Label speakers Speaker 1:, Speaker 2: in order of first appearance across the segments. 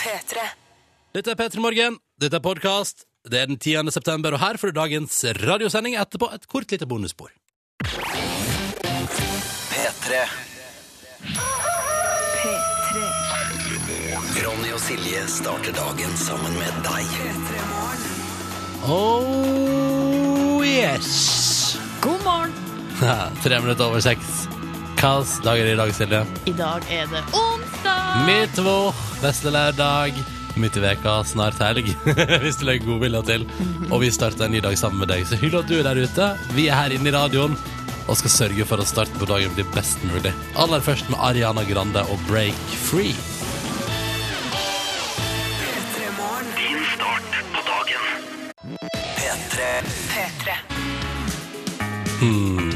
Speaker 1: P3.
Speaker 2: Dette er P3 Morgen, dette er podkast. Det er den 10. september, og her får du dagens radiosending. Etterpå et kort lite bonusspor.
Speaker 3: P3.
Speaker 1: P3.
Speaker 3: Ronny og Silje starter dagen sammen med deg.
Speaker 2: Oh yes!
Speaker 4: God morgen!
Speaker 2: Tre minutter over seks. Hvilken dag er det i dag, Silje?
Speaker 4: I dag er det onsdag!
Speaker 2: Midtvår, vesle lørdag, midt i veka, snart helg. hvis du legger godvilja til. Og vi starter en ny dag sammen med deg. Så hyggelig at du er der ute. Vi er her inne i radioen og skal sørge for at starten på dagen blir best mulig. Aller først med Ariana Grande og Break Free.
Speaker 3: P3.
Speaker 1: P3.
Speaker 2: Hmm.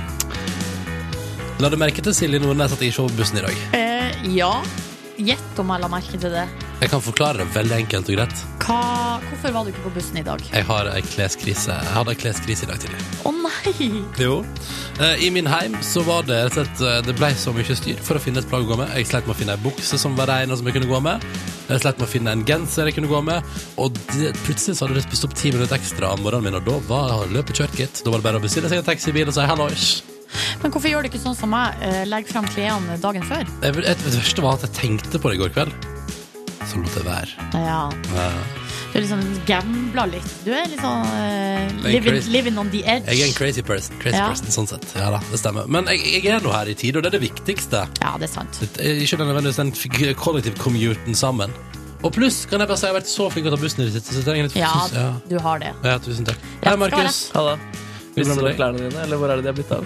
Speaker 2: La du merke til Silje Nordnes at jeg ikke var på bussen i dag?
Speaker 4: Eh, ja. Gjett om jeg la merke til det.
Speaker 2: Jeg kan forklare det veldig enkelt og greit.
Speaker 4: Hva, hvorfor var du ikke på bussen i dag?
Speaker 2: Jeg har ei kleskrise. Jeg hadde ei kleskrise i dag tidlig.
Speaker 4: Å nei!
Speaker 2: Jo. Eh, I min heim så var det rett og slett eh, Det ble så mye styr for å finne et plagg å gå med. Jeg sleit med å finne ei bukse som var ren og som jeg kunne gå med. Jeg sleit med å finne en genser jeg kunne gå med. Og det, plutselig så hadde det spist opp ti minutter ekstra av morgenen min, og da var løpet kjørt, gitt. Da var det bare å bestille seg en taxibil og si hallois.
Speaker 4: Men hvorfor gjør du ikke sånn som meg? Eh, legg fram klærne dagen før.
Speaker 2: Jeg- Det verste var at jeg tenkte på det i går kveld. Så lot jeg være.
Speaker 4: Ja.
Speaker 2: Eh,
Speaker 4: Du er liksom gambla litt. Du er litt sånn eh,
Speaker 2: er
Speaker 4: living,
Speaker 2: crazy.
Speaker 4: living on the edge.
Speaker 2: Jeg er en crazy person, crazy
Speaker 4: Ja.
Speaker 2: person sånn sett. Ja da, det stemmer. Men jeg, jeg er nå her i tide, og det er det viktigste.
Speaker 4: Ja, det er sant.
Speaker 2: Det er Ikke nødvendigvis den f- kollektivcommuten sammen. Og pluss kan jeg bare si jeg har vært så flink til å ta bussen i det siste. Så jeg trenger litt
Speaker 4: Ja,
Speaker 2: ja.
Speaker 4: du har det.
Speaker 2: ja, tusen takk. Hei, Markus.
Speaker 5: Halla. Spiste
Speaker 2: Hvordan
Speaker 5: du opp
Speaker 2: var det? Hmm?
Speaker 5: klærne dine, eller hvor er det de har blitt av?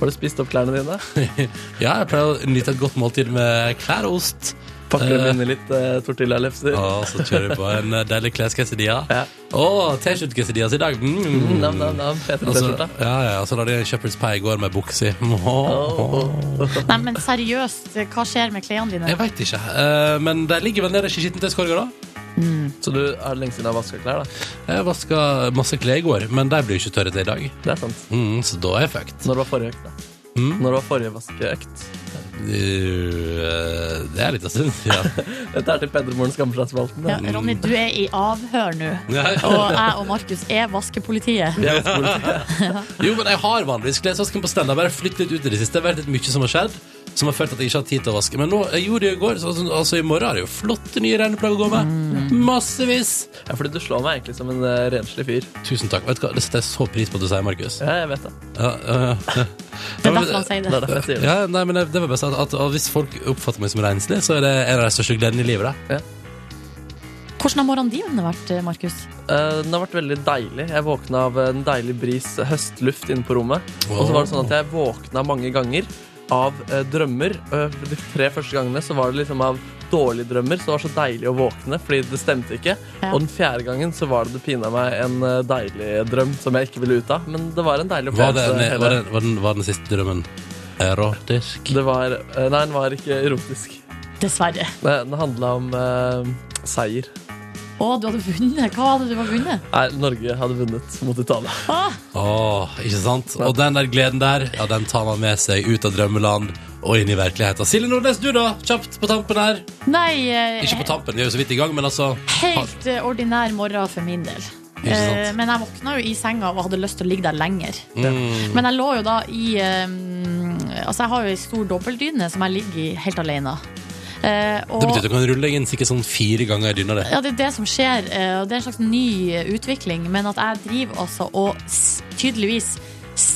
Speaker 5: Har du spist opp klærne dine?
Speaker 2: Ja, jeg pleier å nyte et godt måltid med klær og ost.
Speaker 5: Pakker
Speaker 2: Eh.
Speaker 5: dem inn i litt uh, tortillalefser?
Speaker 2: Og så kjører vi på en eh, deilig klesquesidia.
Speaker 5: Ja.
Speaker 2: Og T-skjorte-quesadias i dag. Mm.
Speaker 5: Nam, nam, nam. Fete
Speaker 2: Og så-
Speaker 5: T-skjorta.
Speaker 2: ja, ja, og så lagde jeg Shepherd's pie i går med bukse i. Åh.
Speaker 4: Nei, men seriøst, eh, hva skjer med klærne dine?
Speaker 2: Jeg veit ikke, eh, men de ligger vel nederst i skittentøyskorga, da.
Speaker 4: Mm.
Speaker 5: Så du er lenge siden du har vaska klær, da.
Speaker 2: Jeg vaska masse klær i går, men de blir jo ikke tørre til i dag.
Speaker 5: Det er sant.
Speaker 2: Mm, så da er jeg fucked. Mm?
Speaker 5: Når var forrige økt, da? Når var forrige vaskeøkt?
Speaker 2: Uh, det er litt av stund siden.
Speaker 5: Dette er til Pedremorens Skamfra-spalten.
Speaker 4: Ja, Ronny, du er i avhør nå.
Speaker 2: Ja.
Speaker 4: Og jeg og Markus er vaskepolitiet.
Speaker 5: Vi er vaskepoliti.
Speaker 2: jo, men jeg har vanligvis klesvasken på stell. Det har bare flyttet litt ut i det siste. Det har vært litt mye som har skjedd, som har følt at jeg ikke har tid til å vaske. Men nå, jeg gjorde det jo i går, så altså, altså i morgen er det jo flotte nye regneplagg å gå med. Massevis!
Speaker 5: Mm. Ja, fordi du slår meg egentlig som en eh, renslig fyr.
Speaker 2: Tusen takk. Vet du hva, det setter jeg så pris på at du sier, Markus.
Speaker 5: Ja, jeg vet det.
Speaker 2: Ja, øh, ja.
Speaker 4: Det er derfor han sier
Speaker 5: Det er
Speaker 4: det.
Speaker 5: derfor jeg sier det.
Speaker 2: Ja, nei, men det det var best at, at, at hvis folk oppfatter meg som renslig, så er det en av de største gledene i livet. Da.
Speaker 4: Hvordan har morgenen din vært, Markus?
Speaker 5: Eh, den har vært veldig deilig. Jeg våkna av en deilig bris høstluft inne på rommet. Og så var det sånn at jeg våkna mange ganger av eh, drømmer. Eh, de tre første gangene så var det liksom av dårlige drømmer, så det var så deilig å våkne fordi det stemte ikke.
Speaker 4: Ja.
Speaker 5: Og den fjerde gangen så var det det pina meg en eh, deilig drøm som jeg ikke ville ut av. Men det var en deilig
Speaker 2: Var, det,
Speaker 5: opplevelse.
Speaker 2: var, det,
Speaker 5: hele-
Speaker 2: var, den- var, den, var den siste drømmen erotisk?
Speaker 5: det var eh, Nei, den var ikke erotisk.
Speaker 4: Dessverre.
Speaker 5: Det- Den handla om eh, seier.
Speaker 4: Å, du hadde vunnet. Hva hadde du vunnet?
Speaker 5: Nei, Norge hadde vunnet mot Italia.
Speaker 4: Ah,
Speaker 2: Åh, ikke sant? Og den der gleden der, ja, den tar man med seg ut av drømmeland og inn i virkeligheten. Silje Nordnes, du da? Kjapt på tampen her.
Speaker 4: nei, eh,
Speaker 2: Ikke på tampen, vi er jo så vidt i gang, men altså
Speaker 4: helt eh, ordinær morgen for min del.
Speaker 2: Ikke sant?
Speaker 4: Eh, Men jeg våkna jo i senga og hadde lyst til å ligge der lenger.
Speaker 2: mm,
Speaker 4: Men jeg lå jo da i eh, Altså, jeg har jo ei stor dobbeltdyne som jeg ligger i helt alene. Eh, og-
Speaker 2: Det betyr at du kan rulle deg inn sikkert sånn fire ganger i dyna, det.
Speaker 4: Ja, det er det som skjer, eh, og det er en slags ny eh, utvikling. Men at jeg driver altså og s- tydeligvis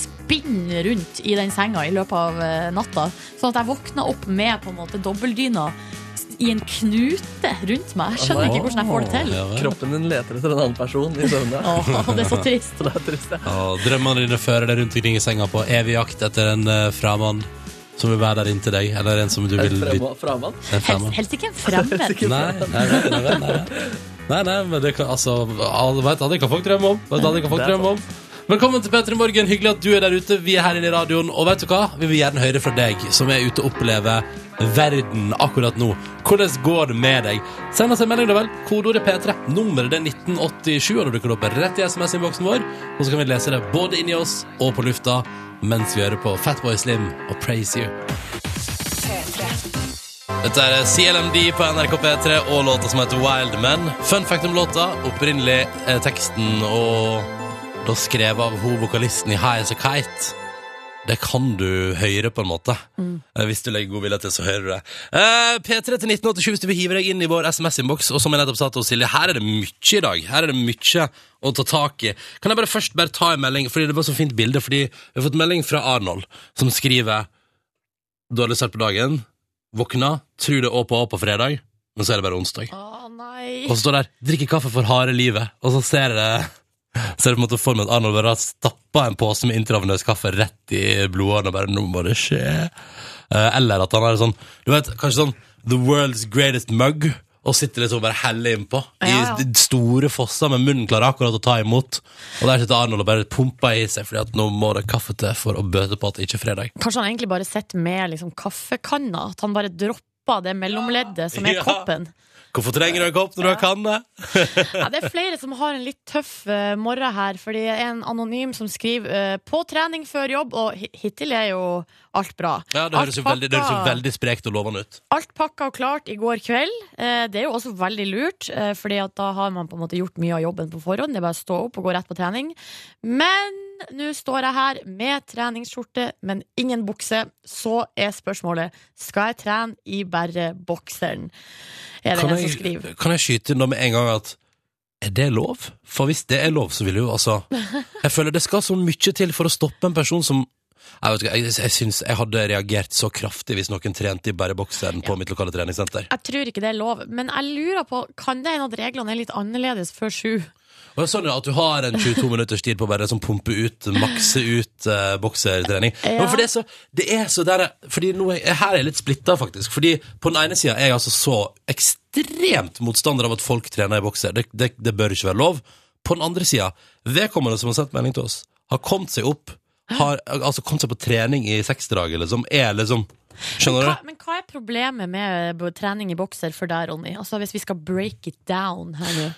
Speaker 4: spinner rundt i den senga i løpet av eh, natta. Sånn at jeg våkner opp med på en måte dobbeldyna s- i en knute rundt meg. Jeg skjønner ikke hvordan jeg får det til.
Speaker 2: Ja, vel.
Speaker 5: Kroppen din leter etter en annen person i søvne.
Speaker 4: Åh, det er så trist.
Speaker 5: Så det er trist, ja.
Speaker 2: Ja, drømmene dine fører deg rundt omkring i senga på evig jakt etter en uh, framann som vil være der inntil deg, eller en som du vil bytte
Speaker 5: Frema- Framann.
Speaker 2: en
Speaker 4: Helst,
Speaker 2: framann.
Speaker 4: helst ikke en fremmed.
Speaker 2: Nei, nei, nei, nei, nei, nei. nei, nei men det kan, altså, alle vet aldri hva folk drømmer om. Vet aldri hva folk
Speaker 5: Det er
Speaker 2: drømmer om. Velkommen til Petter i morgen. Hyggelig at du er der ute. Vi er her inne i radioen. Og vet du hva? Vi vil gjerne høre fra deg som er ute og opplever verden akkurat nå. Hvordan går det med deg? Send oss en melding, da vel. Kodeordet P3. Nummeret det er 1987, og det dukker opp rett i SMS-innboksen vår. Og så kan vi lese det både inni oss og på lufta mens vi hører på Fatboy Slim og Praise You.
Speaker 1: P3.
Speaker 2: Dette er CLMD på NRK P3 og låta som heter Wild Men. Fun fact om låta. Opprinnelig eh, teksten og da skrevet av hun vokalisten i High As A Kite. Det kan du høre, på en måte. Eh, Hvis du legger god vilje til, så hører du det. Eh, P3 til 1987 hvis du vil hive deg inn i vår SMS-innboks. Og som jeg nettopp sa til Silje, her er det mye i dag. Her er det mye å ta tak i. Kan jeg bare først bare ta en melding, fordi det var så fint bilde. Fordi vi har fått melding fra Arnold, som skriver Dårlig start på dagen. Våkna, tror det er å på å på fredag, men så er det bare onsdag.
Speaker 4: Å nei.
Speaker 2: Og så står det her 'drikke kaffe for harde livet', og så ser jeg det Ser det på en måte for meg at Arnold bare har stappa en pose med intravenøs kaffe rett i blodåren og bare 'nå må det skje'. Eh, Eller at han er sånn Du vet, kanskje sånn 'The world's greatest mug', og sitter liksom og bare heller innpå.
Speaker 4: Ja, ja.
Speaker 2: I store fosser med munnen klar akkurat å ta imot. Og der sitter Arnold og bare pumper i seg, fordi at nå må det kaffe til for å bøte på at det ikke er fredag.
Speaker 4: Kanskje han egentlig bare sitter med liksom, kaffekanna? At han bare dropper det mellomleddet som er
Speaker 2: Ja.
Speaker 4: koppen?
Speaker 2: Hvorfor trenger du en kopp når du kan det?
Speaker 4: Ja, det er flere som har en litt tøff eh, morgen her. Fordi det er en anonym som skriver eh, 'på trening før jobb', og hi- hittil er jo alt bra.
Speaker 2: Ja, det
Speaker 4: Alt
Speaker 2: høres jo veldig, det høres jo
Speaker 4: pakka-
Speaker 2: veldig sprekt og lovende ut.
Speaker 4: Alt pakka og klart i går kveld. Eh, Det er jo også veldig lurt, eh, Fordi at da har man på en måte gjort mye av jobben på forhånd. Det er bare å stå opp og gå rett på trening. Men nå står jeg her med treningsskjorte, men ingen bukse. Så er spørsmålet skal jeg trene i bare bokseren. Er det
Speaker 2: Kan
Speaker 4: en som
Speaker 2: jeg,
Speaker 4: skriver.
Speaker 2: kan jeg skyte inn da med en gang at er det lov? For hvis det er lov, så vil jo altså Jeg føler det skal så mye til for å stoppe en person som Jeg vet ikke, jeg, jeg syns jeg hadde reagert så kraftig hvis noen trente i bare bokseren på mitt lokale treningssenter.
Speaker 4: Jeg tror ikke det er lov, men jeg lurer på Kan det hende at reglene er litt annerledes før sju?
Speaker 2: Og det er sånn ja, At du har en 22 minutters tid på å bare liksom pumpe ut, makse ut eh, boksertrening.
Speaker 4: Ja.
Speaker 2: Men for det er så, det er så der, fordi nå er, Her er jeg litt splitta, faktisk. Fordi på den ene sida er jeg altså så ekstremt motstander av at folk trener i bokser. Det, det, det bør ikke være lov. På den andre sida, vedkommende som har sendt melding til oss, har kommet seg opp har, altså kommet seg på trening i seksdraget, liksom. Er liksom Skjønner
Speaker 4: Hva,
Speaker 2: du?
Speaker 4: men hva er problemet med bo- trening i bokser for deg, Ronny? Altså Hvis vi skal break it down her nå.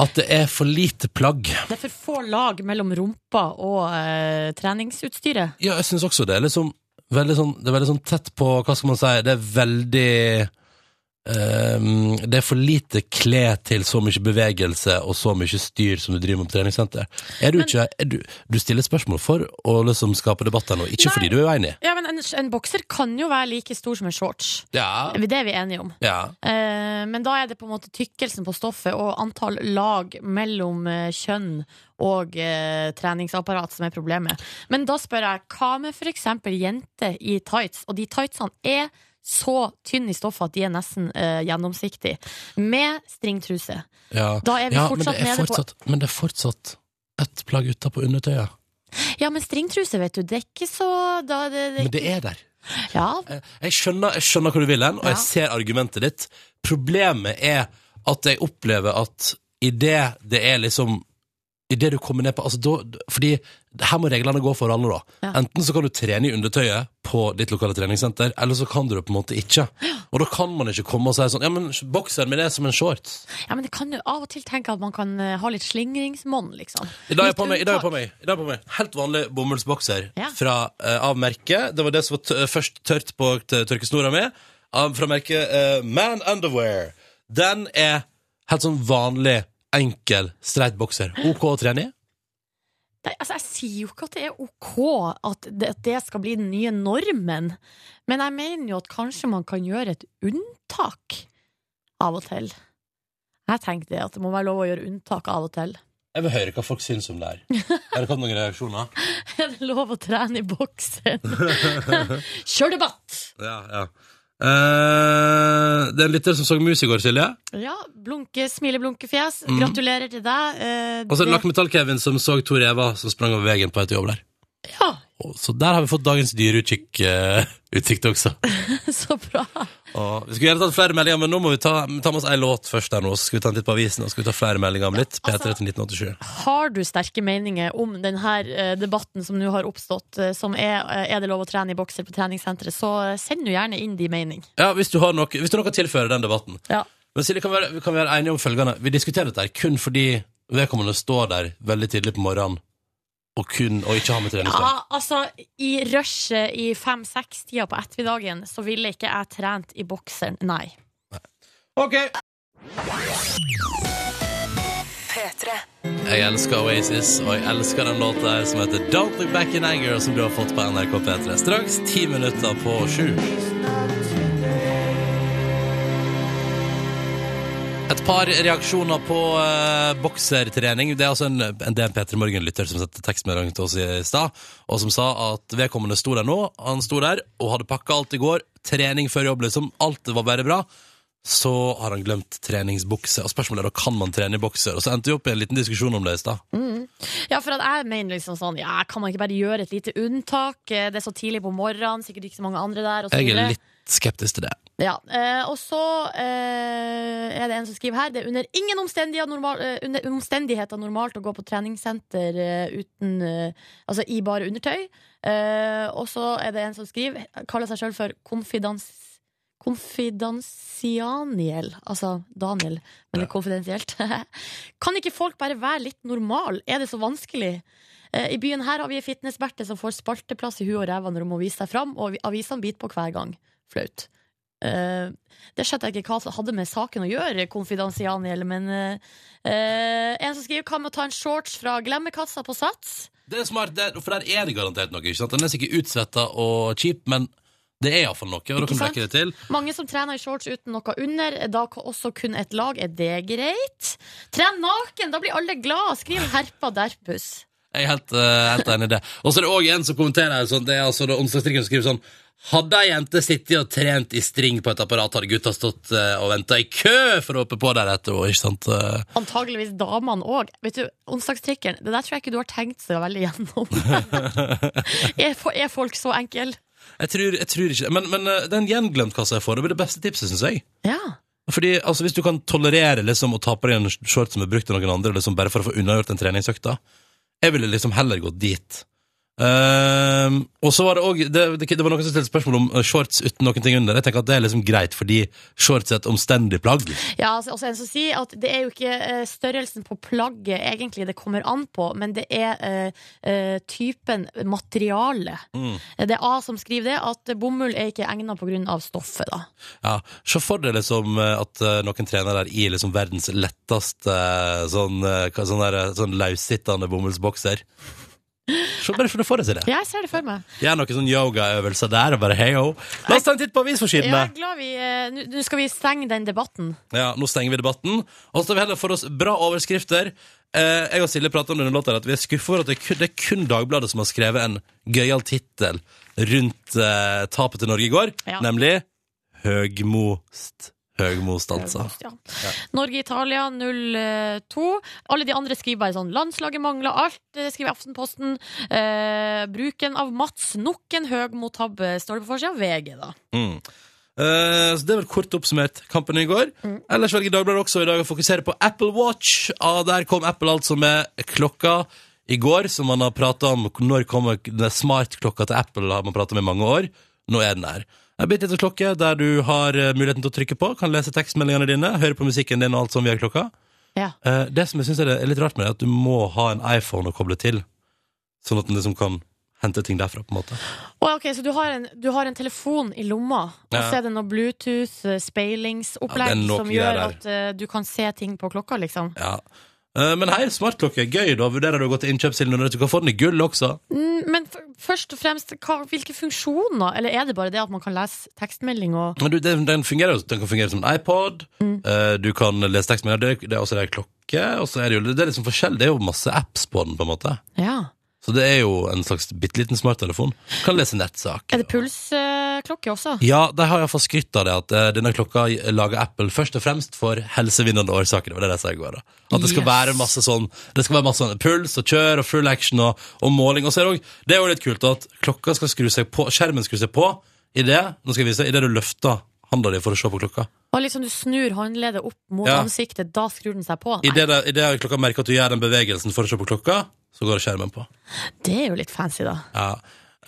Speaker 2: At det er for lite plagg.
Speaker 4: Det er for få lag mellom rumpa og eh, treningsutstyret.
Speaker 2: Ja, jeg syns også det. er Liksom, veldig sånn, det er veldig sånn tett på Hva skal man si? Det er veldig ehm, Det er for lite klær til så mye bevegelse og så mye styr som du driver med på treningssenter. Er du, ikke, er du, du stiller spørsmål for å liksom skape debatter nå, ikke
Speaker 4: Nei.
Speaker 2: fordi du er uenig.
Speaker 4: Ja, men en, en bokser kan jo være like stor som en shorts.
Speaker 2: Ja,
Speaker 4: Det er vi enige om.
Speaker 2: ja.
Speaker 4: Eh, men da er det på en måte tykkelsen på stoffet og antall lag mellom eh, kjønn og eh, treningsapparat som er problemet. Men da spør jeg, hva med for eksempel jenter i tights? Og de tightsene er så tynne i stoffet at de er nesten eh, gjennomsiktige. Med stringtruse.
Speaker 2: ja.
Speaker 4: Da er vi
Speaker 2: ja men,
Speaker 4: fortsatt
Speaker 2: det er
Speaker 4: nede på
Speaker 2: fortsatt, men det er fortsatt ett plagg utapå undertøyet.
Speaker 4: Ja, men stringtruse, vet du, det er ikke så da, det, det,
Speaker 2: Men det er der.
Speaker 4: Ja,
Speaker 2: Eh, Jeg skjønner, jeg skjønner hvor du vil hen, og
Speaker 4: Ja.
Speaker 2: jeg ser argumentet ditt. Problemet er at jeg opplever at i det det er liksom i det du kommer ned på altså, da, Fordi her må reglene gå for alle, da.
Speaker 4: Ja.
Speaker 2: Enten så kan du trene i undertøyet på ditt lokale treningssenter, eller så kan du det på en måte ikke. Og da kan man ikke komme og si sånn Ja, men bokseren min er som en shorts.
Speaker 4: Ja, men det kan jo av og til tenke at man kan eh, ha litt slingringsmonn, liksom.
Speaker 2: I dag er jeg
Speaker 4: Litt
Speaker 2: på meg, i dag er jeg på
Speaker 4: unntak.
Speaker 2: meg, i dag er jeg på meg. Helt vanlig bomullsbokser
Speaker 4: Ja.
Speaker 2: fra, eh, av merket. Det var det som var t først tørt på t tørkesnora mi. av- fra merket eh, Man Underwear. Den er helt sånn vanlig, enkel, streit bokser. OK å trene i.
Speaker 4: Nei, altså, jeg sier jo ikke at det er ok at det, at det skal bli den nye normen, men jeg mener jo at kanskje man kan gjøre et unntak av og til. Jeg tenker det, at det må være lov å gjøre unntak av og til.
Speaker 2: Jeg vil høre hva folk syns om det her. Har det kommet noen reaksjoner?
Speaker 4: Er det lov å trene i boksen? Kjør debatt!
Speaker 2: Ja, ja. Eh, det er en lytter som så mus i går, Silje.
Speaker 4: Ja, blunke, smileblunkefjes. Gratulerer til deg. Eh,
Speaker 2: Mm. Og så er det
Speaker 4: det-
Speaker 2: Lakmetall-Kevin som så to rever som sprang over veien på vei til jobb der.
Speaker 4: Ja,
Speaker 2: Og- Så der har vi fått dagens dyreutkikk eh, utsikt også.
Speaker 4: så bra.
Speaker 2: Ja, vi skulle gjerne tatt flere meldinger, men nå må vi ta, ta med oss ei låt først. der nå Så skal vi ta en titt på avisen og så skal vi ta flere meldinger om litt. P3 til 1987.
Speaker 4: Har du sterke meninger om denne debatten som nå har oppstått, eh, som er eh, er det lov å trene i bokser på treningssenteret, så eh, send jo gjerne inn din mening.
Speaker 2: Ja, Hvis du har noe, hvis du har noe å tilføre den debatten. Men Silje, kan vi, være, kan vi være enige om følgende? Vi diskuterer dette her kun fordi vedkommende står der veldig tidlig på morgenen og kun og ikke ha med treningstøy?
Speaker 4: Ja, altså, i rushet i fem-seks-tida på ettermiddagen, så ville ikke jeg trent i bokseren, nei.
Speaker 2: OK!
Speaker 1: P3.
Speaker 2: Jeg elsker Oasis, og jeg elsker den låta her som heter Don't Look Back in Anger, som du har fått på NRK P3. Straks ti minutter på sju. Et par reaksjoner på eh, boksertrening. Det er altså en, en DNP Peter Morgen-lytter som sendte tekstmelding til oss i stad, og som sa at vedkommende sto der nå. Han sto der og hadde pakka alt i går. Trening før jobb, liksom. Alt var bare bra så har han glemt treningsbukse. Og spørsmålet er da, kan man trene i bokser? Og så endte vi opp i en liten diskusjon om det i stad.
Speaker 4: Ja, for at jeg mener liksom sånn, ja, kan man ikke bare gjøre et lite unntak? Eh, Det er så tidlig på morgenen, sikkert ikke så mange andre der, og så
Speaker 2: Jeg
Speaker 4: videre.
Speaker 2: er litt skeptisk til det.
Speaker 4: Ja, eh, og så eh, er det en som skriver her Det er under ingen omstendigheter, normal, eh, under omstendigheter normalt å gå på treningssenter eh, uten, eh, altså i bare undertøy. Eh, og så er det en som skriver, kaller seg sjøl for konfidans, konfidansianiel. Altså Daniel, men det er konfidensielt. kan ikke folk bare være litt normal? Er det så vanskelig? Eh, I byen her har vi ei fitnessberte som får spalteplass i huet og ræva når hun må vise seg fram, og avisene biter på hver gang. Flaut. Eh, det skjønte jeg ikke hva som hadde med saken å gjøre, konfidansianiel, men eh, eh, En som skriver hva med å ta en shorts fra glemmekassa på Sats?
Speaker 2: Det er smart, det er, for der er det garantert noe. ikke sant? Den er sikkert utsvetta og kjip, men det er iallfall noe. og da kan du
Speaker 4: Ikke sant?
Speaker 2: dekke det til.
Speaker 4: Mange som trener i shorts uten noe under, da kan også kun et lag. Er det greit? Tren naken, da blir alle glad, skriver Herpa Derpus.
Speaker 2: Jeg er helt, eh, helt enig i det. Og så er det òg en som kommenterer her, sånn, det er altså det onsdagsstrikken som skriver sånn Hadde ei jente sittet og trent i string på et apparat, hadde gutta stått eh, og venta i kø for å hoppe på der etter henne, ikke sant? Eh,
Speaker 4: Antageligvis damene òg. Vet du, onsdagstrikkeren, det der tror jeg ikke du har tenkt så veldig gjennom. er, fo- er folk så enkle?
Speaker 2: Jeg tror, jeg tror ikke det. Men, men eh, den gjenglemtkassa jeg får, det blir det beste tipset, syns jeg.
Speaker 4: Ja.
Speaker 2: Fordi altså, Hvis du kan tolerere liksom, å ta på deg en short som er brukt av noen andre, liksom, bare for å få unnagjort en treningsøkta Jeg ville liksom heller gått dit. Ehm, og så var det også, det, det, det var noen som stilte spørsmål om eh, shorts uten noen ting under. Jeg tenker at Det er liksom greit, fordi shorts er et omstendig plagg.
Speaker 4: Ja, altså, også en som sier at det er jo ikke eh, størrelsen på plagget egentlig det kommer an på, men det er eh, eh, typen materiale.
Speaker 2: Mm.
Speaker 4: Eh, Det er A som skriver det, at bomull er ikke egnet på grunn av stoffet, da.
Speaker 2: Ja, Se for deg liksom, eh, at eh, noen trener der i liksom, verdens letteste eh, sånn, eh, hva- sånn, der, eh, sånn løssittende bomullsbokser. Se bare for å få deg til det.
Speaker 4: Ja, jeg ser det for meg.
Speaker 2: Gjør noen sånn yogaøvelser der og bare hei-ho. La oss ta en titt på
Speaker 4: Ja, jeg
Speaker 2: avisforsidene!
Speaker 4: er glad vi eh, Nå nå skal vi stenge den debatten.
Speaker 2: Ja, nå stenger vi debatten. Og så tar vi heller for oss bra overskrifter. Eh, jeg og Silje prater om denne låta her, at vi er skuffet over at det er kun, det er kun Dagbladet som har skrevet en gøyal tittel rundt eh, tapet til Norge i går,
Speaker 4: Ja.
Speaker 2: nemlig Høgmost. Høgmost, altså.
Speaker 4: Ja. Norge-Italia 0-2. eh, Alle de andre skriver bare sånn 'Landslaget mangler alt', eh, skriver Aftenposten. Eh, bruken av Mats, nok en høg mot tabbe, står det på forsida av VG, da.
Speaker 2: Mm. Eh, så Det er vel kort oppsummert kampen i går. Ellers velger Dagbladet også i dag å fokusere på Apple Watch. Ah, der kom Apple altså med klokka i går, som man har prata om. Når kommer den smartklokka til Apple, har man prata om i mange år. Nå er den her. En bitte liten klokke der du har eh, muligheten til å trykke på, kan lese tekstmeldingene dine, høre på musikken din og alt som via klokka.
Speaker 4: Ja.
Speaker 2: Eh, det som jeg synes er det- er litt rart med det, er at du må ha en iPhone å koble til, sånn at den liksom kan hente ting derfra, på en måte.
Speaker 4: Å, ja, ok, så du har, en, du har en telefon i lomma, og
Speaker 2: Ja.
Speaker 4: så er det noe
Speaker 2: Ja,
Speaker 4: Bluetooth-speilingsopplegg
Speaker 2: det er nok
Speaker 4: som gjør
Speaker 2: greier der.
Speaker 4: at eh, du kan se ting på klokka, liksom?
Speaker 2: Ja. Eh, Men hei, smartklokke er gøy, da. Vurderer du å gå til innkjøpssilden under du kan få den i gull også?
Speaker 4: Mm, Men f først og fremst, hva, hvilke funksjoner? Eller er det bare det at man kan lese tekstmelding og
Speaker 2: Men du, den, den, fungerer, jo- den kan fungere som en iPod. Eh, Du kan lese tekstmeldinger. Det, det er også en klokke. Og så er det jo det er liksom forskjell. Det er jo masse apps på den, på en måte.
Speaker 4: Ja.
Speaker 2: Så det er jo en slags bitte liten smarttelefon. Kan lese nettsak.
Speaker 4: Er det pulsklokke også?
Speaker 2: Ja, de har iallfall skrytt av det, at eh, denne klokka lager Apple først og fremst for helsevinnende årsaker. Det var det de sa i går. da. At det skal
Speaker 4: Yes.
Speaker 2: være masse sånn det skal være masse sånn puls og kjør og full action og, og måling. Og så er det, også, det er jo litt kult at klokka skal skru seg på, skjermen skrur seg på i det, nå skal jeg vise, i det du løfter handa di for å se på klokka.
Speaker 4: Og liksom du snur håndleddet opp mot
Speaker 2: Ja.
Speaker 4: ansiktet, da skrur den seg på?
Speaker 2: I
Speaker 4: Nei,
Speaker 2: det, det- i det klokka merker at du gjør den bevegelsen for å se på klokka, så går skjermen på.
Speaker 4: det er jo litt fancy, da.
Speaker 2: Ja.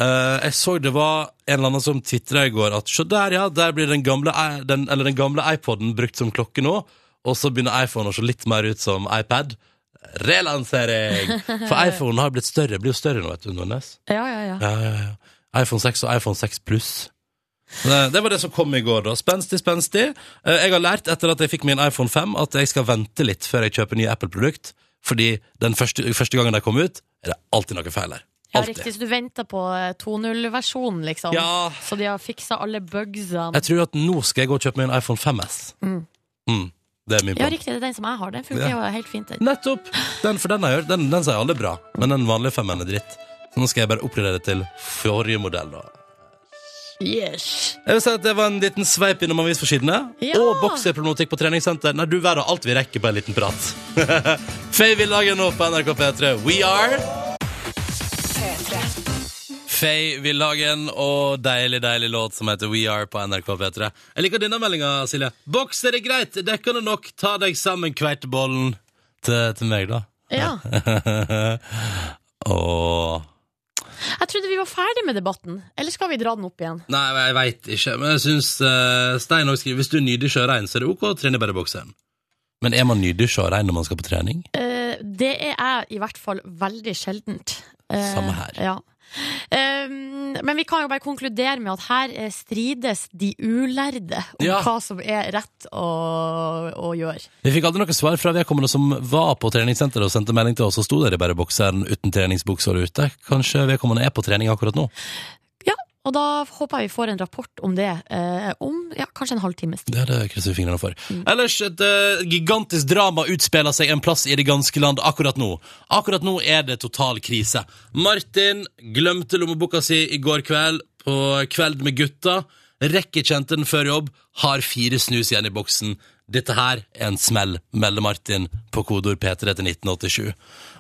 Speaker 2: Eh, jeg så det var en eller annen som tvitra i går at se der, ja, der blir den gamle, i- den, eller den gamle iPoden brukt som klokke nå, og så begynner iPhone å se litt mer ut som iPad. relansering! For iPhone har blitt større, blir jo større nå, vet du, Nordnes.
Speaker 4: Ja, ja, ja.
Speaker 2: Ja, ja, ja. iPhone 6 og iPhone 6 Plus. eh, Det, det var det som kom i går, da. Spenstig, spenstig. Eh, Jeg har lært etter at jeg fikk min iPhone 5, at jeg skal vente litt før jeg kjøper nye Apple-produkt. Fordi den første, første gangen de kom ut, er det alltid noe feil her.
Speaker 4: ja
Speaker 2: Alltid.
Speaker 4: riktig, så du venter på eh, 2.0-versjonen, liksom.
Speaker 2: Ja.
Speaker 4: Så de har fiksa alle bugsene.
Speaker 2: Jeg tror at nå skal jeg gå og kjøpe meg en iPhone 5S.
Speaker 4: Mm.
Speaker 2: Mm, det er min
Speaker 4: Ja,
Speaker 2: plan.
Speaker 4: riktig, det er den som jeg har. Den funker
Speaker 2: Ja.
Speaker 4: jo helt fint. Den.
Speaker 2: Nettopp! Den, for den, har jeg hørt, den, den sier alle bra, men den vanlige femmeren er dritt. Så nå skal jeg bare oppgradere til forrige modell, da.
Speaker 4: Yes.
Speaker 2: Jeg vil si at Det var en liten sveip innom avisforsidene.
Speaker 4: Ja.
Speaker 2: Og bokserproblematikk på treningssenter. Nei, du verre alt vi rekker på en liten prat. Faye Village nå på NRK P3. We are Faye Villagen og deilig, deilig låt som heter We Are på NRK P3. Jeg liker denne meldinga, Silje. Boks er det greit, dekkende nok. Ta deg sammen, kveitebollen. Til, til meg, da.
Speaker 4: Ja.
Speaker 2: Åh
Speaker 4: Jeg trodde vi var ferdig med debatten. Eller skal vi dra den opp igjen?
Speaker 2: Nei, jeg veit ikke, men jeg syns uh, Stein også skriver hvis du er nydig sjørein, så er det ok å trene bare i bokseren. Men er man nydig sjørein når man skal på trening?
Speaker 4: Eh, det er jeg i hvert fall veldig sjeldent. Eh,
Speaker 2: Samme her.
Speaker 4: Ja. Eh, men vi kan jo bare konkludere med at her eh, strides de ulærde om
Speaker 2: Ja.
Speaker 4: hva som er rett å, å gjøre.
Speaker 2: Vi fikk aldri noe svar fra vedkommende som var på treningssenteret og sendte melding til oss, og sto der i bare bokseren uten treningsbukser ute. Kanskje vedkommende er på trening akkurat nå?
Speaker 4: Ja, og da håper jeg vi får en rapport om det eh, om ja, kanskje en halvtimes tid.
Speaker 2: Det er det krysser vi fingrene for. Ellers, et eh, gigantisk drama utspiller seg en plass i det ganske land akkurat nå. Akkurat nå er det total krise. Martin glemte lommeboka si i går kveld på Kveld med gutta. Rekker ikke hente den før jobb. Har fire snus igjen i boksen. Dette her er en smell, melder Martin på kodeord P3 til 1987.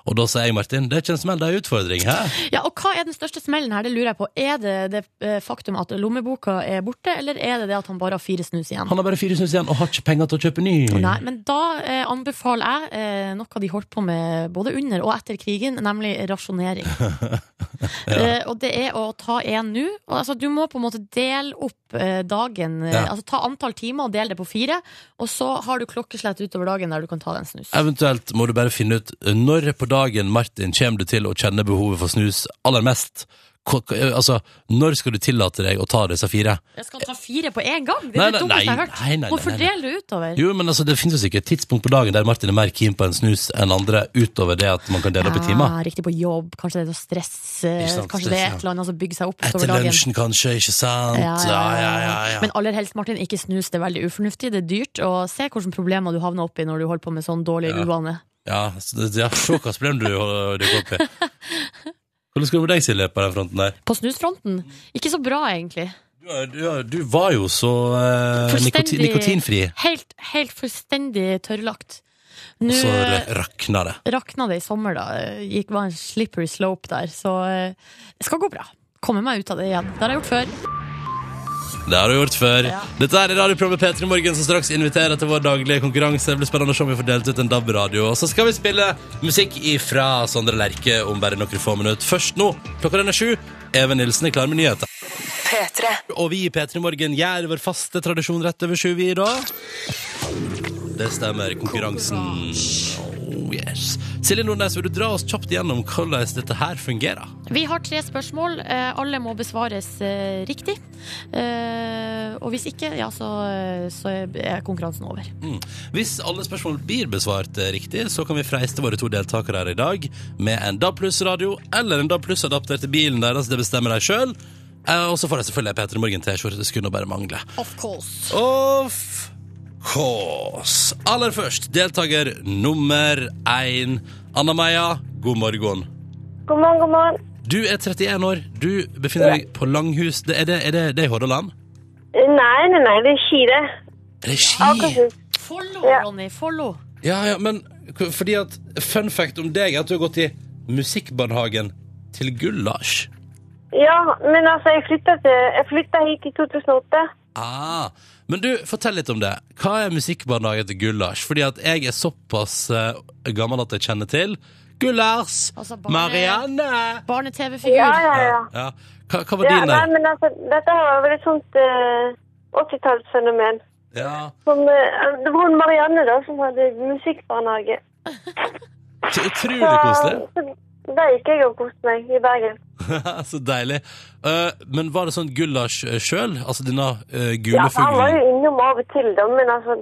Speaker 2: Og da sier jeg, Martin, det er ikke en smell, det er en utfordring. Hæ?
Speaker 4: Ja, og hva er den største smellen her? Det lurer jeg på. Er det det eh, faktum at lommeboka er borte, eller er det det at han bare har fire snus igjen?
Speaker 2: Han har bare fire snus igjen og har ikke penger til å kjøpe ny.
Speaker 4: Nei, men da eh, anbefaler jeg eh, noe de holdt på med både under og etter krigen, nemlig rasjonering. eh, og det er å ta én nå. Og, Altså, du må på en måte dele opp eh, dagen eh,
Speaker 2: Ja.
Speaker 4: Altså ta antall timer og dele det på fire, og så har du klokkeslett utover dagen der du kan ta deg en snus.
Speaker 2: Eventuelt må du bare finne ut eh, når på dagen, Martin, kommer du til å kjenne behovet for snus aller mest? Ko- ko- eh, Altså, når skal du tillate deg å ta disse fire?
Speaker 4: Jeg skal ta fire på én gang! Det
Speaker 2: Nei, nei,
Speaker 4: er det dummeste jeg har
Speaker 2: nei,
Speaker 4: hørt.
Speaker 2: nei, nei,
Speaker 4: Må
Speaker 2: nei, nei.
Speaker 4: fordele det utover.
Speaker 2: Jo, men altså, det finnes jo sikkert et tidspunkt på dagen der Martin er mer keen på en snus enn andre, utover det at man kan dele opp i timer.
Speaker 4: Ja, riktig på jobb, kanskje det er noe stress, eh,
Speaker 2: Ikke sant,
Speaker 4: kanskje det er
Speaker 2: stress, ja.
Speaker 4: et eller annet som bygger seg opp
Speaker 2: Etter
Speaker 4: utover dagen.
Speaker 2: lunsjen, kanskje, ikke sant? Ja, ja, ja. ja,
Speaker 4: Men aller helst, Martin, ikke snus. Det er veldig ufornuftig, det er dyrt. Og se hvilke problemer du havner oppi når du holder på med sånn dårlig
Speaker 2: Ja.
Speaker 4: uvane.
Speaker 2: Ja, så det- ja, se hva som du og- dukker opp i. Hvordan skal det med deg, Silje, på den fronten der?
Speaker 4: På snusfronten. Ikke så bra, egentlig.
Speaker 2: Du, er- du, er- du var jo så eh,
Speaker 4: Fullstendig-
Speaker 2: nikotin, nikotinfri,
Speaker 4: Helt, helt fullstendig tørrlagt. Nå eh,
Speaker 2: så r- rakna det.
Speaker 4: rakna det i sommer, da. Gikk var en slippery slope der. Så eh, det skal gå bra. Komme meg ut av det igjen. Det har jeg gjort før.
Speaker 2: Det har du gjort før. Dette er radioprogrammet P3 Morgen som straks inviterer til vår daglige konkurranse. Det blir spennende å se om vi får delt ut en DAB-radio. Og så skal vi spille musikk ifra Sondre Lerche om bare noen få minutter. Først nå, klokka den er sju. Even Nilsen er klar med nyheter.
Speaker 1: P3.
Speaker 2: Og vi i P3 Morgen gjør vår faste tradisjon rett over sju, vi i dag. Det stemmer. Konkurransen. Oh, yes. Silje Nordnes, vil du dra oss kjapt gjennom hvordan dette her fungerer?
Speaker 4: Vi har tre spørsmål. Eh, alle må besvares eh, riktig. Eh, og hvis ikke, ja, så, eh, så er konkurransen over.
Speaker 2: Mm. Hvis alle spørsmål blir besvart eh, riktig, så kan vi freiste våre to deltakere her i dag med en DAB radio eller en DAB adapter til bilen deres. Det bestemmer de sjøl. Og så får de selvfølgelig ei P3 Morgen-T-skjorte. Det skulle nå bare mangle.
Speaker 4: Of course.
Speaker 2: Of course. Aller først, deltaker nummer én. Anna Meia, god morgen.
Speaker 6: God morgen, god morgen.
Speaker 2: Du er 31 år. Du befinner deg på Langhus. Det- Er det, er det, det er i Hordaland?
Speaker 6: Nei, nei, nei, det er ikke det.
Speaker 2: Er det Ski?
Speaker 6: Akershus.
Speaker 4: Follo, Ronny. Follo.
Speaker 2: Ja, ja, men k- fordi at Fun fact om deg er at du har gått i musikkbarnehagen til Gullars.
Speaker 6: Ja, men altså, jeg flytta, til, jeg flytta hit i 2008.
Speaker 2: Ah, men du, fortell litt om det. Hva er musikkbarnehagen til Gullars? Fordi at jeg er såpass eh, gammel at jeg kjenner til Gullars!
Speaker 4: Altså, barne-
Speaker 2: Marianne!
Speaker 4: Barne-TV-figur.
Speaker 6: Ja, ja, ja.
Speaker 2: Ja. Hva, hva var
Speaker 6: ja
Speaker 2: din
Speaker 6: nei,
Speaker 2: der?
Speaker 6: men altså, dette her var vel et sånt eh, 80-tallsfenomen.
Speaker 2: Ja.
Speaker 6: Som, eh, det var hun Marianne da, som hadde musikkbarnehage.
Speaker 2: Så utrolig koselig.
Speaker 6: Så der gikk jeg og koste meg i Bergen.
Speaker 2: så deilig. Eh, men var det sånn gulasj eh, sjøl? Altså denne eh,
Speaker 6: Ja,
Speaker 2: gule
Speaker 6: han var
Speaker 2: fuglen?
Speaker 6: jo innom av og til, da, men altså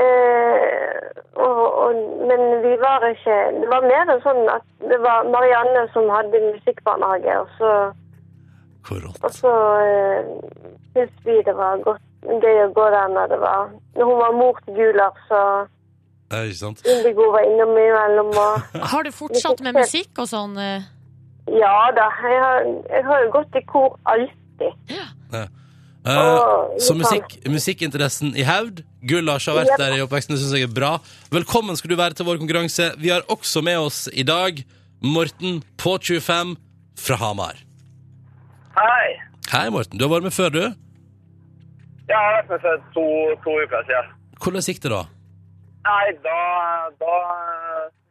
Speaker 6: eh, og, og, Men vi var ikke Det var mer enn sånn at det var Marianne som hadde musikkbarnehage, og så,
Speaker 2: Hvor rått.
Speaker 6: og så eh, syntes vi det var godt, gøy å gå der når det var Når hun var mor til Gular, så
Speaker 2: Eh, ikke sant?
Speaker 6: Indigo var innom imellom og
Speaker 4: Har du fortsatt med musikk og sånn? eh?
Speaker 6: Ja da, jeg har, jeg har jo gått i kor alltid.
Speaker 2: Eh,
Speaker 6: Åh,
Speaker 2: så
Speaker 6: faen.
Speaker 2: musikk, musikkinteressen i hevd. Gulasj har vært der i oppveksten. Det syns jeg er bra. Velkommen skal du være til vår konkurranse. Vi har også med oss i dag Morten på 25 fra Hamar.
Speaker 7: Hei!
Speaker 2: Hei, Morten. Du har vært med før, du.
Speaker 7: Jeg har vært med for to, to uker siden.
Speaker 2: Hvordan gikk det, da?
Speaker 7: Nei, da, da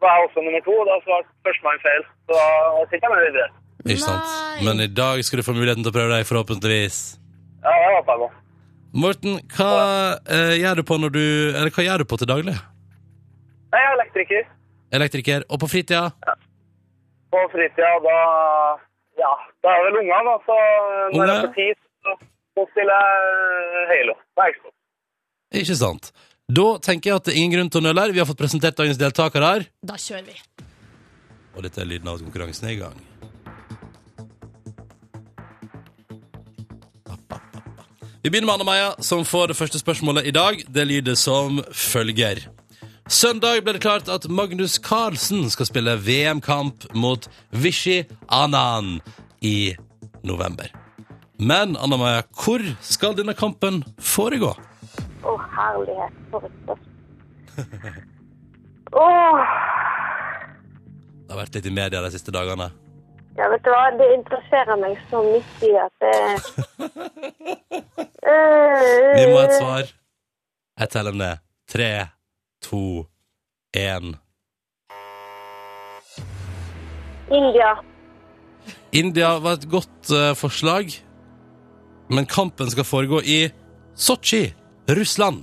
Speaker 7: var jeg også nummer to. Da svarte førstemann feil. Så da sitter jeg med videre.
Speaker 2: Ikke sant?
Speaker 4: Nei.
Speaker 2: Men i dag skal du få muligheten til å prøve deg, forhåpentligvis.
Speaker 7: Ja, det håper jeg på.
Speaker 2: Morten, hva eh, gjør du på når du Eller hva gjør du på til daglig?
Speaker 7: Nei, Jeg er elektriker.
Speaker 2: Elektriker. Og på fritida?
Speaker 7: På fritida, da Ja, da er det vel ungene, da. Så når jeg
Speaker 2: Unge?
Speaker 7: får tid, så- så spiller jeg Halo. på Xbox.
Speaker 2: Ikke sant? Da tenker jeg at det er ingen grunn til å nøle her. Vi har fått presentert dagens deltakere her.
Speaker 4: Da kjører vi.
Speaker 2: Og dette er lyden av at konkurransen er i gang. Vi begynner med Anna-Maja, som får det første spørsmålet i dag. Det lyder som følger. Søndag ble det klart at Magnus Carlsen skal spille VM-kamp mot Vishy Anand i november. Men Anna-Maja, hvor skal denne kampen foregå?
Speaker 6: Å, herlighet, for et spørsmål. Åh,
Speaker 2: Det har vært litt i media de siste dagene.
Speaker 6: ja, vet du hva? Det interesserer meg så mye at det Eh,
Speaker 2: Vi må ha
Speaker 4: Eh.
Speaker 2: et svar. Jeg teller ned. Tre, to, én.
Speaker 6: India.
Speaker 2: India var et godt eh, forslag, men kampen skal foregå i Sotsji, Russland.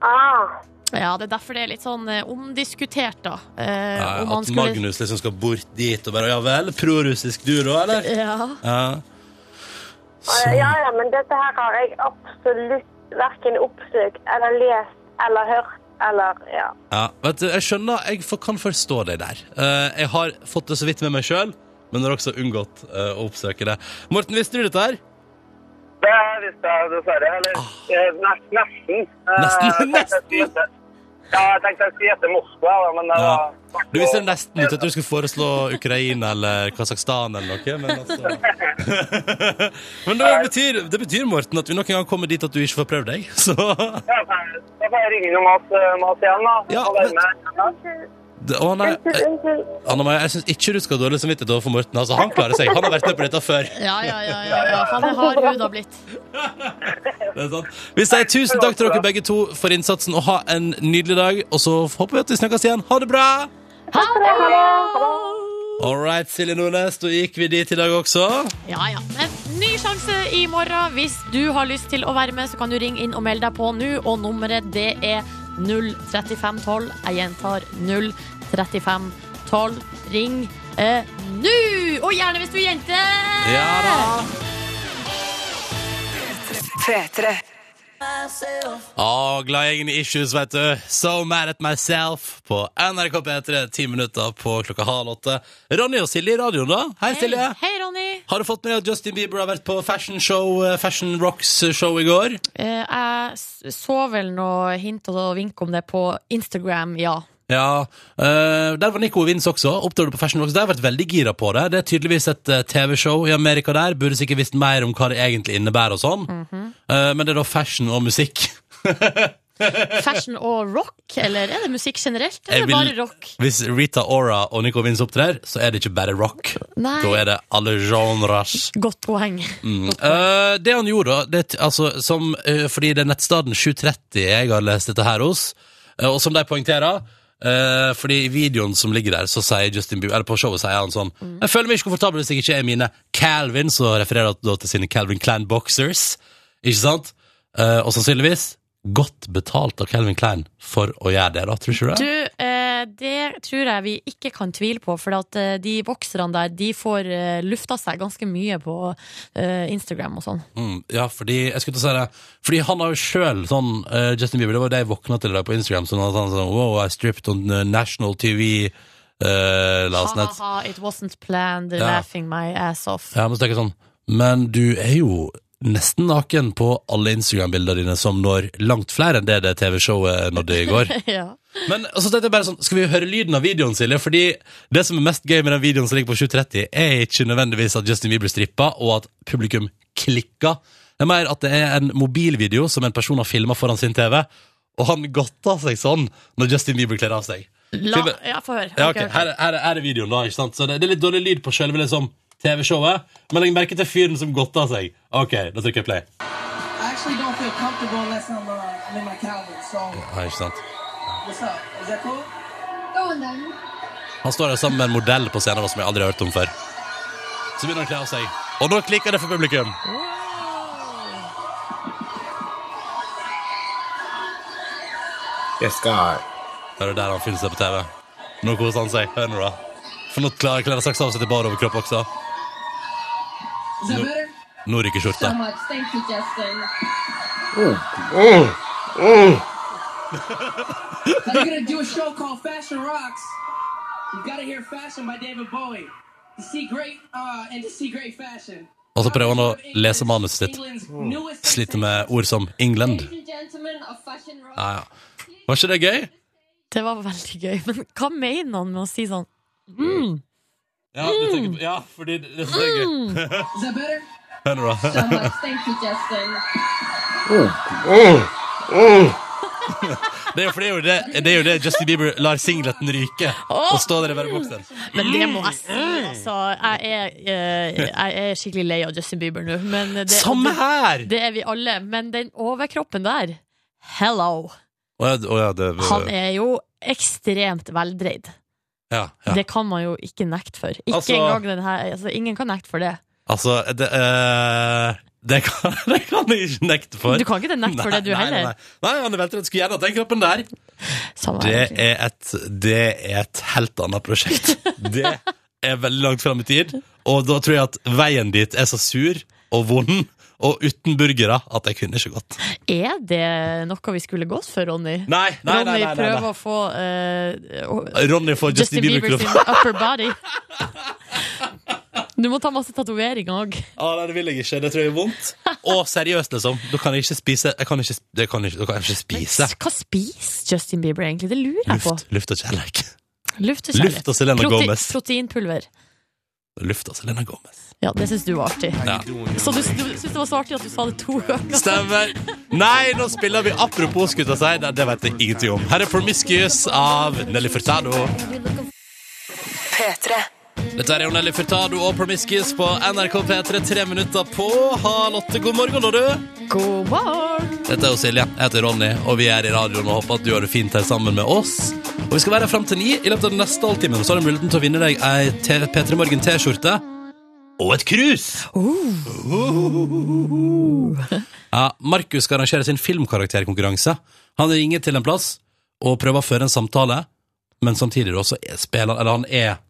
Speaker 6: Ah,
Speaker 4: Ja, det er derfor det er litt sånn eh, omdiskutert, da. Eh,
Speaker 2: Eh,
Speaker 4: om man
Speaker 2: at
Speaker 4: skulle-
Speaker 2: Magnus liksom skal bort dit og bare Ja vel, prorussisk du da, eller?
Speaker 4: Ja.
Speaker 2: Ja. Så,
Speaker 6: eh, ja, ja, men dette her har jeg absolutt hverken oppsøkt eller lest eller hørt eller ja.
Speaker 2: ja. Vet du, jeg skjønner Jeg for, kan forstå deg der. Eh, jeg har fått det så vidt med meg sjøl, men har også unngått eh, å oppsøke det. Morten, visste du dette her?
Speaker 7: Det visste jeg dessverre. Eller eh, nes- nesten. Eh,
Speaker 2: Ah. Nesten,
Speaker 7: jeg tenkte jeg skulle gjette- Ja, jeg tenkte jeg skulle gjette Moskva, da, men det
Speaker 2: Ja.
Speaker 7: var
Speaker 2: Du visste det nesten ut at du skulle foreslå Ukraina eller Kasakhstan eller noe, men altså Men det betyr, det betyr, Morten, at vi nok en gang kommer dit at du ikke får prøvd deg, så
Speaker 7: Ja, Da får jeg ringe innom Mas, Mas igjen, da.
Speaker 2: Ja,
Speaker 7: Og være med.
Speaker 2: Det- Å nei.
Speaker 6: Unnskyld, unnskyld.
Speaker 2: Anna Maja, jeg syns ikke du skal ha dårlig samvittighet overfor Morten. Altså, han klarer seg. Han har vært med på dette før.
Speaker 4: Ja, ja, ja, ja, ja. Faen, det har huda blitt.
Speaker 2: Det er sant. Vi sier tusen takk til dere begge to for innsatsen, og ha en nydelig dag. Og så håper vi at vi snakkes igjen. Ha det bra!
Speaker 4: Ha det!
Speaker 2: All right, Silje Nordnes, da gikk vi dit i dag også.
Speaker 4: Ja, ja. Men ny sjanse i morgen. Hvis du har lyst til å være med, så kan du ringe inn og melde deg på nå. Og nummeret det er 03512. Jeg gjentar 03512. Ring eh, nå! Og gjerne hvis du er jente!
Speaker 2: Ja da.
Speaker 1: P3.
Speaker 2: Å, glad jeg ingen issues, vet du. So mad at myself på NRK P3, ti minutter på klokka halv åtte. Ronny og Silje i radioen, da. Hei,
Speaker 4: Hei,
Speaker 2: Silje.
Speaker 4: hei, Ronny.
Speaker 2: Har du fått med deg at Justin Bieber har vært på fashion show, eh, Fashion Rocks-show i går?
Speaker 4: Eh, jeg s- så vel noe hint og vink om det på Instagram, ja.
Speaker 2: Ja, eh, Der var Nico Wins også. Opptrådte på Fashion Rocks. Der har jeg vært veldig gira på det. Det er tydeligvis et eh, TV-show i Amerika der. Burde sikkert visst mer om hva det egentlig innebærer og sånn.
Speaker 4: Mm.
Speaker 2: Eh, men det er da fashion og musikk.
Speaker 4: Fashion og rock, eller er det musikk generelt?
Speaker 2: Jeg
Speaker 4: Eller
Speaker 2: vil-
Speaker 4: bare rock?
Speaker 2: Hvis Rita Ora og Nico Wins opptrer, så er det ikke bare rock.
Speaker 4: Nei.
Speaker 2: Da er det alle genres.
Speaker 4: Godt poeng.
Speaker 2: Mm. Eh, det han gjorde, da, det, altså, som, eh, fordi det er nettstaden 730 jeg har lest dette her hos, eh, og som de poengterer, eh, fordi i videoen som ligger der, så sier Justin Bieber, eller på showet sier han sånn, jeg føler meg ikke komfortabel hvis jeg ikke er mine Calvin, så refererer han da til sine Calvin Klein boxers, ikke sant? Eh, og sannsynligvis, godt betalt av Calvin Klein for å gjøre det da, tror ikke du det?
Speaker 4: Du, eh, Eh, det tror jeg vi ikke kan tvile på, for at eh, de bokserne der de får eh, lufta seg ganske mye på eh, Instagram og sånn.
Speaker 2: Mm, ja, fordi jeg skulle til å si det Fordi han har jo sjøl sånn eh, Justin Bieber, det var det jeg våkna til i dag på Instagram. Sånn at han sånn Wow, I stripped on eh, national TV eh, last night.
Speaker 4: Ha-ha, it wasn't planned,
Speaker 2: Ja.
Speaker 4: laughing my ass off.
Speaker 2: Ja, men så tenker jeg sånn Men du er jo nesten naken på alle Instagram-bildene dine som når langt flere enn det det TV-showet nådde i går.
Speaker 4: ja.
Speaker 2: Men og så tenkte jeg bare sånn, skal vi høre lyden av videoen, Silje? Fordi det som er mest gøy med den videoen som ligger på 7.30, er ikke nødvendigvis at Justin Bieber strippa, og at publikum klikker. Det er mer at det er en mobilvideo som en person har filma foran sin TV, og han godta seg sånn når Justin Bieber kler av seg.
Speaker 4: La,
Speaker 2: Filmen-
Speaker 4: ja, få høre.
Speaker 2: Ja,
Speaker 4: Ok,
Speaker 2: ok,
Speaker 4: ok.
Speaker 2: her, er- her er- her er videoen da, ikke sant? Så det, det er litt dårlig lyd på selve liksom TV-showet, men legg merke til fyren som godta seg. Ok, da trykker jeg play.
Speaker 8: I actually don't feel comfortable unless I'm, uh, I'm in my Calvin. So
Speaker 2: Ja, ikke sant?
Speaker 8: what's up? Is that cool?
Speaker 2: Han står der sammen med en modell på scenen da, som jeg aldri har hørt om før. Så begynner han å kle av seg. Og nå klikker det for publikum.
Speaker 9: Yes, God.
Speaker 2: Det er jo der han finner seg på TV. Nå koser han seg. Hør nå, da. For nå klarer klarer han straks av seg til bar overkropp også.
Speaker 8: Is that better?
Speaker 2: Nå ryker skjorta.
Speaker 8: much. Thank you, Justin. Now you're gonna do a show called Fashion Rocks. You gotta hear Fashion by David Bowie to see great uh, and to see great fashion.
Speaker 2: Og så prøver han å lese manuset sitt.
Speaker 8: England's newest
Speaker 2: Sliter med ord som England. Ja, ja. Var ikke det gøy?
Speaker 4: Det var veldig gøy. Men hva mener han med å si sånn?
Speaker 2: Ja, du tenker på, ja fordi det, det er gøy.
Speaker 8: Is that better?
Speaker 2: Hør nå, da.
Speaker 8: much. Thank you, Justin.
Speaker 2: Oh, Det er jo, for det, er jo det, det er jo det Justin Bieber lar singleten ryke og stå der i varmeboksen.
Speaker 4: Men det må jeg si,
Speaker 2: Mm.
Speaker 4: altså. Jeg er, eh, jeg er skikkelig lei av Justin Bieber nå. Men det,
Speaker 2: Samme her!
Speaker 4: det er vi alle. Men den overkroppen der, hello!
Speaker 2: Å ja, å ja, det
Speaker 4: Han er jo ekstremt veldreid.
Speaker 2: ja, ja.
Speaker 4: Det kan man jo ikke nekte for. Ikke
Speaker 2: Altså-
Speaker 4: engang den her altså, Ingen kan nekte for det.
Speaker 2: Altså, det, eh, det, kan, det kan jeg ikke nekte for.
Speaker 4: Du kan ikke nekte for det, du
Speaker 2: Nei, nei,
Speaker 4: heller.
Speaker 2: Nei, nei, han er veltrent. Skulle gjerne hatt den kroppen der.
Speaker 4: Samme
Speaker 2: Det
Speaker 4: her, egentlig.
Speaker 2: er et, det er et helt annet prosjekt. Det er veldig langt fram i tid, og da tror jeg at veien dit er så sur og vond og uten burgere at jeg kunne ikke gått.
Speaker 4: Er det noe vi skulle gått for, Ronny?
Speaker 2: Nei, nei, nei.
Speaker 4: Ronny
Speaker 2: nei, nei,
Speaker 4: prøver
Speaker 2: nei.
Speaker 4: å få eh, å-
Speaker 2: Ronny får
Speaker 4: Justin
Speaker 2: Justin
Speaker 4: Bieber sin
Speaker 2: Bieber-kropp.
Speaker 4: upper body. Du må ta masse tatoveringer òg.
Speaker 2: Ah, nei, det vil jeg ikke. Det tror jeg er vondt. Og seriøst, liksom. Da kan jeg ikke spise Jeg kan ikke, sp- det kan ikke, da kan jeg ikke spise
Speaker 4: Hva spiser Justin Bieber egentlig? Det lurer jeg på.
Speaker 2: luft, luft og kjærlighet.
Speaker 4: Luft, og
Speaker 2: Luft
Speaker 4: kjærlighet.
Speaker 2: og Selena Gomez.
Speaker 4: Proteinpulver.
Speaker 2: Luft og Selena Gomez.
Speaker 4: Ja, det syns du var artig.
Speaker 2: Ja.
Speaker 4: Så du, du syns det var så artig at du sa det to ganger?
Speaker 2: Stemmer. Nei, nå spiller vi apropos, skulle jeg si. Det, det vet jeg ingenting om. Her er Promiscuous av Nelly Furtado.
Speaker 1: P3.
Speaker 2: Dette er jo Nelly Furtado og Promiscuous på NRK P3, tre minutter på halv åtte. God morgen, da, du.
Speaker 4: God morgen!
Speaker 2: Dette er jo Silje. Jeg heter Ronny, og vi er i radioen og håper at du har det fint her sammen med oss. Og vi skal være her fram til ni. I løpet av den neste halvtimen så har du muligheten til å vinne deg ei T- P3 Morgen T-skjorte. Og et krus! Ja, Markus skal arrangere sin filmkarakterkonkurranse. Han ringer til en plass og prøver å føre en samtale, men samtidig da så er- spiller han Eller han er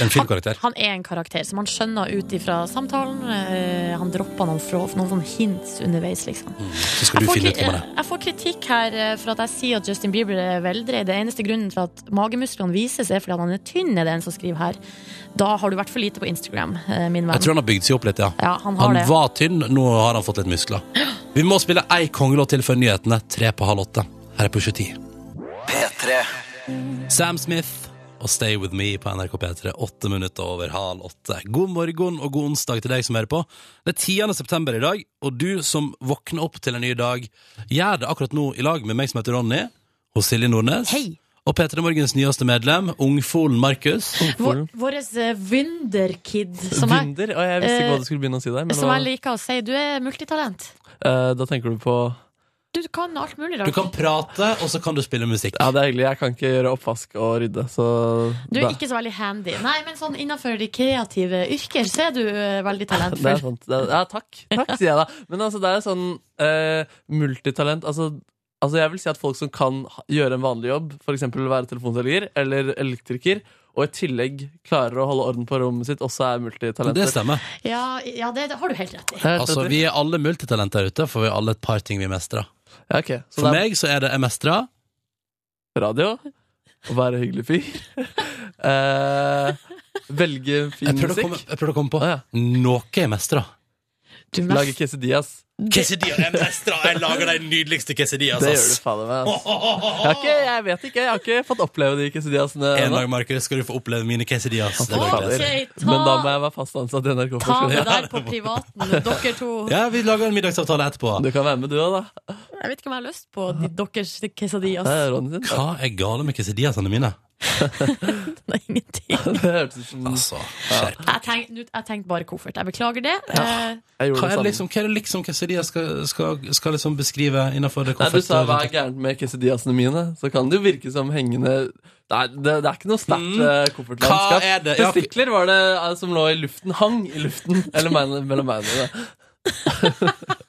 Speaker 2: en filmkarakter.
Speaker 4: Han er en karakter som han skjønner ut ifra samtalen. Eh, Han dropper noen, fra, noen sånn hints underveis, liksom.
Speaker 2: Mm, Så skal
Speaker 4: Jeg
Speaker 2: du
Speaker 4: får,
Speaker 2: finne ut
Speaker 4: kri-
Speaker 2: hvem han er.
Speaker 4: jeg får kritikk her eh, for at jeg sier at Justin Bieber er veldreid. Det eneste grunnen til at magemusklene vises, er fordi han er tynn, er det en som skriver her. Da har du vært for lite på Instagram, eh, min
Speaker 2: Jeg
Speaker 4: venn.
Speaker 2: tror han har bygd seg opp litt, ja.
Speaker 4: Ja, han har
Speaker 2: Han
Speaker 4: det.
Speaker 2: var tynn, nå har han fått litt muskler. Vi må spille ei kongelåt til før nyhetene, tre på halv åtte. Her er på 2010.
Speaker 3: P3.
Speaker 2: Sam Smith og Stay With Me på NRK P3, åtte minutter over halv åtte. God morgen og god onsdag til deg som hører på. Det er 10. september i dag, og du som våkner opp til en ny dag, gjør det akkurat nå i lag med meg som heter Ronny, og Silje Nordnes.
Speaker 4: Hei.
Speaker 2: Og P3 Morgens nyeste medlem, ungfolen Markus.
Speaker 4: Vår, våres eh, wunderkid, som jeg,
Speaker 5: Vinder, og jeg visste ikke
Speaker 4: eh,
Speaker 5: hva du skulle begynne å si der. Men
Speaker 4: som
Speaker 5: hva-
Speaker 4: jeg liker å si. Du er multitalent.
Speaker 5: eh, da tenker du på
Speaker 4: Du kan alt mulig
Speaker 2: Du
Speaker 4: rart.
Speaker 2: kan prate, og så kan du spille musikk.
Speaker 5: Ja, det er hyggelig. Jeg kan ikke gjøre oppvask og rydde, så
Speaker 4: Du er
Speaker 5: da-
Speaker 4: ikke så veldig handy. Nei, men sånn innenfor de kreative yrker så er du eh, veldig
Speaker 5: Det er
Speaker 4: talentfull.
Speaker 5: sant. Det er, ja, takk. Takk, sier jeg da. Men altså, det er sånn eh, multitalent altså, Altså Jeg vil si at folk som kan ha- gjøre en vanlig jobb, f.eks. være telefonselger eller elektriker, og i tillegg klarer å holde orden på rommet sitt, også er
Speaker 2: Det
Speaker 5: multitalenter.
Speaker 2: stemmer.
Speaker 4: Ja, ja det, det har du helt rett i.
Speaker 5: Helt
Speaker 2: Altså,
Speaker 5: enig.
Speaker 2: vi er alle multitalenter ute, for vi har alle et par ting vi mestrer.
Speaker 5: ja, ok. Så
Speaker 2: For
Speaker 5: det
Speaker 2: meg så er det jeg mestrer
Speaker 5: er radio, å være hyggelig fyr, eh, velge fin
Speaker 2: Jeg prøvde
Speaker 5: musikk,
Speaker 2: å komme, jeg prøvde å komme på
Speaker 5: Å, ja.
Speaker 2: noe jeg mestrer.
Speaker 4: Du
Speaker 5: lage
Speaker 4: mest,
Speaker 5: quesadillas.
Speaker 2: Quesadillas. Jeg mestrer! Jeg lager de nydeligste quesadillas,
Speaker 5: Det gjør du fader meg. ass. Jeg, har ikke, jeg vet ikke, jeg har ikke fått oppleve de quesadillasene
Speaker 2: En
Speaker 5: ennå.
Speaker 2: dag, Markus, skal du få oppleve mine quesadillas.
Speaker 5: Å,
Speaker 2: Det går
Speaker 5: fader.
Speaker 2: greit.
Speaker 4: altså. Ok, ta-
Speaker 5: Men da må jeg være fast ansatt i NRK.
Speaker 4: ta
Speaker 5: først.
Speaker 4: det der på privaten, dere to.
Speaker 2: Ja, vi lager en middagsavtale etterpå.
Speaker 5: Du kan være med, du òg, da.
Speaker 4: Jeg vet ikke om jeg har lyst på de, deres quesadillas.
Speaker 5: Det er Ronny sin.
Speaker 2: Hva er gale med quesadillasene mine?
Speaker 4: Det er ingenting.
Speaker 5: Det hørtes ut som
Speaker 2: Altså, skjerp.
Speaker 4: Jeg tenkte jeg tenkte bare koffert. Jeg beklager det. Eh,
Speaker 5: jeg gjorde
Speaker 2: Hva er det
Speaker 5: det samme.
Speaker 2: liksom, hva er det liksom quesadillas skal, skal, skal liksom beskrive innenfor det
Speaker 5: Nei, du sa hva er
Speaker 2: koffertet?
Speaker 5: gærent med quesadillasene mine, så kan det jo virke som hengende Det er, det, det er ikke noe sterkt
Speaker 2: Mm.
Speaker 5: eh,
Speaker 2: Hva
Speaker 5: koffertlandskap.
Speaker 2: er det? Ja,
Speaker 5: Testikler var det eh, som lå i luften. Hang i luften. Eller meg- mellom beina. da.
Speaker 4: Eh,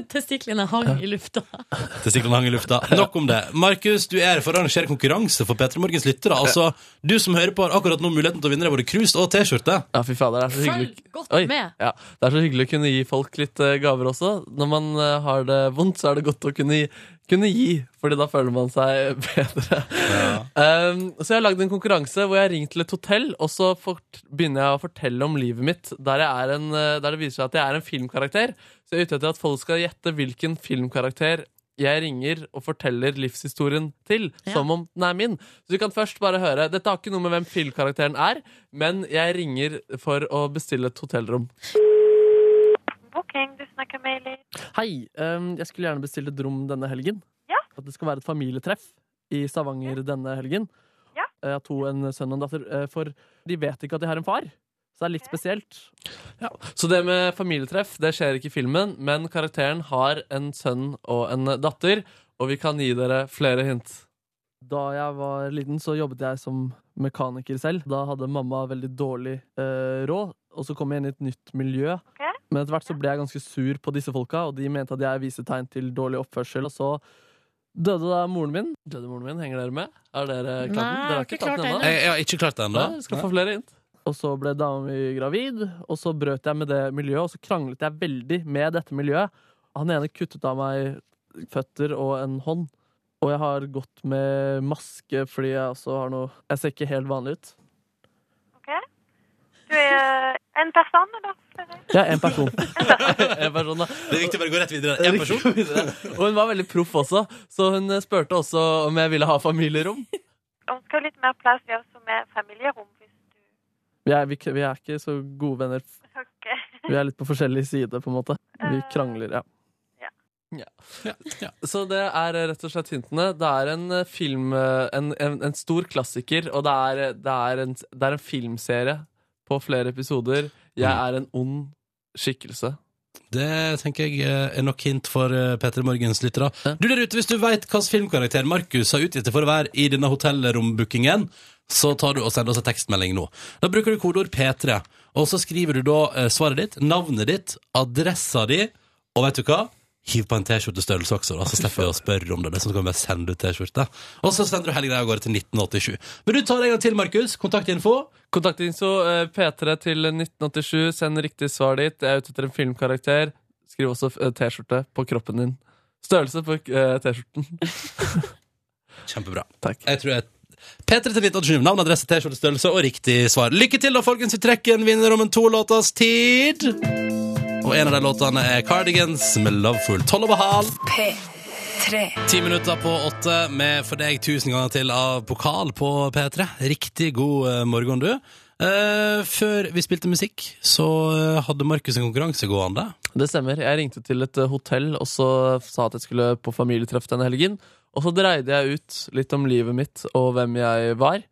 Speaker 4: Testiklene hang i lufta.
Speaker 2: Testiklene hang i lufta. Nok om det. Markus, du er her for å arrangere konkurranse for P3 Morgens lyttere. Altså, du som hører på, har akkurat nå muligheten til å vinne deg både krus og T-skjorte.
Speaker 5: Ja, fy fader, det er så hyggelig.
Speaker 4: Følg godt
Speaker 5: Oi,
Speaker 4: med.
Speaker 5: ja. Det er så hyggelig å kunne gi folk litt eh, gaver også. Når man eh, har det vondt, så er det godt å kunne gi, kunne gi fordi da føler man seg bedre. Um, så jeg har lagd en konkurranse hvor jeg har ringt til et hotell, og så fort, begynner jeg å fortelle om livet mitt, der, jeg er en, eh, der det viser seg at jeg er en filmkarakter. Så jeg er ute etter at folk skal gjette hvilken filmkarakter jeg ringer og forteller livshistorien til,
Speaker 4: Ja.
Speaker 5: som om den er min. Så du kan først bare høre Dette har ikke noe med hvem filmkarakteren er, men jeg ringer for å bestille et hotellrom.
Speaker 9: Booking, du snakker med Eileen.
Speaker 5: Hei, ehm, jeg skulle gjerne bestille et rom denne helgen.
Speaker 9: Ja.
Speaker 5: At det skal være et familietreff i Stavanger denne helgen. Eh,
Speaker 9: Ja.
Speaker 5: Jeg har to, en sønn og en datter. eh, For de vet ikke at de har en far. Så det er litt spesielt. Ja. Så det med familietreff det skjer ikke i filmen, men karakteren har en sønn og en datter, og vi kan gi dere flere hint. Da jeg var liten, så jobbet jeg som mekaniker selv. Da hadde mamma veldig dårlig eh, råd, og så kom jeg inn i et nytt miljø. Men etter hvert så ble jeg ganske sur på disse folka, og de mente at jeg viste tegn til dårlig oppførsel. Og så døde da moren min. Døde moren min, Henger dere med? Er dere klart?
Speaker 4: Nei,
Speaker 5: dere
Speaker 4: jeg har ikke klart det
Speaker 5: ennå?
Speaker 4: ennå.
Speaker 2: Jeg, jeg har ikke klart det ennå.
Speaker 5: Nei, dere skal få flere hint. Og så ble dama mi gravid, og så brøt jeg med det miljøet, og så kranglet jeg veldig med dette miljøet. Han ene kuttet av meg føtter og en hånd. Og jeg har gått med maske fordi jeg også har noe Jeg ser ikke helt vanlig ut.
Speaker 9: Du er eh, en person, eller?
Speaker 5: Jeg er en person. en person da.
Speaker 2: Det er viktig å bare gå rett videre. En person.
Speaker 5: Og hun var veldig proff også, så hun spurte også om jeg ville ha familierom.
Speaker 9: Hun skal ha litt mer plass ved oss som er familierom. Hvis du...
Speaker 5: Vi er, vi, vi er ikke så gode venner.
Speaker 9: Ok.
Speaker 5: Vi er litt på forskjellig side, på en måte. Vi krangler, ja. Så det er eh, rett og slett hintene. Det er en eh, film eh, En, en, en stor klassiker, og det er, eh, det, er en, det er en filmserie på flere episoder. Jeg er en ond skikkelse.
Speaker 2: Det tenker jeg eh, er nok hint for eh, Peter Morgens lyttere.
Speaker 5: Ja.
Speaker 2: Du der ute, hvis du veit hvilken filmkarakter Markus har utgitt seg for å være i denne hotellrombookingen, så tar du og sender oss en tekstmelding nå. Da bruker du kodeord P3, og så skriver du da eh, svaret ditt, navnet ditt, adressa di, og vet du hva? Hiv på en T-skjortestørrelse også, da, så slipper vi å spørre om det. Det er sånn at du kan bare sende ut T-skjorte. Og så sender du hele greia av gårde til 1987. Men du tar det en gang til, Markus. Kontaktinfo.
Speaker 5: Kontaktinfo eh, P3 til 1987. Send riktig svar dit. Jeg er ute etter en filmkarakter. Skriv også eh, T-skjorte på kroppen din. Størrelse på eh, T-skjorten.
Speaker 2: Kjempebra.
Speaker 5: Takk.
Speaker 2: Jeg tror jeg P3 til 1987, navn, adresse, T-skjortestørrelse og riktig svar. Lykke til, da, folkens. Vi trekker en vinner om en to-låtas tid. Og en av de låtene er Cardigans med 'Loveful'. Tolv over halv.
Speaker 1: P3.
Speaker 2: Ti minutter på åtte med for deg tusen ganger til av pokal på P3. Riktig god eh, morgen, du. Eh, før vi spilte musikk, så eh, hadde Markus en konkurranse gående.
Speaker 5: Det stemmer. Jeg ringte til et eh, hotell og så sa at jeg skulle på familietreff denne helgen. Og så dreide jeg ut litt om livet mitt og hvem jeg var.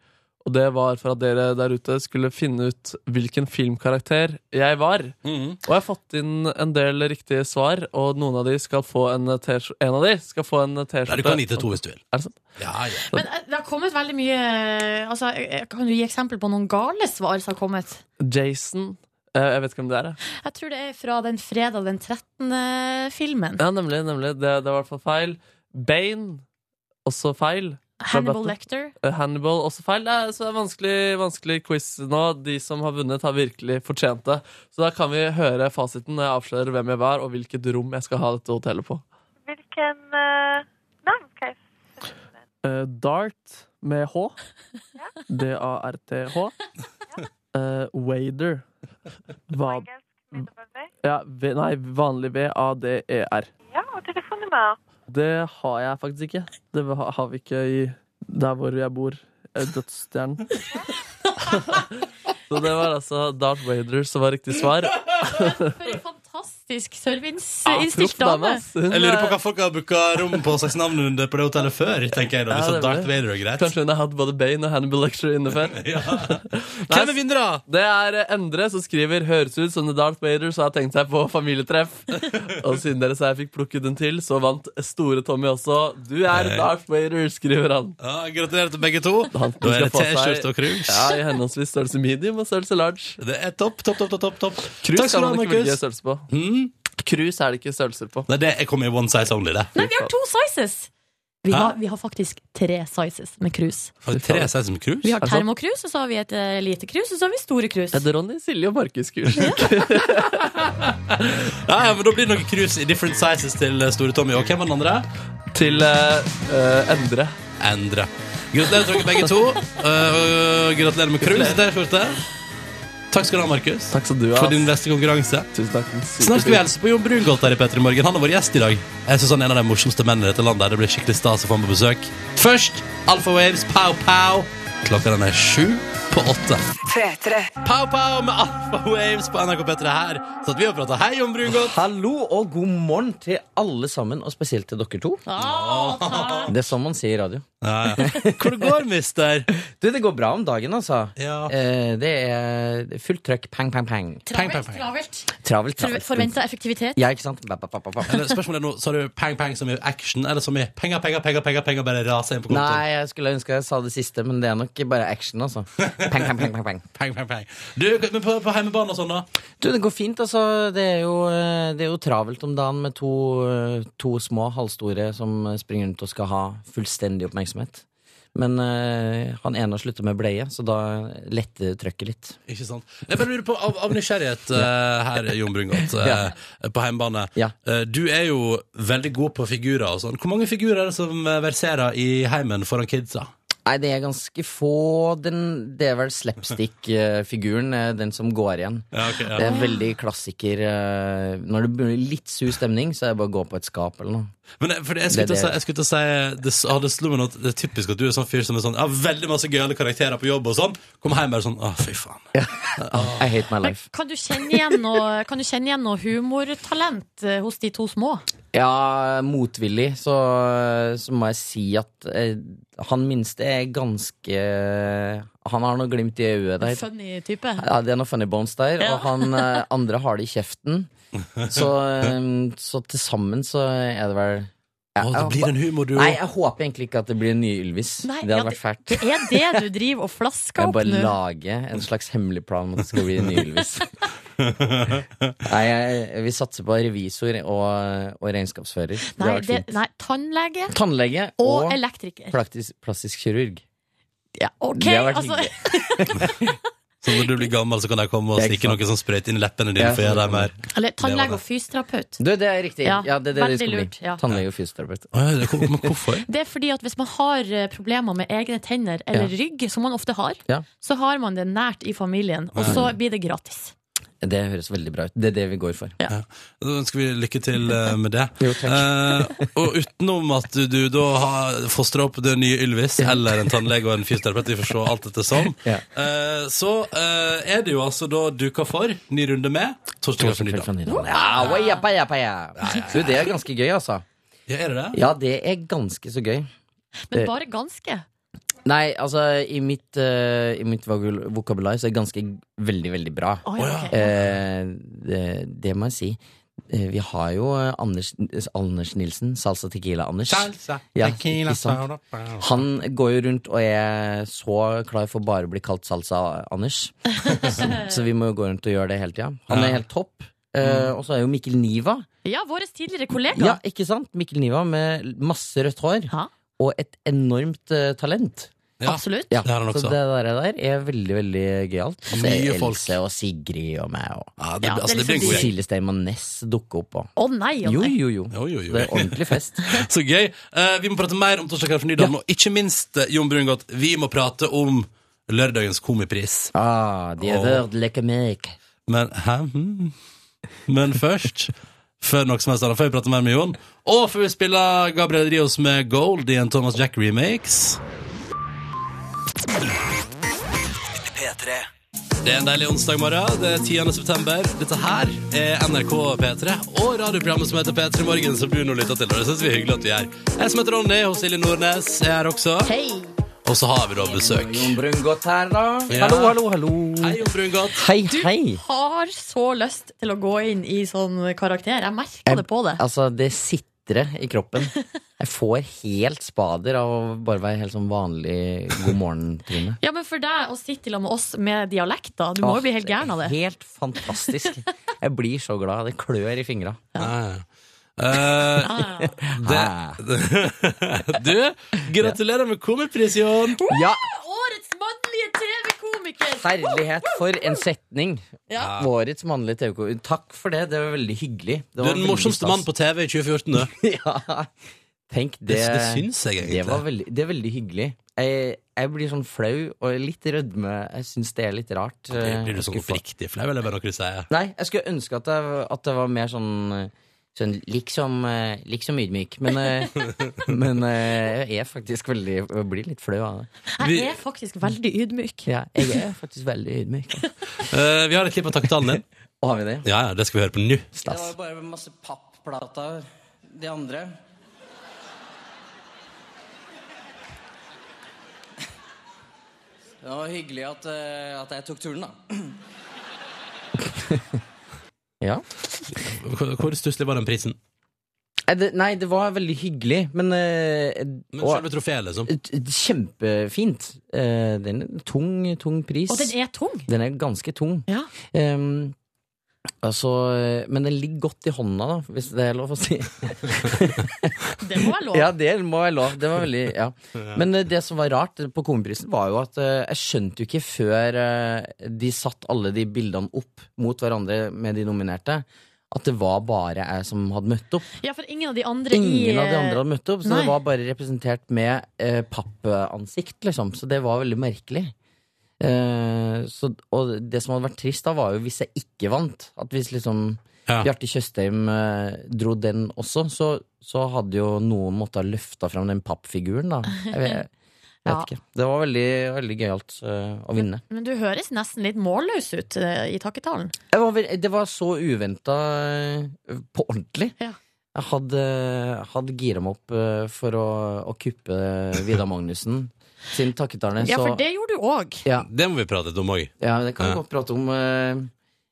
Speaker 5: Og det var for at dere der ute skulle finne ut hvilken filmkarakter jeg var.
Speaker 2: Mhm.
Speaker 5: Og jeg har fått inn en del riktige svar, og noen av de skal få en eh, T-skjorte. En av de skal få en eh,
Speaker 2: Nei,
Speaker 5: T-skjorte.
Speaker 2: du kan gi til to hvis du vil.
Speaker 5: Er det sant?
Speaker 2: Ja, ja.
Speaker 4: Men eh, det har kommet veldig mye eh, altså, eh, Kan du gi eksempel på noen gale svar som har kommet?
Speaker 5: Jason. Eh, Jeg vet ikke hvem det er. jeg.
Speaker 4: Jeg tror det er fra den fredag den 13. filmen.
Speaker 5: Ja, nemlig. nemlig. Det, det var i hvert fall feil. Bane, også feil.
Speaker 4: Hannibal Lecter.
Speaker 5: Eh, Hannibal, også feil. Det er, så det er vanskelig, vanskelig quiz nå. De som har vunnet, har virkelig fortjent det. Så da kan vi høre fasiten når jeg avslører hvem jeg var, og hvilket rom jeg skal ha dette hotellet på.
Speaker 9: Hvilken eh, navn skal jeg
Speaker 5: Eh, Dart med H. D-A-R-T-H. Eh, Wader.
Speaker 9: på
Speaker 5: Hva
Speaker 9: engelsk? med W?
Speaker 5: ja, v, E Nei, vanlig V-A-D-E-R.
Speaker 9: Ja, og telefonnummer.
Speaker 5: Det har jeg faktisk ikke. Det ha- har vi ikke i der hvor jeg bor. eh, Dødsstjernen. Så det var altså Dart Wader som var riktig svar.
Speaker 4: For en fantastisk
Speaker 5: Proff
Speaker 4: serviceinnstilt
Speaker 5: dame,
Speaker 4: dame.
Speaker 5: ass. Hun,
Speaker 2: Jeg lurer på
Speaker 5: eh,
Speaker 2: hva folk har booka rom på slags navnerunde på det hotellet før. tenker jeg da,
Speaker 5: Ja,
Speaker 2: hvis
Speaker 5: det
Speaker 2: at
Speaker 5: var
Speaker 2: Darth
Speaker 5: det.
Speaker 2: Vader er greit.
Speaker 5: Kanskje hun har hatt både Bane og Hannibal Lecture inne før.
Speaker 2: Hvem er vinnere?
Speaker 5: Det er eh, Endre som skriver 'Høres ut som The Darth Vader', så har jeg tenkt seg på familietreff. og siden dere sa jeg fikk plukket den til, så vant store Tommy også. 'Du er
Speaker 2: Hei.
Speaker 5: Darth Vader', skriver han.
Speaker 2: Ja, gratulerer til begge to.
Speaker 5: Han
Speaker 2: Da er
Speaker 5: skal
Speaker 2: det
Speaker 5: få seg-
Speaker 2: T-skjorte og cruise.
Speaker 5: Ja, I henholdsvis størrelse medium og størrelse large.
Speaker 2: Det er topp, topp, topp. topp, topp, topp.
Speaker 5: Cruise
Speaker 2: Takk skal
Speaker 5: kan
Speaker 2: du ha,
Speaker 5: man ikke velge
Speaker 2: Markus.
Speaker 5: størrelse på.
Speaker 2: Mm.
Speaker 5: Cruise er det ikke størrelser på.
Speaker 2: Nei, det jeg kom i one size only, det.
Speaker 4: Nei, vi har to sizes! Vi
Speaker 2: Hæ?
Speaker 4: har, vi har faktisk tre sizes med krus.
Speaker 2: Har vi tre size med cruise?
Speaker 4: Vi har
Speaker 5: Er det sant?
Speaker 4: termokrus, og så har vi et eh, lite krus, og så har vi store krus.
Speaker 5: Er det Ronny, Silje og Markus Kurs?
Speaker 2: Ja, ja, men Da blir det noen cruise i different sizes til eh, Store Tommy. Og hvem var den andre?
Speaker 5: Til eh, eh, Endre.
Speaker 2: Endre. Gratulerer til dere begge to. Eh, og gratulerer med cruise og T-skjorte. Takk skal du ha, Markus,
Speaker 5: Takk skal du ha.
Speaker 2: for din beste konkurranse.
Speaker 5: Tusen takk.
Speaker 2: Snart skal vi hilse på Jon Brungolt her i Petter i morgen. Han er vår gjest i dag. Jeg synes han er en av de morsomste mennene i dette landet. Det blir skikkelig stas å få ham på besøk. Først Alfa Waves, pow pow. Klokka den er sju på åtte.
Speaker 1: P3.
Speaker 2: Pow pow med Alfa Waves på NRK P3 her. Så at vi har prata. Hei, Jon Brungolt.
Speaker 10: Hallo og god morgen til alle sammen, og spesielt til dere to.
Speaker 4: Ah, takk.
Speaker 10: Det er sånn man sier i radio.
Speaker 2: Ja, ja. Hvor det går mister?
Speaker 10: Du, det går bra om dagen, altså.
Speaker 2: Ja.
Speaker 10: Eh, det er fullt trøkk. Pang, pang, pang.
Speaker 2: Peng, peng,
Speaker 4: Travelt,
Speaker 2: peng.
Speaker 4: travelt.
Speaker 10: Travelt, travelt.
Speaker 4: Forventa effektivitet.
Speaker 10: Ja, ikke sant? Ba, ba, ba, ba, ba.
Speaker 2: Eller spørsmålet er nå, sa du pang pang som i action, eller som i penger, penger, penger, penger, penger bare raser inn på kontoen?
Speaker 10: Nei, jeg skulle ønske jeg sa det siste, men det er nok bare action, altså. Pang, pang, pang, pang, pang.
Speaker 2: Peng, peng, peng. Du, men på, på heimebane og sånn, da?
Speaker 10: Du, det går fint, altså. Det er jo, eh, det er jo travelt om dagen med to, eh, to små halvstore som springer rundt og skal ha fullstendig oppmerksomhet. Men eh, han ene har slutta med bleie, så da letter trøkket litt.
Speaker 2: Ikke sant? Jeg bare lurer på, av, av nysgjerrighet eh, her, Jon Brungot, eh, på heimebane.
Speaker 10: Ja.
Speaker 2: Eh, du er jo veldig god på figurer og sånn. Hvor mange figurer er det som eh, verserer i heimen foran kidsa?
Speaker 10: Nei, det er ganske få. Den, det er vel slapstick-figuren, eh, den som går igjen.
Speaker 2: Ja, ok,
Speaker 10: Det
Speaker 2: ja.
Speaker 10: er veldig klassiker. eh, Når det blir litt sur stemning, så er det bare å gå på et skap eller noe.
Speaker 2: Men eh, for det- jeg skulle
Speaker 10: Det
Speaker 2: til
Speaker 10: er
Speaker 2: å si, jeg skulle til å si det, s- ah, det slo meg nå at det er typisk at du er sånn fyr som er sånn Ja, veldig masse gøyale karakterer på jobb og sånn. Kom hjem bare sånn Å, fy faen.
Speaker 10: I hate my
Speaker 4: Men
Speaker 10: life.
Speaker 4: kan du kjenne igjen noe, kan du kjenne igjen noe humortalent eh, hos de to små?
Speaker 10: Ja, motvillig, så, eh, så må jeg si at eh, han minste er ganske Han har noe glimt i øyet der.
Speaker 4: Funny type.
Speaker 10: Ja, det er noe funny bones der,
Speaker 4: Ja.
Speaker 10: og han eh, andre har det i kjeften. Så, eh, så til sammen så er det vel ja,
Speaker 2: Å, det
Speaker 10: jeg-
Speaker 2: blir en humor, du
Speaker 10: Nei,
Speaker 2: òg.
Speaker 10: jeg håper egentlig ikke at det blir en ny Ylvis.
Speaker 4: Nei,
Speaker 10: det hadde
Speaker 4: ja,
Speaker 10: vært fælt.
Speaker 4: Det er det du driver og flasker
Speaker 10: Jeg
Speaker 4: opp
Speaker 10: bare
Speaker 4: nå.
Speaker 10: lager en slags hemmelig plan om at det skal bli en ny Ylvis. Nei, jeg, vi satser på revisor og, og regnskapsfører. Det
Speaker 4: Nei,
Speaker 10: har vært
Speaker 4: det,
Speaker 10: fint.
Speaker 4: nei, tannlege
Speaker 10: Tannlege
Speaker 4: og
Speaker 10: og,
Speaker 4: elektriker.
Speaker 10: praktisk, plastisk kirurg.
Speaker 4: Ja, ok,
Speaker 10: Det har vært
Speaker 4: altså,
Speaker 10: hyggelig.
Speaker 2: Så når du blir gammel, så kan de komme og
Speaker 10: Det er
Speaker 2: stikke
Speaker 10: ikke sant.
Speaker 2: noe sånn sprøyte inn i leppene dine
Speaker 10: Ja,
Speaker 2: for å gjøre
Speaker 10: sånn.
Speaker 2: dem mer
Speaker 4: Eller
Speaker 2: Det var det.
Speaker 4: tannlege og fysioterapeut.
Speaker 10: Du, det er riktig.
Speaker 4: Ja,
Speaker 10: Ja, det er det det
Speaker 4: veldig
Speaker 10: skal bli.
Speaker 4: lurt, ja.
Speaker 10: Tannlege og fysioterapeut.
Speaker 2: Å, ja, det- Men hvorfor?
Speaker 4: Det er fordi at hvis man har eh, problemer med egne tenner eller rygg, som man ofte har,
Speaker 10: Ja. Mm.
Speaker 4: så har man det nært i familien, og så blir det gratis.
Speaker 10: Det høres veldig bra ut. Det er det vi går for.
Speaker 2: Da ønsker vi lykke til eh, med det.
Speaker 10: Jo, takk.
Speaker 2: Eh, og utenom at du, du da har fostra opp den nye Ylvis, eller en tannlege og en fysioterapeut, vi får se alt etter som,
Speaker 10: Ja.
Speaker 2: eh, så eh, er det jo altså da duka for ny runde med Torstein
Speaker 10: Tusen
Speaker 2: Gaffel
Speaker 10: takk for
Speaker 2: Nydal.
Speaker 10: nytt navn. Ja, oi, jappa, jappa, ja. Du, det er ganske gøy, altså.
Speaker 2: Ja, er det det?
Speaker 10: Ja, det er ganske så gøy.
Speaker 4: Men
Speaker 10: Det-
Speaker 4: bare ganske.
Speaker 10: Nei, altså, i mitt, eh, i mitt vokul- vokabular så er ganske veldig, veldig bra.
Speaker 4: Å,
Speaker 2: Å,
Speaker 4: ja,
Speaker 2: ja.
Speaker 4: ok.
Speaker 10: Eh, det, det må jeg si. Eh, Vi har jo eh, Anders, Anders Nilsen, Salsa Tequila-Anders. Ja, ikke sant. Han går jo rundt og er så klar for bare å bli kalt Salsa Anders. Så, så vi må jo gå rundt og gjøre det hele tida. Han er helt topp. Eh,
Speaker 4: Mm.
Speaker 10: Og så er jo Mikkel Niva.
Speaker 4: Ja, vår tidligere kollega.
Speaker 10: Ja, ikke sant? Mikkel Niva med masse rødt hår. Og et enormt eh, talent.
Speaker 4: Ja, Absolutt.
Speaker 10: Ja,
Speaker 2: det har han
Speaker 10: så
Speaker 2: også.
Speaker 10: det der, der er veldig, veldig gøyalt.
Speaker 2: Og
Speaker 10: Så er
Speaker 2: mye folk.
Speaker 10: Else og Sigrid og meg og
Speaker 2: Ja, det- Ja, altså, det det blir liksom god gjeng.
Speaker 10: Silje Steinmann Næss dukker opp og
Speaker 4: Å nei, å
Speaker 10: Jo,
Speaker 4: nei.
Speaker 10: jo, jo. Det er ordentlig fest.
Speaker 2: Så gøy. Eh, vi må prate mer om Torsdag kveld fra Nydalen, og ikke minst, eh, Jon Brungot, vi må prate om lørdagens komipris.
Speaker 10: Ah, de har
Speaker 2: Åh.
Speaker 10: vært lekker meg.
Speaker 2: Men, hæ? Hmm. Men først Før noe som helst annet, før vi prater mer med Jon. Og før vi spiller Gabriel Rios med Gold i en Thomas Jack remakes.
Speaker 3: P3.
Speaker 2: Det er en deilig onsdag morgen. Det er 10. september. Dette her er NRK P3 og radioprogrammet som heter P3 Morgen, som du nå lytter til. Og det syns vi er hyggelig at vi er. Jeg som heter Ronny, og Silje Nordnes er her også.
Speaker 4: Hei.
Speaker 2: Og så har vi da besøk.
Speaker 10: Jon Brungot her, da.
Speaker 2: Ja.
Speaker 10: Hallo, hallo, hallo.
Speaker 2: Hei, Jon Brungot.
Speaker 10: Hei, hei.
Speaker 4: Har så lyst til å gå inn i sånn karakter. Jeg merker
Speaker 10: Jeg-
Speaker 4: det på det.
Speaker 10: Altså, det sitrer i kroppen. Jeg får helt spader av å bare være helt sånn vanlig god morgen-trine.
Speaker 4: Ja, men for deg å sitte i lag med oss med dialekter, du må
Speaker 10: Åh,
Speaker 4: jo bli helt gæren av det.
Speaker 10: Helt fantastisk. Jeg blir så glad. Det klør i fingra. Ah,
Speaker 2: Ja. Eh, det, du, gratulerer med komipris, Jon.
Speaker 10: Ja,
Speaker 4: Årets mannlige TV-komiker!
Speaker 10: herlighet for en setning.
Speaker 4: Ja.
Speaker 10: Vårets mannlige TV-ko. Takk for det, det var veldig hyggelig. Det
Speaker 2: Du
Speaker 10: var
Speaker 2: er den
Speaker 10: veldig
Speaker 2: morsomste
Speaker 10: stas.
Speaker 2: mannen på TV i 2014, du.
Speaker 10: ja. Tenk det.
Speaker 2: Det, det syns jeg egentlig.
Speaker 10: Det, var veldig, det er veldig hyggelig. Jeg, jeg blir sånn flau og litt rødme. Jeg syns det er litt rart. eh,
Speaker 2: Blir- Blir du sånn
Speaker 10: Jeg skulle få-
Speaker 2: oppriktig flau, eller bare noe du sier?
Speaker 10: Nei, jeg skulle ønske at, jeg, at det var mer sånn Sånn liksom, eh, liksom ydmyk. Men, eh, men eh, jeg er faktisk veldig Jeg blir litt flau av det.
Speaker 2: Vi-
Speaker 4: Jeg er faktisk veldig ydmyk.
Speaker 10: Ja, jeg er faktisk veldig ydmyk.
Speaker 2: Eh, vi har et klipp av takketalen din.
Speaker 10: Og har vi det?
Speaker 2: Ja, ja, det skal vi høre på nå.
Speaker 10: Stas.
Speaker 11: Det var jo bare masse papplater, de andre. Det var hyggelig at, eh, at jeg tok turen, da.
Speaker 10: Ja.
Speaker 2: Hvor hvor stusslig var den prisen?
Speaker 10: Nei, Eh, det- Nei, det var veldig hyggelig, men, eh,
Speaker 2: Men
Speaker 10: og-
Speaker 2: selve trofeet, liksom.
Speaker 10: et- et Kjempefint. Eh, Det er en tung, tung pris.
Speaker 4: Og den er tung.
Speaker 10: Den er ganske tung.
Speaker 4: Ja.
Speaker 10: Ehm, altså, men den ligger godt i hånda, da, hvis det er lov å si.
Speaker 4: Det må være lov.
Speaker 10: Ja, det må være lov. Det var veldig, ja. Men eh, det som var rart på Komiprisen, var jo at eh, jeg skjønte jo ikke før eh, de satt alle de bildene opp mot hverandre med de nominerte, at det var bare jeg som hadde møtt opp.
Speaker 4: Ja, for ingen av de andre i eh,
Speaker 10: Ingen av de andre hadde møtt opp, så
Speaker 4: Nei.
Speaker 10: det var bare representert med eh, pappansikt, liksom. Så det var veldig merkelig. Eh, så, og det som hadde vært trist da, var jo hvis jeg ikke vant. At hvis liksom
Speaker 2: Ja.
Speaker 10: Bjarte Tjøstheim eh, dro den også, så, så hadde jo noen måttet ha løfta fram den pappfiguren, da. Jeg vet, jeg vet
Speaker 4: Ja.
Speaker 10: ikke. Det var veldig, veldig gøyalt eh, å vinne.
Speaker 4: Men du høres nesten litt målløs ut eh, i takketalen.
Speaker 10: Jeg var, vel- det var så uventa på ordentlig.
Speaker 4: Ja.
Speaker 10: Jeg hadde, hadde gira meg opp eh, for å, å kuppe Vidar Magnussen sin takketale.
Speaker 4: Ja, for
Speaker 10: så-
Speaker 4: det gjorde du òg.
Speaker 10: ja,
Speaker 2: Det må vi prate litt om òg.
Speaker 10: ja, det kan vi
Speaker 2: Ja.
Speaker 10: godt prate om. eh,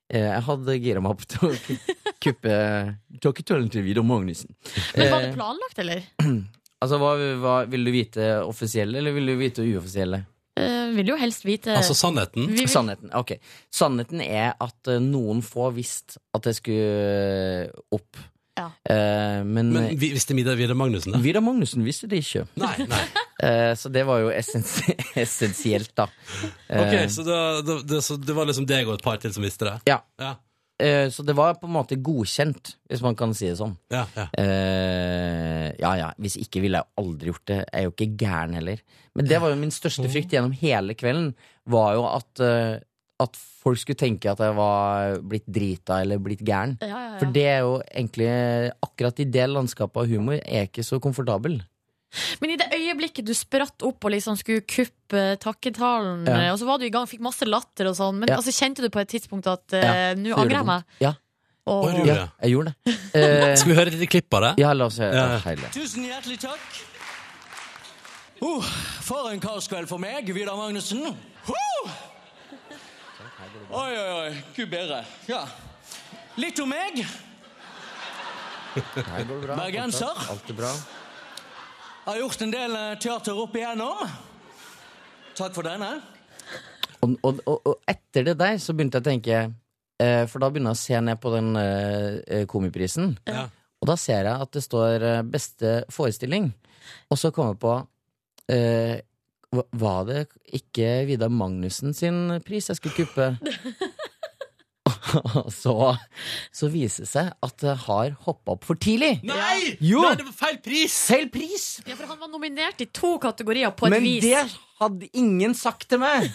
Speaker 10: eh, Jeg hadde gira meg opp til å ku- kuppe takketalen til Vidar Magnussen.
Speaker 4: Men var det
Speaker 10: Eh,
Speaker 4: planlagt, eller?
Speaker 10: Altså, hva, hva, Vil du vite offisielle, eller vil du vite uoffisielle?
Speaker 4: Eh, vil jo helst vite
Speaker 2: Altså sannheten.
Speaker 4: Vi vil-
Speaker 10: Sannheten ok Sannheten er at eh, noen få visste at jeg skulle eh, opp.
Speaker 4: Ja.
Speaker 10: Eh, men
Speaker 2: Men vi- visste Midar Vidar Magnussen det?
Speaker 10: Vidar Magnussen visste det ikke.
Speaker 2: Nei, nei.
Speaker 10: Eh, så det var jo essens essensielt, da. Eh,
Speaker 2: Ok, så da- da- det, så det var liksom deg og et par til som visste det?
Speaker 10: Ja.
Speaker 2: Ja,
Speaker 10: eh, så det var på en måte godkjent, hvis man kan si det sånn.
Speaker 2: ja, ja.
Speaker 10: Eh, ja ja, hvis ikke ville jeg jo aldri gjort det. Jeg er jo ikke gæren heller. Men det var jo min
Speaker 2: Mm.
Speaker 10: største frykt gjennom hele kvelden, var jo at, eh, at folk skulle tenke at jeg var blitt drita eller blitt gæren.
Speaker 4: Ja, ja, ja.
Speaker 10: For det er jo egentlig akkurat i det landskapet av humor er jeg ikke så komfortabel.
Speaker 4: Men i det øyeblikket du spratt opp og liksom skulle kuppe takketalen,
Speaker 10: Ja.
Speaker 4: eh, og så var du i gang, fikk masse latter og sånn, men
Speaker 10: Ja.
Speaker 4: altså, kjente du på et tidspunkt at
Speaker 10: Ja,
Speaker 4: eh, nå
Speaker 10: så gjorde
Speaker 4: angrer
Speaker 10: det
Speaker 4: jeg meg?
Speaker 10: Ja,
Speaker 4: Og,
Speaker 2: Oi, du-
Speaker 10: ja, jeg gjorde det. Eh,
Speaker 2: Skal vi høre et lite klipp av det?
Speaker 10: ja, la oss høre.
Speaker 2: Ja.
Speaker 10: Herlig.
Speaker 11: Tusen hjertelig takk. Oh, for en kaoskveld for meg, Vidar Magnussen. Oh! Oi, oi, oi. Gud bedre. Ja. Litt om meg. Bergenser.
Speaker 10: Alt er bra.
Speaker 11: Jeg har gjort en del eh, teater opp igjennom. Takk for denne.
Speaker 10: Og, og, og, og etter det der så begynte jeg å tenke Eh, For da begynner jeg å se ned på den eh, komiprisen.
Speaker 2: Ja.
Speaker 10: Og da ser jeg at det står eh, 'beste forestilling'. Og så kommer jeg på eh, hva- Var det ikke Vidar Magnussen sin pris jeg skulle kuppe? Og så, så viser det seg at det har hoppa opp for tidlig.
Speaker 2: Nei!
Speaker 10: Jo.
Speaker 2: Nei, det var feil pris!
Speaker 10: Feil pris!
Speaker 4: Ja, for han var nominert i to kategorier på et
Speaker 10: Men
Speaker 4: vis.
Speaker 10: det hadde ingen sagt til meg!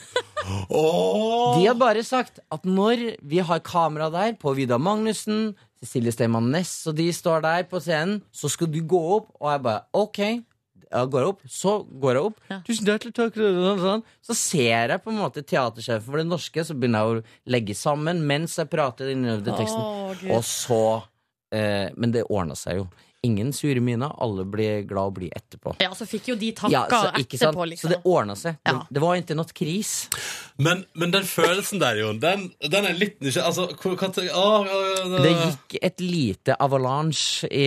Speaker 10: De har bare sagt at når vi har kamera der på Vidar Magnussen, Cecilie Steinmann Næss og de står der på scenen, så skal du gå opp. Og jeg bare OK. Jeg går opp, så går jeg opp. Tusen hjertelig takk. sånn, sånn. Så ser jeg på en måte teatersjefen for det norske, så begynner jeg å legge sammen mens jeg prater den innøvde teksten.
Speaker 4: Å, Gud.
Speaker 10: og så eh, Men det ordna seg jo. Ingen sure miner. Alle blir glad og blide etterpå.
Speaker 4: Ja, så fikk jo de takka
Speaker 10: Ja, så, ikke sant?
Speaker 4: etterpå,
Speaker 10: så
Speaker 4: liksom.
Speaker 10: det ordna seg. Det, det var ikke noe kris.
Speaker 2: Men, men den følelsen der, Jon, den, den er litt nysgjerrig Altså, hva, hva tenk- Å, ja, ja,
Speaker 10: Det gikk et lite avalanche i,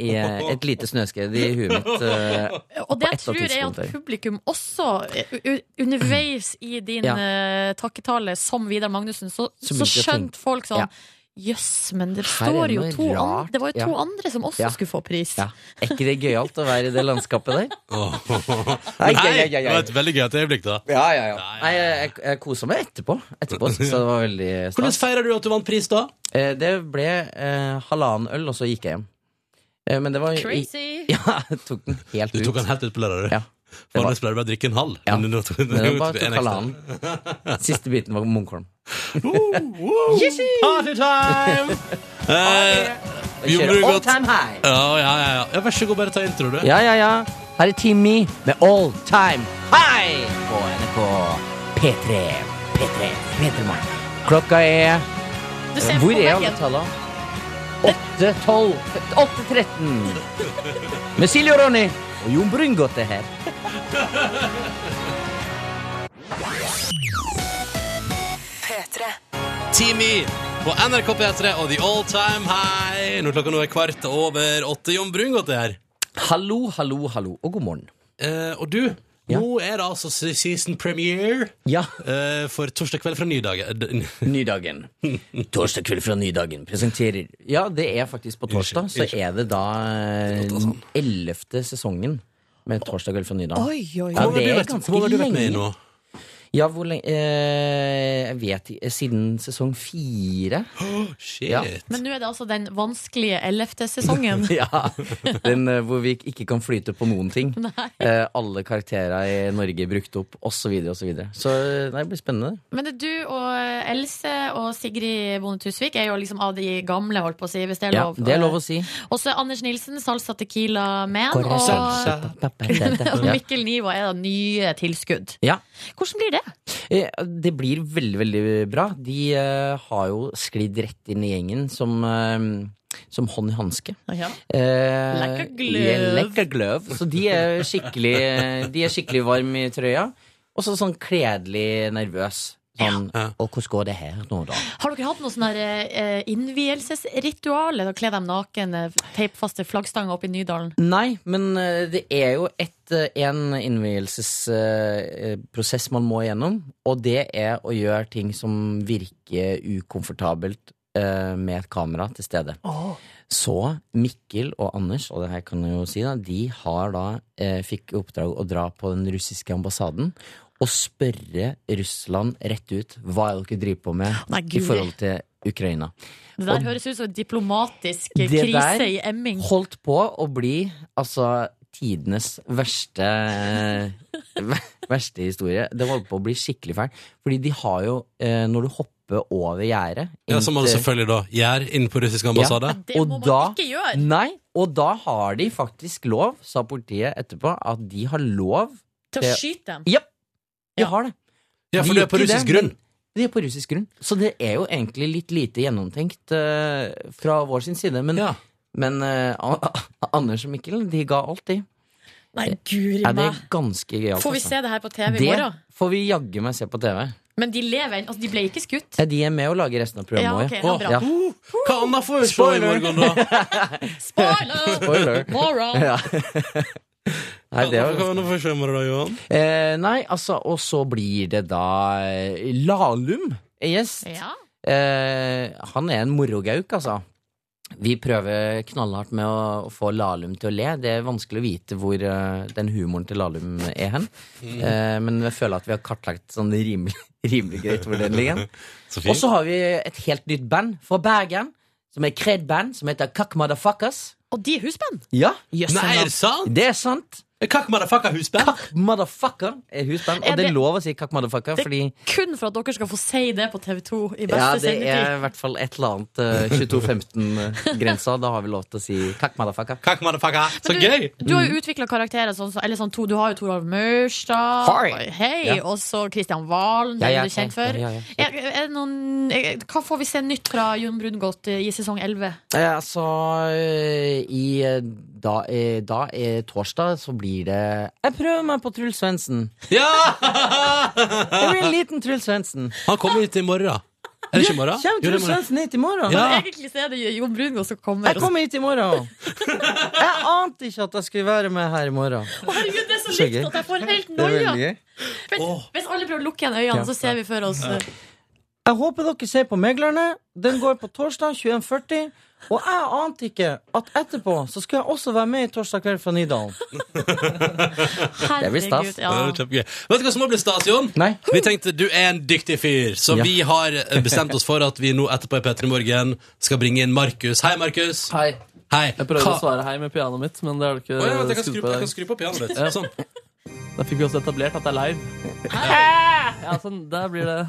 Speaker 10: i et lite snøskred i huet mitt. eh,
Speaker 4: Og
Speaker 10: på
Speaker 4: det jeg
Speaker 10: et av
Speaker 4: tror er at
Speaker 10: tidspunktene.
Speaker 4: publikum også, eh, u- underveis i din
Speaker 10: Ja.
Speaker 4: eh, takketale som Vidar Magnussen, så,
Speaker 10: Så begynte
Speaker 4: så,
Speaker 10: jeg å tenke.
Speaker 4: skjønte folk sånn
Speaker 10: Ja.
Speaker 4: Jøss, men det
Speaker 10: Her er
Speaker 4: står jo
Speaker 10: noe
Speaker 4: to
Speaker 10: rart.
Speaker 4: andre Det var jo to
Speaker 10: Ja.
Speaker 4: andre som også
Speaker 10: Ja.
Speaker 4: skulle få pris.
Speaker 10: Ja. Er ikke det gøyalt å være i det landskapet der?
Speaker 2: Nei,
Speaker 10: Ai, ai, ai, ai.
Speaker 2: det var et veldig gøyalt øyeblikk, da.
Speaker 10: Ja, ja, ja. Nei, jeg, jeg, jeg kosa meg etterpå. etterpå så det var veldig stas.
Speaker 2: Hvordan feirer du at du vant pris, da?
Speaker 10: Eh, det ble eh, halvannen øl, og så gikk jeg hjem. Eh, men det var
Speaker 4: Crazy.
Speaker 10: Ja, jeg tok den helt ut.
Speaker 2: Du tok den helt ut på lørdag, du. Vanligvis pleier du bare å drikke en halv.
Speaker 10: Ja.
Speaker 2: Men nå tok-
Speaker 10: Men det var
Speaker 2: nå
Speaker 10: bare
Speaker 2: tok
Speaker 10: tok
Speaker 2: en ekstra.
Speaker 10: halvannen. Siste biten var Munkholm.
Speaker 2: Party time! Eh,
Speaker 10: kjører
Speaker 2: vi gjorde det
Speaker 10: all
Speaker 2: godt.
Speaker 10: time high.
Speaker 2: Ja, ja, ja, ja. ja. Vær så god, bare ta intro, du.
Speaker 10: Ja, ja, ja. Her er Team Me med All Time High på NRK P3. P3. P3 Morgen. Klokka er
Speaker 4: Du ser
Speaker 10: Hvor
Speaker 4: på
Speaker 10: er
Speaker 4: veggen.
Speaker 10: alle tallene? 8, 12, 8, 13. Med Silje og Ronny og Jon Brungot er her.
Speaker 1: P3.
Speaker 2: Team E på NRK P3 og The All Time High. Når klokka nå er kvart over åtte. Jon Brungot er her.
Speaker 10: Hallo, hallo, hallo, og god morgen.
Speaker 2: Eh, og du, nå er det altså se- season premiere
Speaker 10: Ja.
Speaker 2: eh, for torsdag kveld fra Nydagen. Eh, D-
Speaker 10: Nydagen. Torsdag kveld fra Nydagen presenterer Ja, det er faktisk på torsdag, så er det da eh,
Speaker 2: sånn.
Speaker 10: den ellevte sesongen med Torsdag kveld fra Nydagen.
Speaker 4: Oi, oi, oi.
Speaker 10: Ja,
Speaker 2: Hvor mange
Speaker 10: det er
Speaker 2: har du vært-
Speaker 10: ganske
Speaker 2: hvor mange har du vært med i
Speaker 10: lenge.
Speaker 2: nå?
Speaker 10: Ja, hvor lenge eh, Jeg vet ikke. Siden sesong fire.
Speaker 2: Shit.
Speaker 10: Ja.
Speaker 4: Men nå er det altså den vanskelige ellevte sesongen.
Speaker 10: ja. Den eh, hvor vi ikke kan flyte på noen ting. Eh, alle karakterer i Norge er brukt opp, osv., så, videre, og så, videre. så eh, nei, det blir spennende.
Speaker 4: Men det er du og eh, Else og Sigrid Bonde Tusvik er jo liksom av de gamle, holdt på å si, hvis det er
Speaker 10: Ja,
Speaker 4: lov. Eh,
Speaker 10: det er lov å si.
Speaker 4: Og så er Anders Nilsen, Salsa Tequila Man.
Speaker 10: Korrekt.
Speaker 4: Og,
Speaker 10: Salsa, pa, pa, pa, pa.
Speaker 4: og
Speaker 10: Ja.
Speaker 4: Mikkel Niva er da nye tilskudd.
Speaker 10: Ja.
Speaker 4: Hvordan blir det?
Speaker 10: Eh, Det blir veldig, veldig bra. De eh, har jo sklidd rett inn i gjengen som, eh, som hånd i hanske.
Speaker 4: Ja.
Speaker 10: Eh,
Speaker 4: Lekker gløv.
Speaker 10: ja, lekker gløv. Så de er skikkelig, de er skikkelig varm i trøya. Og så sånn kledelig nervøs. Sånn, Og hvordan går det her nå, da?
Speaker 4: Har dere hatt noe sånn der, eh, innvielsesritual? Eller Kle dem naken, eh, teip fast til flaggstanga oppe i Nydalen?
Speaker 10: Nei, men eh, det er jo et, eh, en innvielsesprosess man må igjennom, og det er å gjøre ting som virker ukomfortabelt eh, med et kamera til stede. Så Mikkel og Anders, og det her kan jeg jo si, da, de har da eh, fikk i oppdrag å dra på den russiske ambassaden og spørre Russland rett ut hva er det dere driver på med
Speaker 4: Nei,
Speaker 10: i
Speaker 4: Guri.
Speaker 10: forhold til Ukraina.
Speaker 4: Det der
Speaker 10: Og
Speaker 4: høres ut som en diplomatisk eh,
Speaker 10: det
Speaker 4: krise
Speaker 10: der
Speaker 4: i emming.
Speaker 10: holdt på å bli altså tidenes verste Verste historie. Det holdt på å bli skikkelig fæl. Fordi de har jo, eh, når du hopper over gjerdet
Speaker 2: Ja, som man
Speaker 10: inntil-
Speaker 2: selvfølgelig da gjør inne på russisk ambassade.
Speaker 10: Ja. og da, Nei, og da har de faktisk lov, sa politiet etterpå, at de har lov
Speaker 4: Til å skyte dem?
Speaker 10: Ja, de har det.
Speaker 2: Ja, for
Speaker 10: De
Speaker 2: det er
Speaker 10: gjør
Speaker 2: på
Speaker 10: ikke
Speaker 2: russisk
Speaker 10: det,
Speaker 2: grunn.
Speaker 10: men De er på russisk grunn. Så det er jo egentlig litt lite gjennomtenkt eh, fra vår sin side. Men, men eh, A- A- Anders og Mikkel, de ga alt, de.
Speaker 4: Nei, guri
Speaker 10: Ja, det
Speaker 4: meg.
Speaker 10: er ganske gøyalt.
Speaker 4: Får vi
Speaker 10: altså.
Speaker 4: se det her på TV i
Speaker 10: Det
Speaker 4: morgen?
Speaker 10: får vi jaggu meg se på TV.
Speaker 4: Men de lever ennå. Altså, de ble ikke skutt.
Speaker 10: Ja, De er med og lager resten av
Speaker 4: Ja,
Speaker 10: programmet
Speaker 4: ok,
Speaker 10: også,
Speaker 4: ja, bra.
Speaker 10: ja.
Speaker 2: Hva annet får vi se i
Speaker 10: Spoiler!
Speaker 2: morgen, da?
Speaker 4: Spoiler!
Speaker 10: Spoiler.
Speaker 4: Moral.
Speaker 10: Ja. Nei, det
Speaker 2: Hva
Speaker 10: var
Speaker 2: annet får vi se i morgen, da, Johan?
Speaker 10: Eh, nei, altså, og så blir det da eh, Lahlum er gjest.
Speaker 4: Ja.
Speaker 10: eh, han er en morogauk, altså. Vi prøver knallhardt med å, å få Lahlum til å le. Det er vanskelig å vite hvor eh, den humoren til Lahlum er hen.
Speaker 12: Mm.
Speaker 10: Eh, men jeg føler at vi har kartlagt sånn rimelig, rimelig greit hvor den ligger.
Speaker 12: Så fint.
Speaker 10: Og så har vi et helt nytt band fra Bergen, som er Kred-band, som heter Kakk Motherfuckers.
Speaker 4: Og de er husband?
Speaker 10: Ja.
Speaker 2: Nei, er det sant?
Speaker 10: Det er sant.
Speaker 2: Kakk motherfucker husband?
Speaker 10: Kakk motherfucker er husband,
Speaker 4: Er
Speaker 10: og det
Speaker 4: det-
Speaker 10: er lov å si kakk motherfucker,
Speaker 4: Det
Speaker 10: fordi
Speaker 4: er kun for at dere skal få si det på TV2 i beste
Speaker 10: ja, det er i
Speaker 4: sendetid.
Speaker 10: hvert fall et eller annet eh, 22-15-grensa. Da har vi lov til å si kakk motherfucker.
Speaker 2: Kakk motherfucker,
Speaker 4: Men Du, du har
Speaker 10: Mm.
Speaker 4: jo utvikla karakterer sånn, som- eller sånn to, Du har jo Toralv Maurstad,
Speaker 10: Hei.
Speaker 4: hei,
Speaker 10: Ja.
Speaker 4: og så Kristian Valen,
Speaker 10: Ja,
Speaker 4: den
Speaker 10: ja,
Speaker 4: du er kjent
Speaker 10: hei,
Speaker 4: for.
Speaker 10: ja, ja,
Speaker 4: Er, er det noen, er, hva får vi se nytt fra Jon Brungot i sesong 11?
Speaker 10: Eh, altså, eh, i eh, da, eh, da eh, torsdag så blir det Jeg prøver meg på Truls Svendsen. Jeg blir en liten Truls Svendsen.
Speaker 2: Han kommer hit i morgen. Er det ikke i morgen?
Speaker 10: Kjem
Speaker 2: Jo, det er i
Speaker 10: Truls
Speaker 2: morgen.
Speaker 10: Svendsen hit i morgen?
Speaker 2: Ja.
Speaker 4: Egentlig så er det Jon Brungot som kommer.
Speaker 10: Jeg kommer hit i morgen. Jeg ante ikke at jeg skulle være med her i morgen.
Speaker 4: Å, herregud, det er så
Speaker 10: Så
Speaker 4: likt
Speaker 10: gøy.
Speaker 4: at jeg får
Speaker 10: Det
Speaker 4: helt
Speaker 10: er
Speaker 4: noia!
Speaker 10: veldig gøy.
Speaker 4: Vent, Hvis alle prøver å lukke igjen øynene,
Speaker 10: Ja.
Speaker 4: så ser vi for oss eh,
Speaker 10: Jeg håper dere ser på Meglerne. Den går på torsdag 21.40. Og jeg ante ikke at etterpå så skal jeg også være med i Torsdag kveld fra Nydalen. Det blir stas.
Speaker 2: Ja. Det er kjempegøy. Vet du hva som må bli stas, Jon? Vi tenkte du er en dyktig fyr, så
Speaker 10: Ja.
Speaker 2: vi har eh, bestemt oss for at vi nå etterpå i P3 Morgen skal bringe inn Markus. Hei, Markus.
Speaker 5: Hei.
Speaker 2: Hei.
Speaker 5: Jeg prøvde
Speaker 2: Hva-
Speaker 5: å svare hei med pianoet mitt, men det har du ikke
Speaker 2: Å, ja, vent, jeg kan
Speaker 5: skrudd
Speaker 2: skru-
Speaker 5: på i
Speaker 2: jeg
Speaker 5: dag.
Speaker 2: kan skru på pianoet litt.
Speaker 5: Ja.
Speaker 2: Sånn.
Speaker 5: Da fikk vi også etablert at det er live. Ja, sånn, der blir det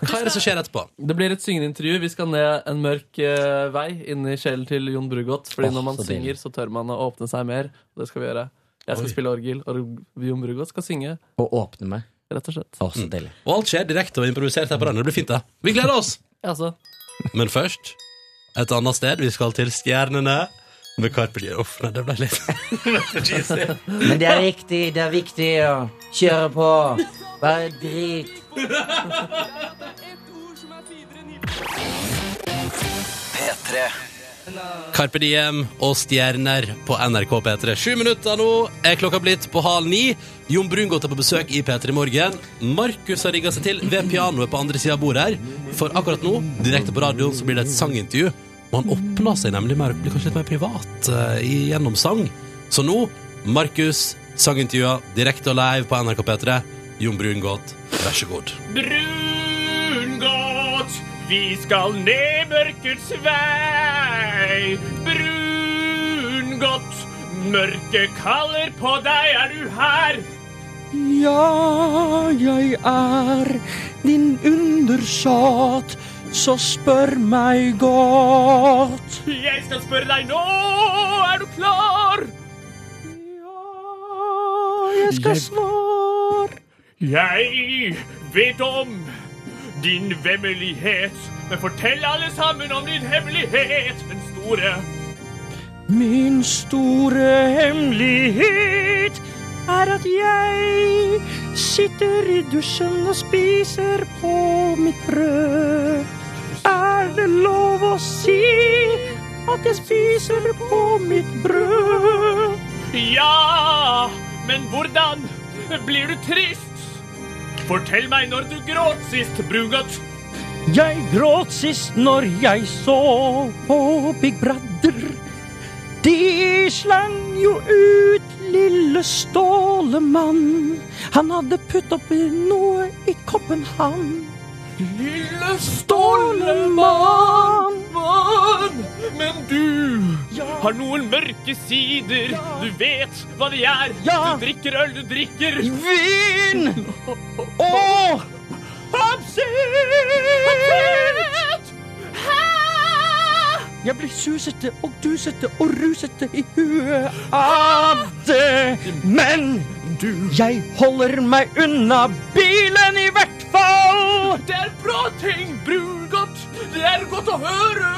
Speaker 2: Hva er det som skjer etterpå?
Speaker 5: Det blir et syngeintervju. Vi skal ned en mørk eh, vei inn i sjelen til Jon Brugodt. Fordi
Speaker 10: Åh,
Speaker 5: når man
Speaker 10: så deilig.
Speaker 5: synger, så tør man å åpne seg mer. Og det skal vi gjøre. Jeg skal
Speaker 10: Oi.
Speaker 5: spille orgel, og Jon Brugodt skal synge.
Speaker 10: Og åpne meg.
Speaker 5: Rett og slett.
Speaker 10: Å, så deilig.
Speaker 2: Og alt skjer direkte og improvisert her på radioen. Det blir fint, det. Vi gleder oss!
Speaker 5: Ja, altså, så.
Speaker 2: Men først et annet sted. Vi skal til Stjernene med Carpe Diem. Uff, nei, det ble litt cheesy.
Speaker 10: Men det er viktig, det er viktig å kjøre på. Bare drit.
Speaker 3: P3.
Speaker 2: Carpe Diem og Stjerner på NRK P3. Sju minutter nå er klokka blitt på halv ni. Jon Brungot er på besøk i P3 Morgen. Markus har rigga seg til ved pianoet på andre sida av bordet her. For akkurat nå, direkte på radioen, så blir det et sangintervju. Og han åpner seg nemlig mer, blir kanskje litt mer privat eh, i- gjennom sang. Så nå, Markus, sangintervjua direkte og live på NRK P3. Jon Brungot, vær så god.
Speaker 13: Brungot, vi skal ned mørkets vei. Brungot, mørket kaller på deg. Er du her?
Speaker 14: Ja, jeg er din undersåt, så spør meg godt.
Speaker 13: Jeg skal spørre deg nå. Er du klar? Ja, jeg skal svar. Jeg vet om din vemmelighet. Men fortell alle sammen om din hemmelighet, den store.
Speaker 14: Min store hemmelighet er at jeg sitter i dusjen og spiser på mitt brød. Er det lov å si at jeg spiser på mitt brød?
Speaker 13: Ja, men hvordan blir du trist? Fortell meg når du gråt sist, Brungot.
Speaker 14: Jeg gråt sist når jeg så på Big Brother. De slang jo ut lille Stålemann. Han hadde putt oppi noe i koppen, han. Lille Stålemann.
Speaker 13: Mann, men du har noen mørke sider. Du vet hva de er. Du drikker øl, du drikker
Speaker 14: Vin og absint! Jeg blir susete og dusete og rusete i huet av det. Men jeg holder meg unna bilen i hvert fall.
Speaker 13: Det er bra ting, Brungot. Det er godt å høre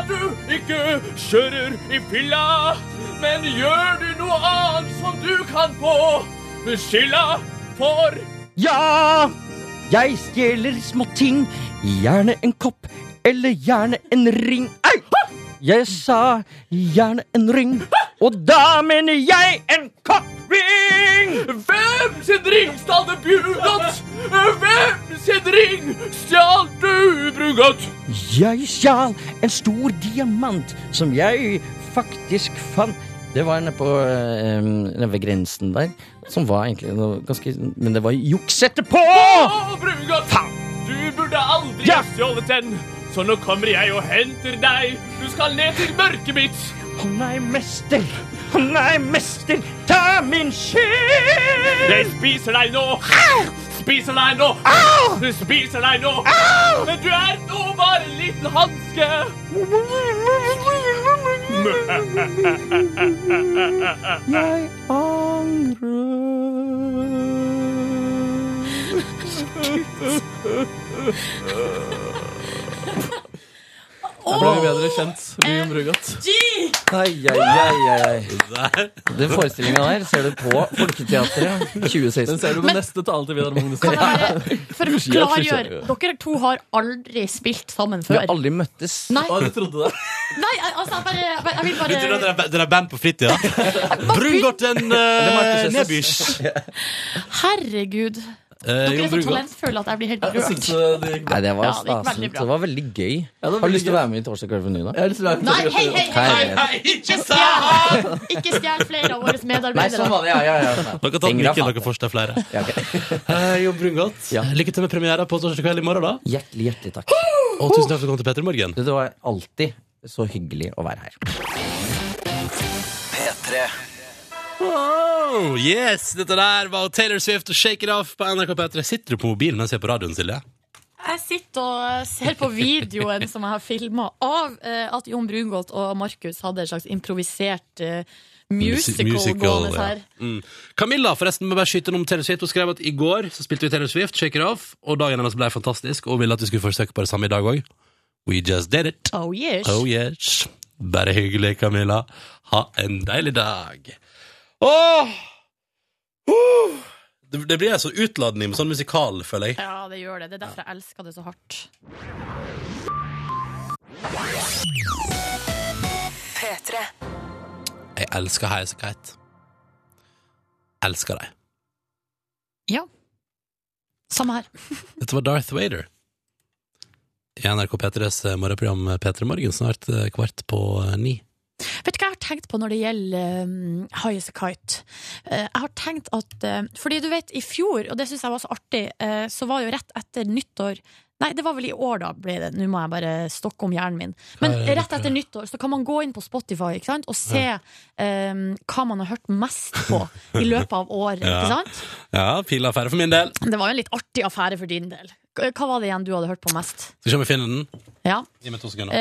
Speaker 13: at du ikke kjører i fylla. Men gjør du noe annet som du kan få skylda for?
Speaker 14: Ja, jeg stjeler små ting. Gjerne en kopp eller gjerne en ring. Au! Jeg sa gjerne en ring, og da mener jeg en koppring!
Speaker 13: Hvem sin ring stal det Brungot? Hvem sin Hvilken ring stjal du, Brugodt?
Speaker 14: Jeg stjal en stor diamant som jeg faktisk fant.
Speaker 10: Det var nede på eh, nede ved grensen der, som var egentlig noe ganske Men det var juks etterpå!
Speaker 13: Å, Brugodt! Du burde aldri ha stjålet den. Så nå kommer jeg og henter deg. Du skal ned til mørket mitt.
Speaker 14: Å nei, mester! Å nei, mester! Ta min skyld!
Speaker 13: Jeg spiser deg nå. Spiser deg nå. Du spiser deg nå. Men du er nå bare en liten hanske.
Speaker 14: Jeg angrer.
Speaker 5: Jeg ble bedre kjent. Liam Brugodt.
Speaker 10: Ai, ai, ai, ai, ai. Den forestillinga der ser du på Folketeatret 2016.
Speaker 5: Den ser du på neste tale til Vidar Magnussen.
Speaker 4: For å klargjøre, dere to har aldri spilt sammen
Speaker 10: Vi
Speaker 4: før.
Speaker 10: har aldri møttes.
Speaker 4: Nei.
Speaker 5: Å, du trodde det?
Speaker 4: Nei, altså, jeg bare, jeg bare- jeg vil
Speaker 2: Du tror
Speaker 4: bare
Speaker 2: at det er- det er band på fritida? Brugodt en uh, nedbysj.
Speaker 4: Herregud.
Speaker 10: Eh,
Speaker 5: Eh,
Speaker 4: Dere er så talentfulle at jeg blir helt rørt.
Speaker 10: Nei, det var
Speaker 4: Ja, det gikk
Speaker 10: staselig.
Speaker 4: veldig bra.
Speaker 10: Det var veldig gøy.
Speaker 5: var
Speaker 10: har du
Speaker 5: veldig
Speaker 10: lyst til å være med i Torsdag kveld for ny, da?
Speaker 5: Jeg har lyst til å være med i
Speaker 4: Nei, hei, hei, hei, hei! Ikke stjel Ikke stjel flere av
Speaker 10: Nei,
Speaker 4: våre
Speaker 10: sånn var det, ja,
Speaker 4: medarbeidere.
Speaker 10: ja, ja.
Speaker 2: Dere har tatt
Speaker 10: Fingra
Speaker 2: mikken,
Speaker 10: fatt.
Speaker 2: dere får seg flere. Eh, Jon Brungot, lykke til med premiera på torsdag kveld i morgen, da.
Speaker 10: Hjertelig, hjertelig takk.
Speaker 2: Og tusen takk for at du kom til Petter i morgen.
Speaker 10: Det var alltid så hyggelig å være her.
Speaker 3: P3.
Speaker 2: Wow, yes, dette der var Taylor Swift og Shake It Off på NRK P3. Sitter du på mobilen og ser på radioen, Silje?
Speaker 4: Jeg sitter og ser på videoen som jeg har filma av eh, at Jon Brungot og Markus hadde en slags improvisert eh, musical, gående
Speaker 2: ja.
Speaker 4: her.
Speaker 2: Mm. Camilla, forresten, må bare skyte inn om Taylor Swift. Hun skrev at i går så spilte vi Taylor Swift, Shake It Off, og dagen hennes ble fantastisk, og ville at vi skulle forsøke på det samme i dag òg. We just did it.
Speaker 4: Oh yes.
Speaker 2: Oh yes. Bare hyggelig, Camilla. Ha en deilig dag. Åh! Uh! Det, det blir en sånn utladning med sånn musikal, føler jeg.
Speaker 4: Ja, det gjør det. Det er derfor jeg elsker det så hardt.
Speaker 1: P3.
Speaker 2: Jeg elsker heisekite. Elsker deg.
Speaker 4: Ja. Samme her.
Speaker 2: Dette var Darth Vader. I NRK P3s eh, morgenprogram P3 Morgen snart eh, kvart på eh, ni.
Speaker 4: Vet du hva jeg har tenkt på når det gjelder um, High as a Kite? Eh, jeg har tenkt at eh, Fordi du vet, i fjor, og det syns jeg var så artig, eh, så var jo rett etter nyttår Nei, det var vel i år, da. ble det Nå må jeg bare stokke om hjernen min. Men
Speaker 12: Ja, ja, ja.
Speaker 4: rett etter nyttår så kan man gå inn på Spotify ikke sant? og se
Speaker 2: Ja.
Speaker 4: eh, hva man har hørt mest på i løpet av året. ikke sant?
Speaker 2: Ja, pila færre for min del.
Speaker 4: Det var jo en litt artig affære for din del. Hva var det igjen du hadde hørt på mest?
Speaker 2: Skal vi se om vi finner den.
Speaker 4: Ja.
Speaker 2: Gi meg to sekunder.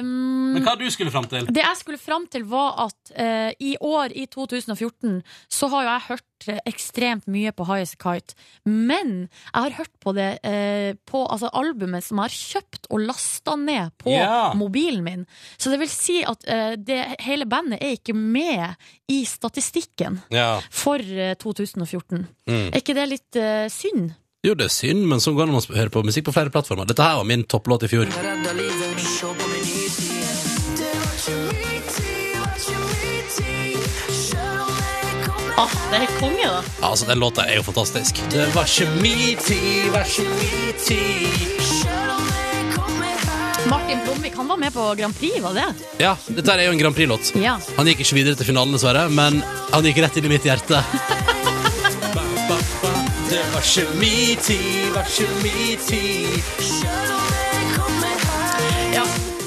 Speaker 4: Um,
Speaker 2: Men hva du skulle fram til?
Speaker 4: det jeg skulle fram til, var at eh, i år, i 2014, så har jo jeg hørt eh, ekstremt mye på High As A Kite. Men jeg har hørt på det eh, på altså, albumet som jeg har kjøpt og lasta ned på
Speaker 12: Ja.
Speaker 4: mobilen min. Så det vil si at eh, det, hele bandet er ikke med i statistikken
Speaker 2: Ja.
Speaker 4: for eh, 2014.
Speaker 2: Mm.
Speaker 4: Er ikke det litt eh, synd?
Speaker 2: Jo, det er synd, men sånn går det når man hører på musikk på flere plattformer. Dette her var min topplåt i fjor.
Speaker 4: Ah, det er helt konge, da.
Speaker 2: Ja, altså, Den låta er jo fantastisk. Det var ikke min tid, var ikke min
Speaker 4: Martin Blomvik han var med på Grand Prix, var det?
Speaker 2: Ja, dette her er jo en Grand Prix-låt.
Speaker 4: Ja.
Speaker 2: Han gikk ikke videre til finalen, dessverre, men han gikk rett inn i mitt hjerte. Det var ikke min tid, var ikke min tid.
Speaker 4: Ja.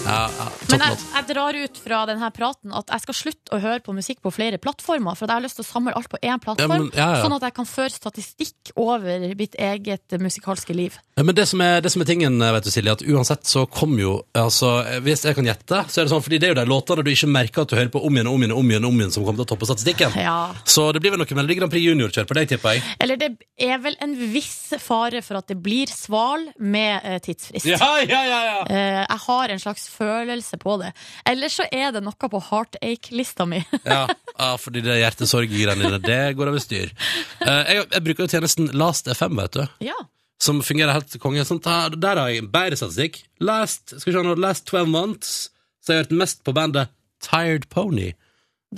Speaker 2: Ja, ja,
Speaker 4: Men
Speaker 2: topplåt.
Speaker 4: jeg, jeg drar ut fra denne praten at jeg skal slutte å høre på musikk på flere plattformer. For at jeg har lyst til å samle alt på én plattform,
Speaker 2: Ja, men- ja, ja.
Speaker 4: sånn at jeg kan føre statistikk over mitt eget eh, musikalske liv.
Speaker 2: Ja, Men det som, er, det som er tingen, eh, vet du Silje, at uansett så kom jo altså, Hvis jeg kan gjette, så er det sånn, fordi det er jo de låtene du ikke merker at du hører på om igjen og om igjen og om igjen, om igjen som kommer til å toppe statistikken.
Speaker 4: Ja.
Speaker 2: Så det blir vel noe Melodi Grand Prix Junior-kjør på deg, tipper jeg.
Speaker 4: Eller det er vel en viss fare for at det blir sval med eh, tidsfrist.
Speaker 2: Ja, ja, ja, ja.
Speaker 4: Eh, jeg har en slags følelse på det. Eller så er det noe på heartache-lista mi.
Speaker 2: Ja, ja fordi det hjertesorggreiene dine, det går over styr. Eh, Jeg, jeg bruker jo tjenesten Last FM, vet du.
Speaker 4: ja.
Speaker 2: som fungerer helt til konge. Sånn, der, der har jeg bedre statistikk. Last, skal vi se nå, last 12 months så har jeg hørt mest på bandet Tired Pony.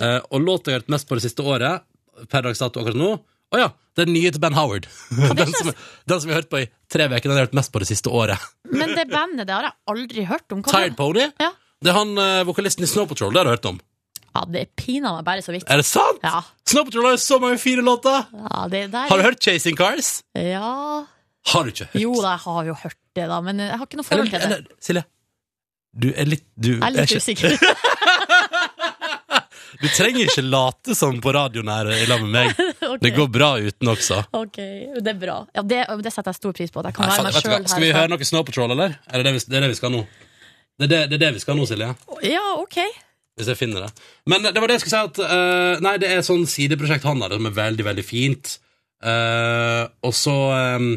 Speaker 2: Eh, og låta jeg har hørt mest på det siste året, per dags dato akkurat nå, Å ja, den nye til Ben Howard. Den som, den som jeg har hørt på i tre uker. Den har jeg hørt mest på det siste året.
Speaker 4: Men det bandet det har jeg aldri hørt om. Hva
Speaker 2: Tired
Speaker 4: var det?
Speaker 2: Pony. Det er han eh, vokalisten i Snow Patrol. Det har du hørt om.
Speaker 4: Ja, det piner meg bare så vidt.
Speaker 2: Er det sant?
Speaker 4: Ja.
Speaker 2: Snow Patrol har jo så mange fine låter!
Speaker 4: Ja, det der.
Speaker 2: Har du hørt Chasing Cars?
Speaker 4: Ja
Speaker 2: Har du ikke hørt?
Speaker 4: Jo da, jeg har jo hørt det, da, men jeg har ikke noe
Speaker 2: Eller-
Speaker 4: forhold til det.
Speaker 2: eller- Silje, du er litt Du,
Speaker 4: Jeg er litt
Speaker 2: ikke-
Speaker 4: usikker.
Speaker 2: du trenger ikke late som på radioen her i lag med meg.
Speaker 4: Ok.
Speaker 2: Det går bra uten også.
Speaker 4: Ok, det er bra. Ja, det, det setter jeg stor pris på. At jeg kan
Speaker 2: Nei,
Speaker 4: være
Speaker 2: faen, vet
Speaker 4: meg
Speaker 2: du
Speaker 4: sjøl
Speaker 2: hva, skal vi høre noe Snow Patrol, eller? Er det det vi, det er det vi skal nå? Det er det, det er det vi skal nå, Silje.
Speaker 4: Ja, ok.
Speaker 2: Hvis jeg finner det. Men det var det jeg skulle si at eh, Nei, det er sånn sideprosjekt han har, som er veldig, veldig fint. Eh, og så eh,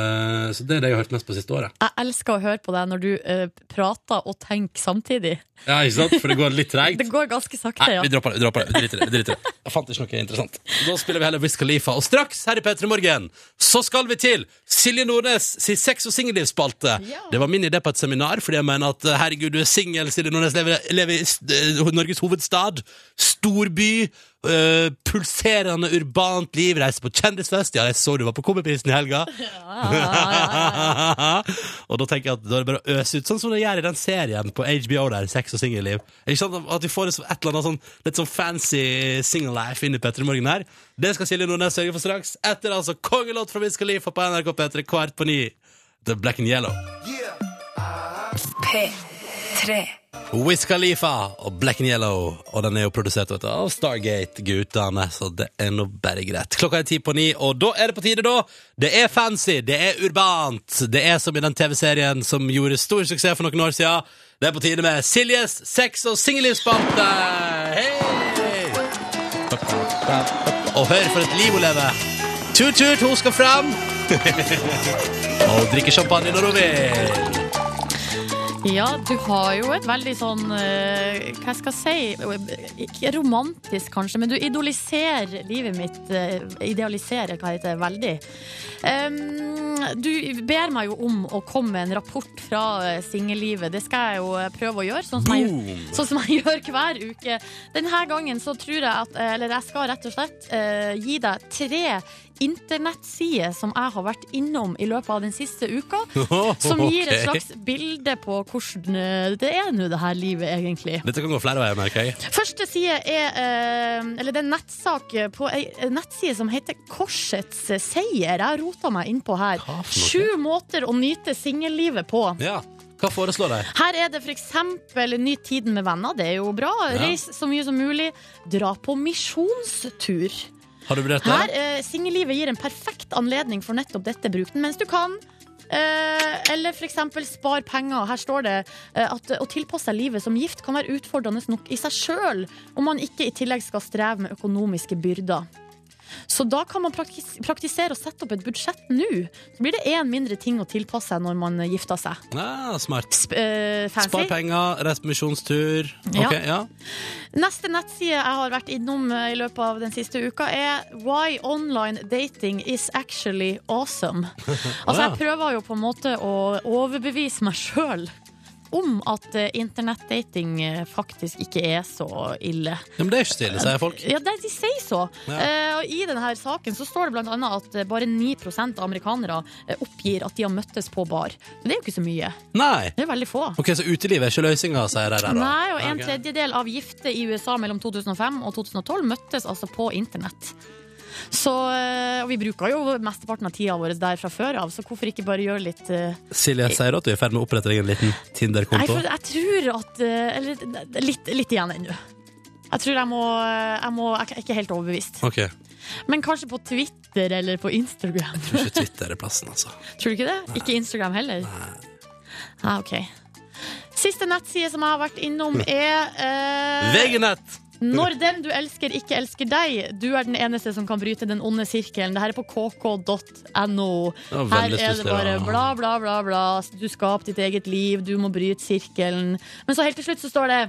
Speaker 2: eh, Så det er det jeg har hørt mest på siste året.
Speaker 4: Jeg elsker å høre på deg når du eh, prater og tenker samtidig.
Speaker 2: Ja, ikke sant? For det går litt treigt.
Speaker 4: Det går ganske sakte,
Speaker 2: Nei,
Speaker 4: ja.
Speaker 2: vi dropper det. vi dropper det, vi driter i det, vi driter i det. Jeg fant ikke noe interessant. Da spiller vi heller Wiz Khalifa. Og straks her i P3 Morgen så skal vi til Silje Nordnes sin sex- og singellivsspalte. Det var min idé på et seminar, fordi jeg mener at eh, herregud, du er singel, Silje Nordnes lever, lever i eh, Norges hovedstad. Storby. eh, pulserende urbant liv. Reiser på kjendisfest. Ja, jeg så du var på Komiprisen i helga. og da tenker jeg at da er det bare å øse ut, sånn som det gjør i den serien på HBO der, Sex og singelliv. Ikke sant? At vi får et et eller annet sånn litt sånn fancy singellife inn i Petter i morgen her. Det skal Silje Nordnes sørge for straks. Etter altså kongelåt fra Wiz Khalifa på NRK P3 kvart på ni. The Black and Yellow.
Speaker 1: P3.
Speaker 2: Wiz Khalifa og Black and Yellow, og den er jo produsert vet du, av Stargate-guttene, så det er nå bare greit. Klokka er ti på ni, og da er det på tide, da! Det er fancy, det er urbant, det er som i den TV-serien som gjorde stor suksess for noen år siden. Det er på tide med Siljes sex- og singellivsspalte! Hei! Og hør for et liv hun lever! Tut-tut, hun skal fram! og drikke champagne når hun vil!
Speaker 4: Ja, du har jo et veldig sånn eh, Hva skal jeg si? Ikke romantisk, kanskje, men du idoliserer livet mitt. eh, idealiserer, hva heter det, veldig. Em, du ber meg jo om å komme med en rapport fra eh, singellivet. Det skal jeg jo eh, prøve å gjøre, sånn som, jeg,
Speaker 12: Boom!
Speaker 4: sånn som jeg gjør hver uke. Denne gangen så tror jeg at eh, Eller jeg skal rett og slett eh, gi deg tre internettsider som jeg har vært innom i løpet av den siste uka, som gir
Speaker 2: Ok.
Speaker 4: et slags bilde på hvordan eh, det er nå, det her livet, egentlig.
Speaker 2: Dette kan gå flere veier, merker jeg.
Speaker 4: Første side er eh, Eller det er en nettsak på ei en nettside som heter Korsets seier. Jeg rota meg innpå her. Sju måter å nyte singellivet på.
Speaker 2: Ja, hva foreslår de?
Speaker 4: Her er det f.eks. nyt tiden med venner. Det er jo bra.
Speaker 2: Ja.
Speaker 4: Reis så mye som mulig. Dra på misjonstur.
Speaker 2: Har du vurdert
Speaker 4: Her,
Speaker 2: det?
Speaker 4: eh, Singellivet gir en perfekt anledning for nettopp dette. Bruk den mens du kan. Eh, eller f.eks. spar penger. Her står det eh, at å tilpasse seg livet som gift kan være utfordrende nok i seg sjøl, om man ikke i tillegg skal streve med økonomiske byrder. Så da kan man praktis praktisere og sette opp et budsjett nå. Så blir det én mindre ting å tilpasse seg når man gifter seg.
Speaker 2: Ja, smart.
Speaker 4: eh, fancy.
Speaker 2: Spar penger, reis på misjonstur.
Speaker 4: Ja.
Speaker 2: Ok, ja.
Speaker 4: Neste nettside jeg har vært innom eh, i løpet av den siste uka, er Why online dating is actually awesome. Altså, jeg prøver jo på en måte å overbevise meg sjøl om at eh, internettdating eh, faktisk ikke er så ille.
Speaker 2: Ja, men det er ikke stille, sier folk.
Speaker 4: Ja, det, de sier så.
Speaker 2: Ja.
Speaker 4: Eh, og I denne saken så står det blant annet at eh, bare 9 av amerikanere eh, oppgir at de har møttes på bar. Men det er jo ikke så mye.
Speaker 2: Nei.
Speaker 4: Det er veldig få.
Speaker 2: Ok, Så utelivet er ikke løsninga, sier de der. da.
Speaker 4: Nei, og en
Speaker 2: Ok.
Speaker 4: tredjedel av gifte i USA mellom 2005 og 2012 møttes altså på internett. Så, eh, og vi bruker jo mesteparten av tida vår der fra før av, så hvorfor ikke bare gjøre litt eh,
Speaker 2: Silje sier at du er i ferd med å opprette deg en liten
Speaker 4: Nei,
Speaker 2: Tinder-konto.
Speaker 4: for jeg tror at eh, Eller eh, litt, litt igjen ennå. Jeg tror jeg må, eh, jeg må Jeg er ikke helt overbevist.
Speaker 2: Ok, jeg
Speaker 4: Men kanskje på Twitter eller på Instagram.
Speaker 2: tror ikke Twitter er plassen, altså.
Speaker 4: Tror du ikke det? Ikke Instagram heller? Nei. Ah, ok. Siste nettside som jeg har vært innom, er eh,
Speaker 2: VG-nett!
Speaker 4: Når den du elsker, ikke elsker deg, du er den eneste som kan bryte den onde sirkelen. Det her er på kk.no.
Speaker 12: Det var
Speaker 4: Her
Speaker 12: veldig
Speaker 4: er det
Speaker 12: stusslig,
Speaker 4: bare
Speaker 12: ja.
Speaker 4: bla, bla, bla, bla. Du skaper ditt eget liv, du må bryte sirkelen. Men så helt til slutt så står det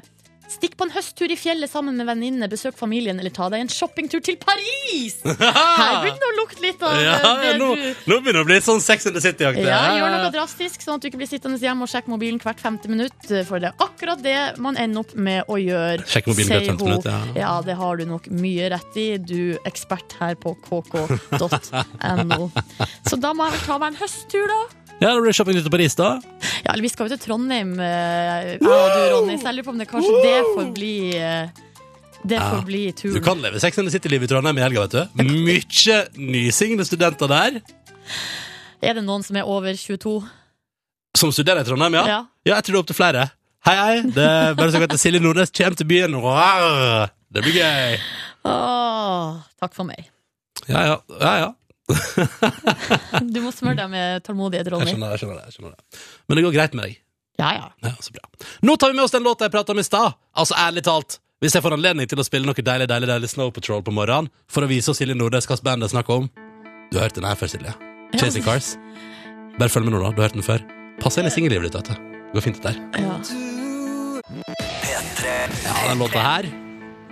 Speaker 4: Stikk på en høsttur i fjellet sammen med venninnene, besøk familien eller ta deg en shoppingtur til Paris! Her
Speaker 2: Ja,
Speaker 4: begynner det å lukte litt av eh, det
Speaker 2: nå,
Speaker 4: du
Speaker 2: nå begynner det å bli sånn Sex and the City-aktig.
Speaker 4: ja, gjør noe drastisk, sånn at du ikke blir sittende hjemme og sjekke mobilen hvert femte minutt. eh, For det er akkurat det man ender opp med å gjøre.
Speaker 2: Sjekke mobilen
Speaker 4: sier
Speaker 2: hvert femte
Speaker 4: hun.
Speaker 2: minutt, ja.
Speaker 4: Ja, det har du nok mye rett i, du ekspert her på kk.no. Så da må jeg vel ta meg en høsttur, da.
Speaker 2: Ja, det blir shopping ute på Paris, da.
Speaker 4: Ja, eller vi skal jo til Trondheim, eh, jeg og du, Ronny, så jeg lurer på om det kanskje det får bli eh, Det
Speaker 2: Ja.
Speaker 4: får bli turen.
Speaker 2: Du kan leve Sex and the City-livet i Trondheim i helga, vet du. Mye nysingle studenter der.
Speaker 4: Er det noen som er over 22?
Speaker 2: Som studerer i Trondheim, ja?
Speaker 4: Ja.
Speaker 2: jeg tror det er opp til flere. Hei, hei. Det er bare så godt at Silje Nordnes kommer til byen. Rar! Det blir gøy.
Speaker 4: Åh, takk for meg.
Speaker 2: Ja, ja. ja, ja.
Speaker 4: Du må smøre deg med tålmodighet,
Speaker 2: Jeg
Speaker 4: Ronny.
Speaker 2: skjønner, det, jeg skjønner det. jeg skjønner det. Men det går greit med deg.
Speaker 4: Ja, ja.
Speaker 2: Ja, så bra. Nå tar vi med oss den låta jeg prata om i stad. Altså, ærlig talt. Hvis jeg får anledning til å spille noe deilig deilig, deilig Snow Patrol på morgenen for å vise oss Silje Nordnes hvilket band det er snakk om Du har hørt den her før, Silje. Chasing Cars. Bare følg med nå, da. Du har hørt den før. Pass inn i singellivet ditt, vet du. Det går fint, dette her. Ja, den låta her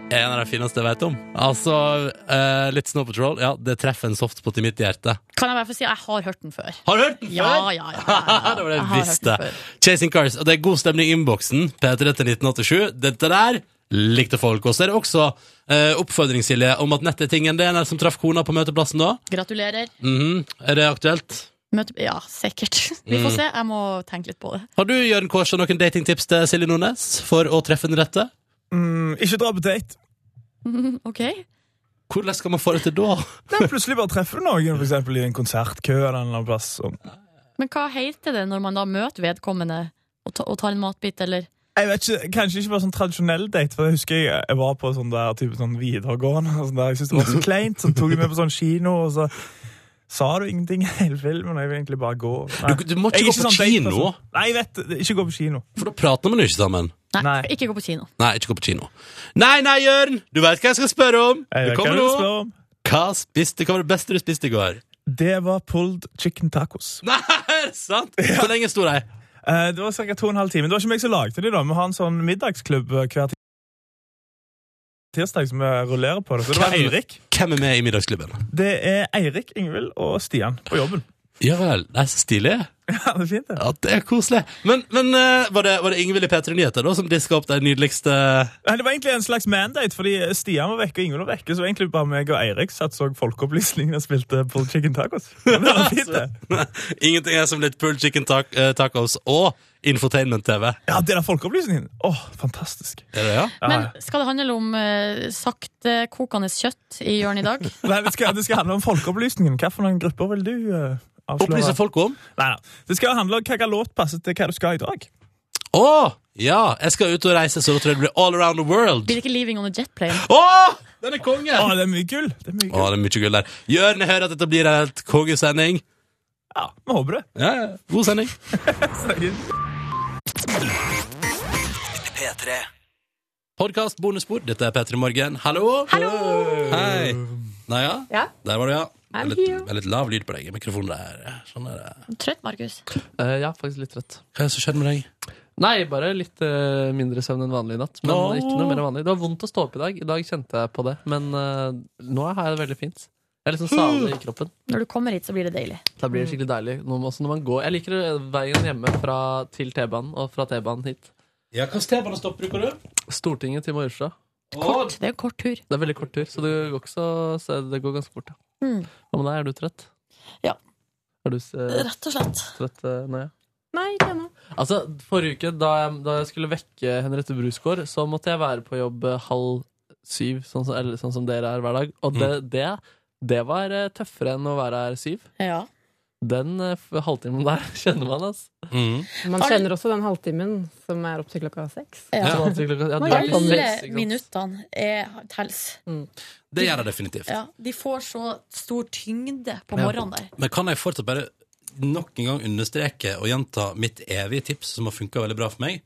Speaker 2: er en av de fineste jeg vet om. Altså, eh, litt Snow Patrol. Ja, det treffer en softspot i mitt hjerte.
Speaker 4: Kan jeg bare få si at jeg har hørt den før?
Speaker 2: Har du hørt den
Speaker 4: Ja,
Speaker 2: før?
Speaker 4: ja, ja.
Speaker 2: det var det
Speaker 4: Jeg
Speaker 2: jeg
Speaker 4: har hørt
Speaker 2: visste.
Speaker 4: den før.
Speaker 2: Chasing Cars. Og det er god stemning i innboksen. P3 til 1987. Dette der likte folk. Og så er det også eh, oppfordring, Silje, om at nettet er tingen. Det er en som traff kona på møteplassen da.
Speaker 4: Gratulerer.
Speaker 2: Mhm. Er det aktuelt?
Speaker 4: Møte... Ja, sikkert. Vi får
Speaker 2: Mm.
Speaker 4: se. Jeg må tenke litt på det.
Speaker 2: Har du, Jørn Kårstad, noen datingtips til Silje Nordnes for å treffe den rette?
Speaker 12: Mm, ikke dra på date.
Speaker 4: OK?
Speaker 2: Hvordan skal man få det til da?
Speaker 12: Nei, plutselig bare treffer du noen for eksempel, i en konsertkø eller en eller annen plass. sånn. Og...
Speaker 4: Men hva heter det når man da møter vedkommende og, ta, og tar en matbit, eller
Speaker 12: Jeg vet ikke, Kanskje ikke bare sånn tradisjonell date, for jeg husker jeg, jeg var på sånn der type sånn videregående. Og sånn der. Jeg syntes det var så kleint. Så tok de meg på sånn kino, og så sa du ingenting i hele filmen. Og jeg vil egentlig bare gå. Nei.
Speaker 2: Du- du må ikke
Speaker 12: Jeg er
Speaker 2: gå på
Speaker 12: date,
Speaker 2: kino.
Speaker 12: altså. Nei, jeg vet det. Ikke gå på kino.
Speaker 2: For da prater man jo ikke sammen.
Speaker 4: Nei, ikke gå på kino.
Speaker 2: Nei, ikke gå på kino. Nei, nei, Jørn! Du veit hva jeg skal spørre om!
Speaker 12: Jeg
Speaker 2: Det
Speaker 12: vet hva
Speaker 2: kommer
Speaker 12: du
Speaker 2: nå.
Speaker 12: skal spørre om.
Speaker 2: Hva spiste, hva var det beste du spiste i går?
Speaker 12: Det var pulled chicken tacos.
Speaker 2: Nei, er det sant? Hvor lenge sto de?
Speaker 12: Eh, Det var ca. to og en halv time. Det var ikke meg som lagde de da. Vi har en sånn middagsklubb eh, hver ti- tirsdag som vi rullerer på det. Så det var Eirik.
Speaker 2: Hvem er med i middagsklubben?
Speaker 12: Det er Eirik, Ingvild og Stian på jobben.
Speaker 2: Ja vel, det er så stilig.
Speaker 12: Ja, det er fint, det.
Speaker 2: Ja, det er koselig. Men, men eh, var, det, var det Ingvild i P3 Nyheter da, som diska opp de nydeligste
Speaker 12: Nei, Det var egentlig en slags mandate, fordi eh, Stian var vekke og Ingvild var vekke. Så egentlig bare meg og Eirik satt så folkeopplysningen og spilte på chicken tacos. Det var fint, det.
Speaker 2: eh, Ingenting er som litt pulled chicken tac eh, tacos og infotainment-TV.
Speaker 12: Ja, det der folkeopplysningen. Åh, fantastisk.
Speaker 2: Er det, ja?
Speaker 4: Men skal det handle om uh, saktekokende kjøtt i hjørnet i dag?
Speaker 12: Nei, det skal, det skal handle om folkeopplysningen. Hvilke grupper vil du eh, avsløre?
Speaker 2: Opplyse folk om?
Speaker 12: Nei, nei. Det skal handle om hvilken låt passer til hva du skal i dag.
Speaker 2: Å! ja, jeg skal ut og reise, så da tror jeg det blir all around the world.
Speaker 4: Blir det ikke 'Leaving on a Jet Plane'?
Speaker 2: Åh, den er konge!
Speaker 12: Åh, det er mye gull. Det er mye
Speaker 2: Å, det er mye gull der. Jørn, jeg hører at dette blir en helt kongesending.
Speaker 12: Ja, vi håper det.
Speaker 2: Ja, ja. God sending.
Speaker 3: P3.
Speaker 2: Podcast bonusbord. Dette er P3 Morgen. Hallo! Hei. Naja,
Speaker 4: Ja.
Speaker 2: der var du, ja. Det
Speaker 4: I'm
Speaker 2: er litt,
Speaker 4: here.
Speaker 2: det er litt lav lyd på deg i mikrofonen der. Sånn er det.
Speaker 4: Trøtt, Markus?
Speaker 5: Eh, ja, faktisk litt trøtt.
Speaker 2: Hva er det som skjedde med deg?
Speaker 5: Nei, bare litt eh, mindre søvn enn vanlig i natt. Men
Speaker 2: Åh.
Speaker 5: ikke noe mer enn vanlig. Det var vondt å stå opp i dag. I dag kjente jeg på det. Men eh, nå har jeg det veldig fint. Jeg er liksom
Speaker 2: Hmm.
Speaker 5: salig i kroppen.
Speaker 4: Når du kommer hit, så blir det deilig. Mm.
Speaker 5: Da blir det skikkelig deilig. Nå, må- også når man går. Jeg liker det veien hjemme fra, til T-banen og fra T-banen hit.
Speaker 2: Ja, Hvilken T-banestopp bruker du?
Speaker 5: Stortinget til Majorstua.
Speaker 4: Kort. Det er en kort tur.
Speaker 5: Det er veldig kort tur, så det går, ikke så, så det går ganske fort. Ja.
Speaker 4: Mm.
Speaker 5: Hva med deg, er du trøtt?
Speaker 4: Ja.
Speaker 5: Er du eh,
Speaker 4: Rett og slett.
Speaker 5: trøtt eh, nå, ja?
Speaker 4: Nei, ikke ennå.
Speaker 5: Altså, Forrige uke, da jeg, da jeg skulle vekke Henriette Brusgaard, så måtte jeg være på jobb eh, halv syv, sånn som, eller sånn som dere er hver dag. Og det, det, det var eh, tøffere enn å være her syv.
Speaker 4: Ja.
Speaker 5: Den eh, f- halvtimen der kjenner man, altså.
Speaker 15: Man kjenner også den halvtimen som er opp til klokka seks.
Speaker 5: Ja. Så opp til klokka- ja, du er litt
Speaker 4: Alle
Speaker 5: stress, ikke sant?
Speaker 4: minuttene er, tels.
Speaker 2: Mm. Det gjør jeg definitivt.
Speaker 4: Ja, de får så stor tyngde på
Speaker 2: Ja.
Speaker 4: morgenen der.
Speaker 2: Men kan jeg fortsatt bare nok en gang understreke og gjenta mitt
Speaker 4: Mhm.
Speaker 2: evige tips, som har funka veldig bra for meg?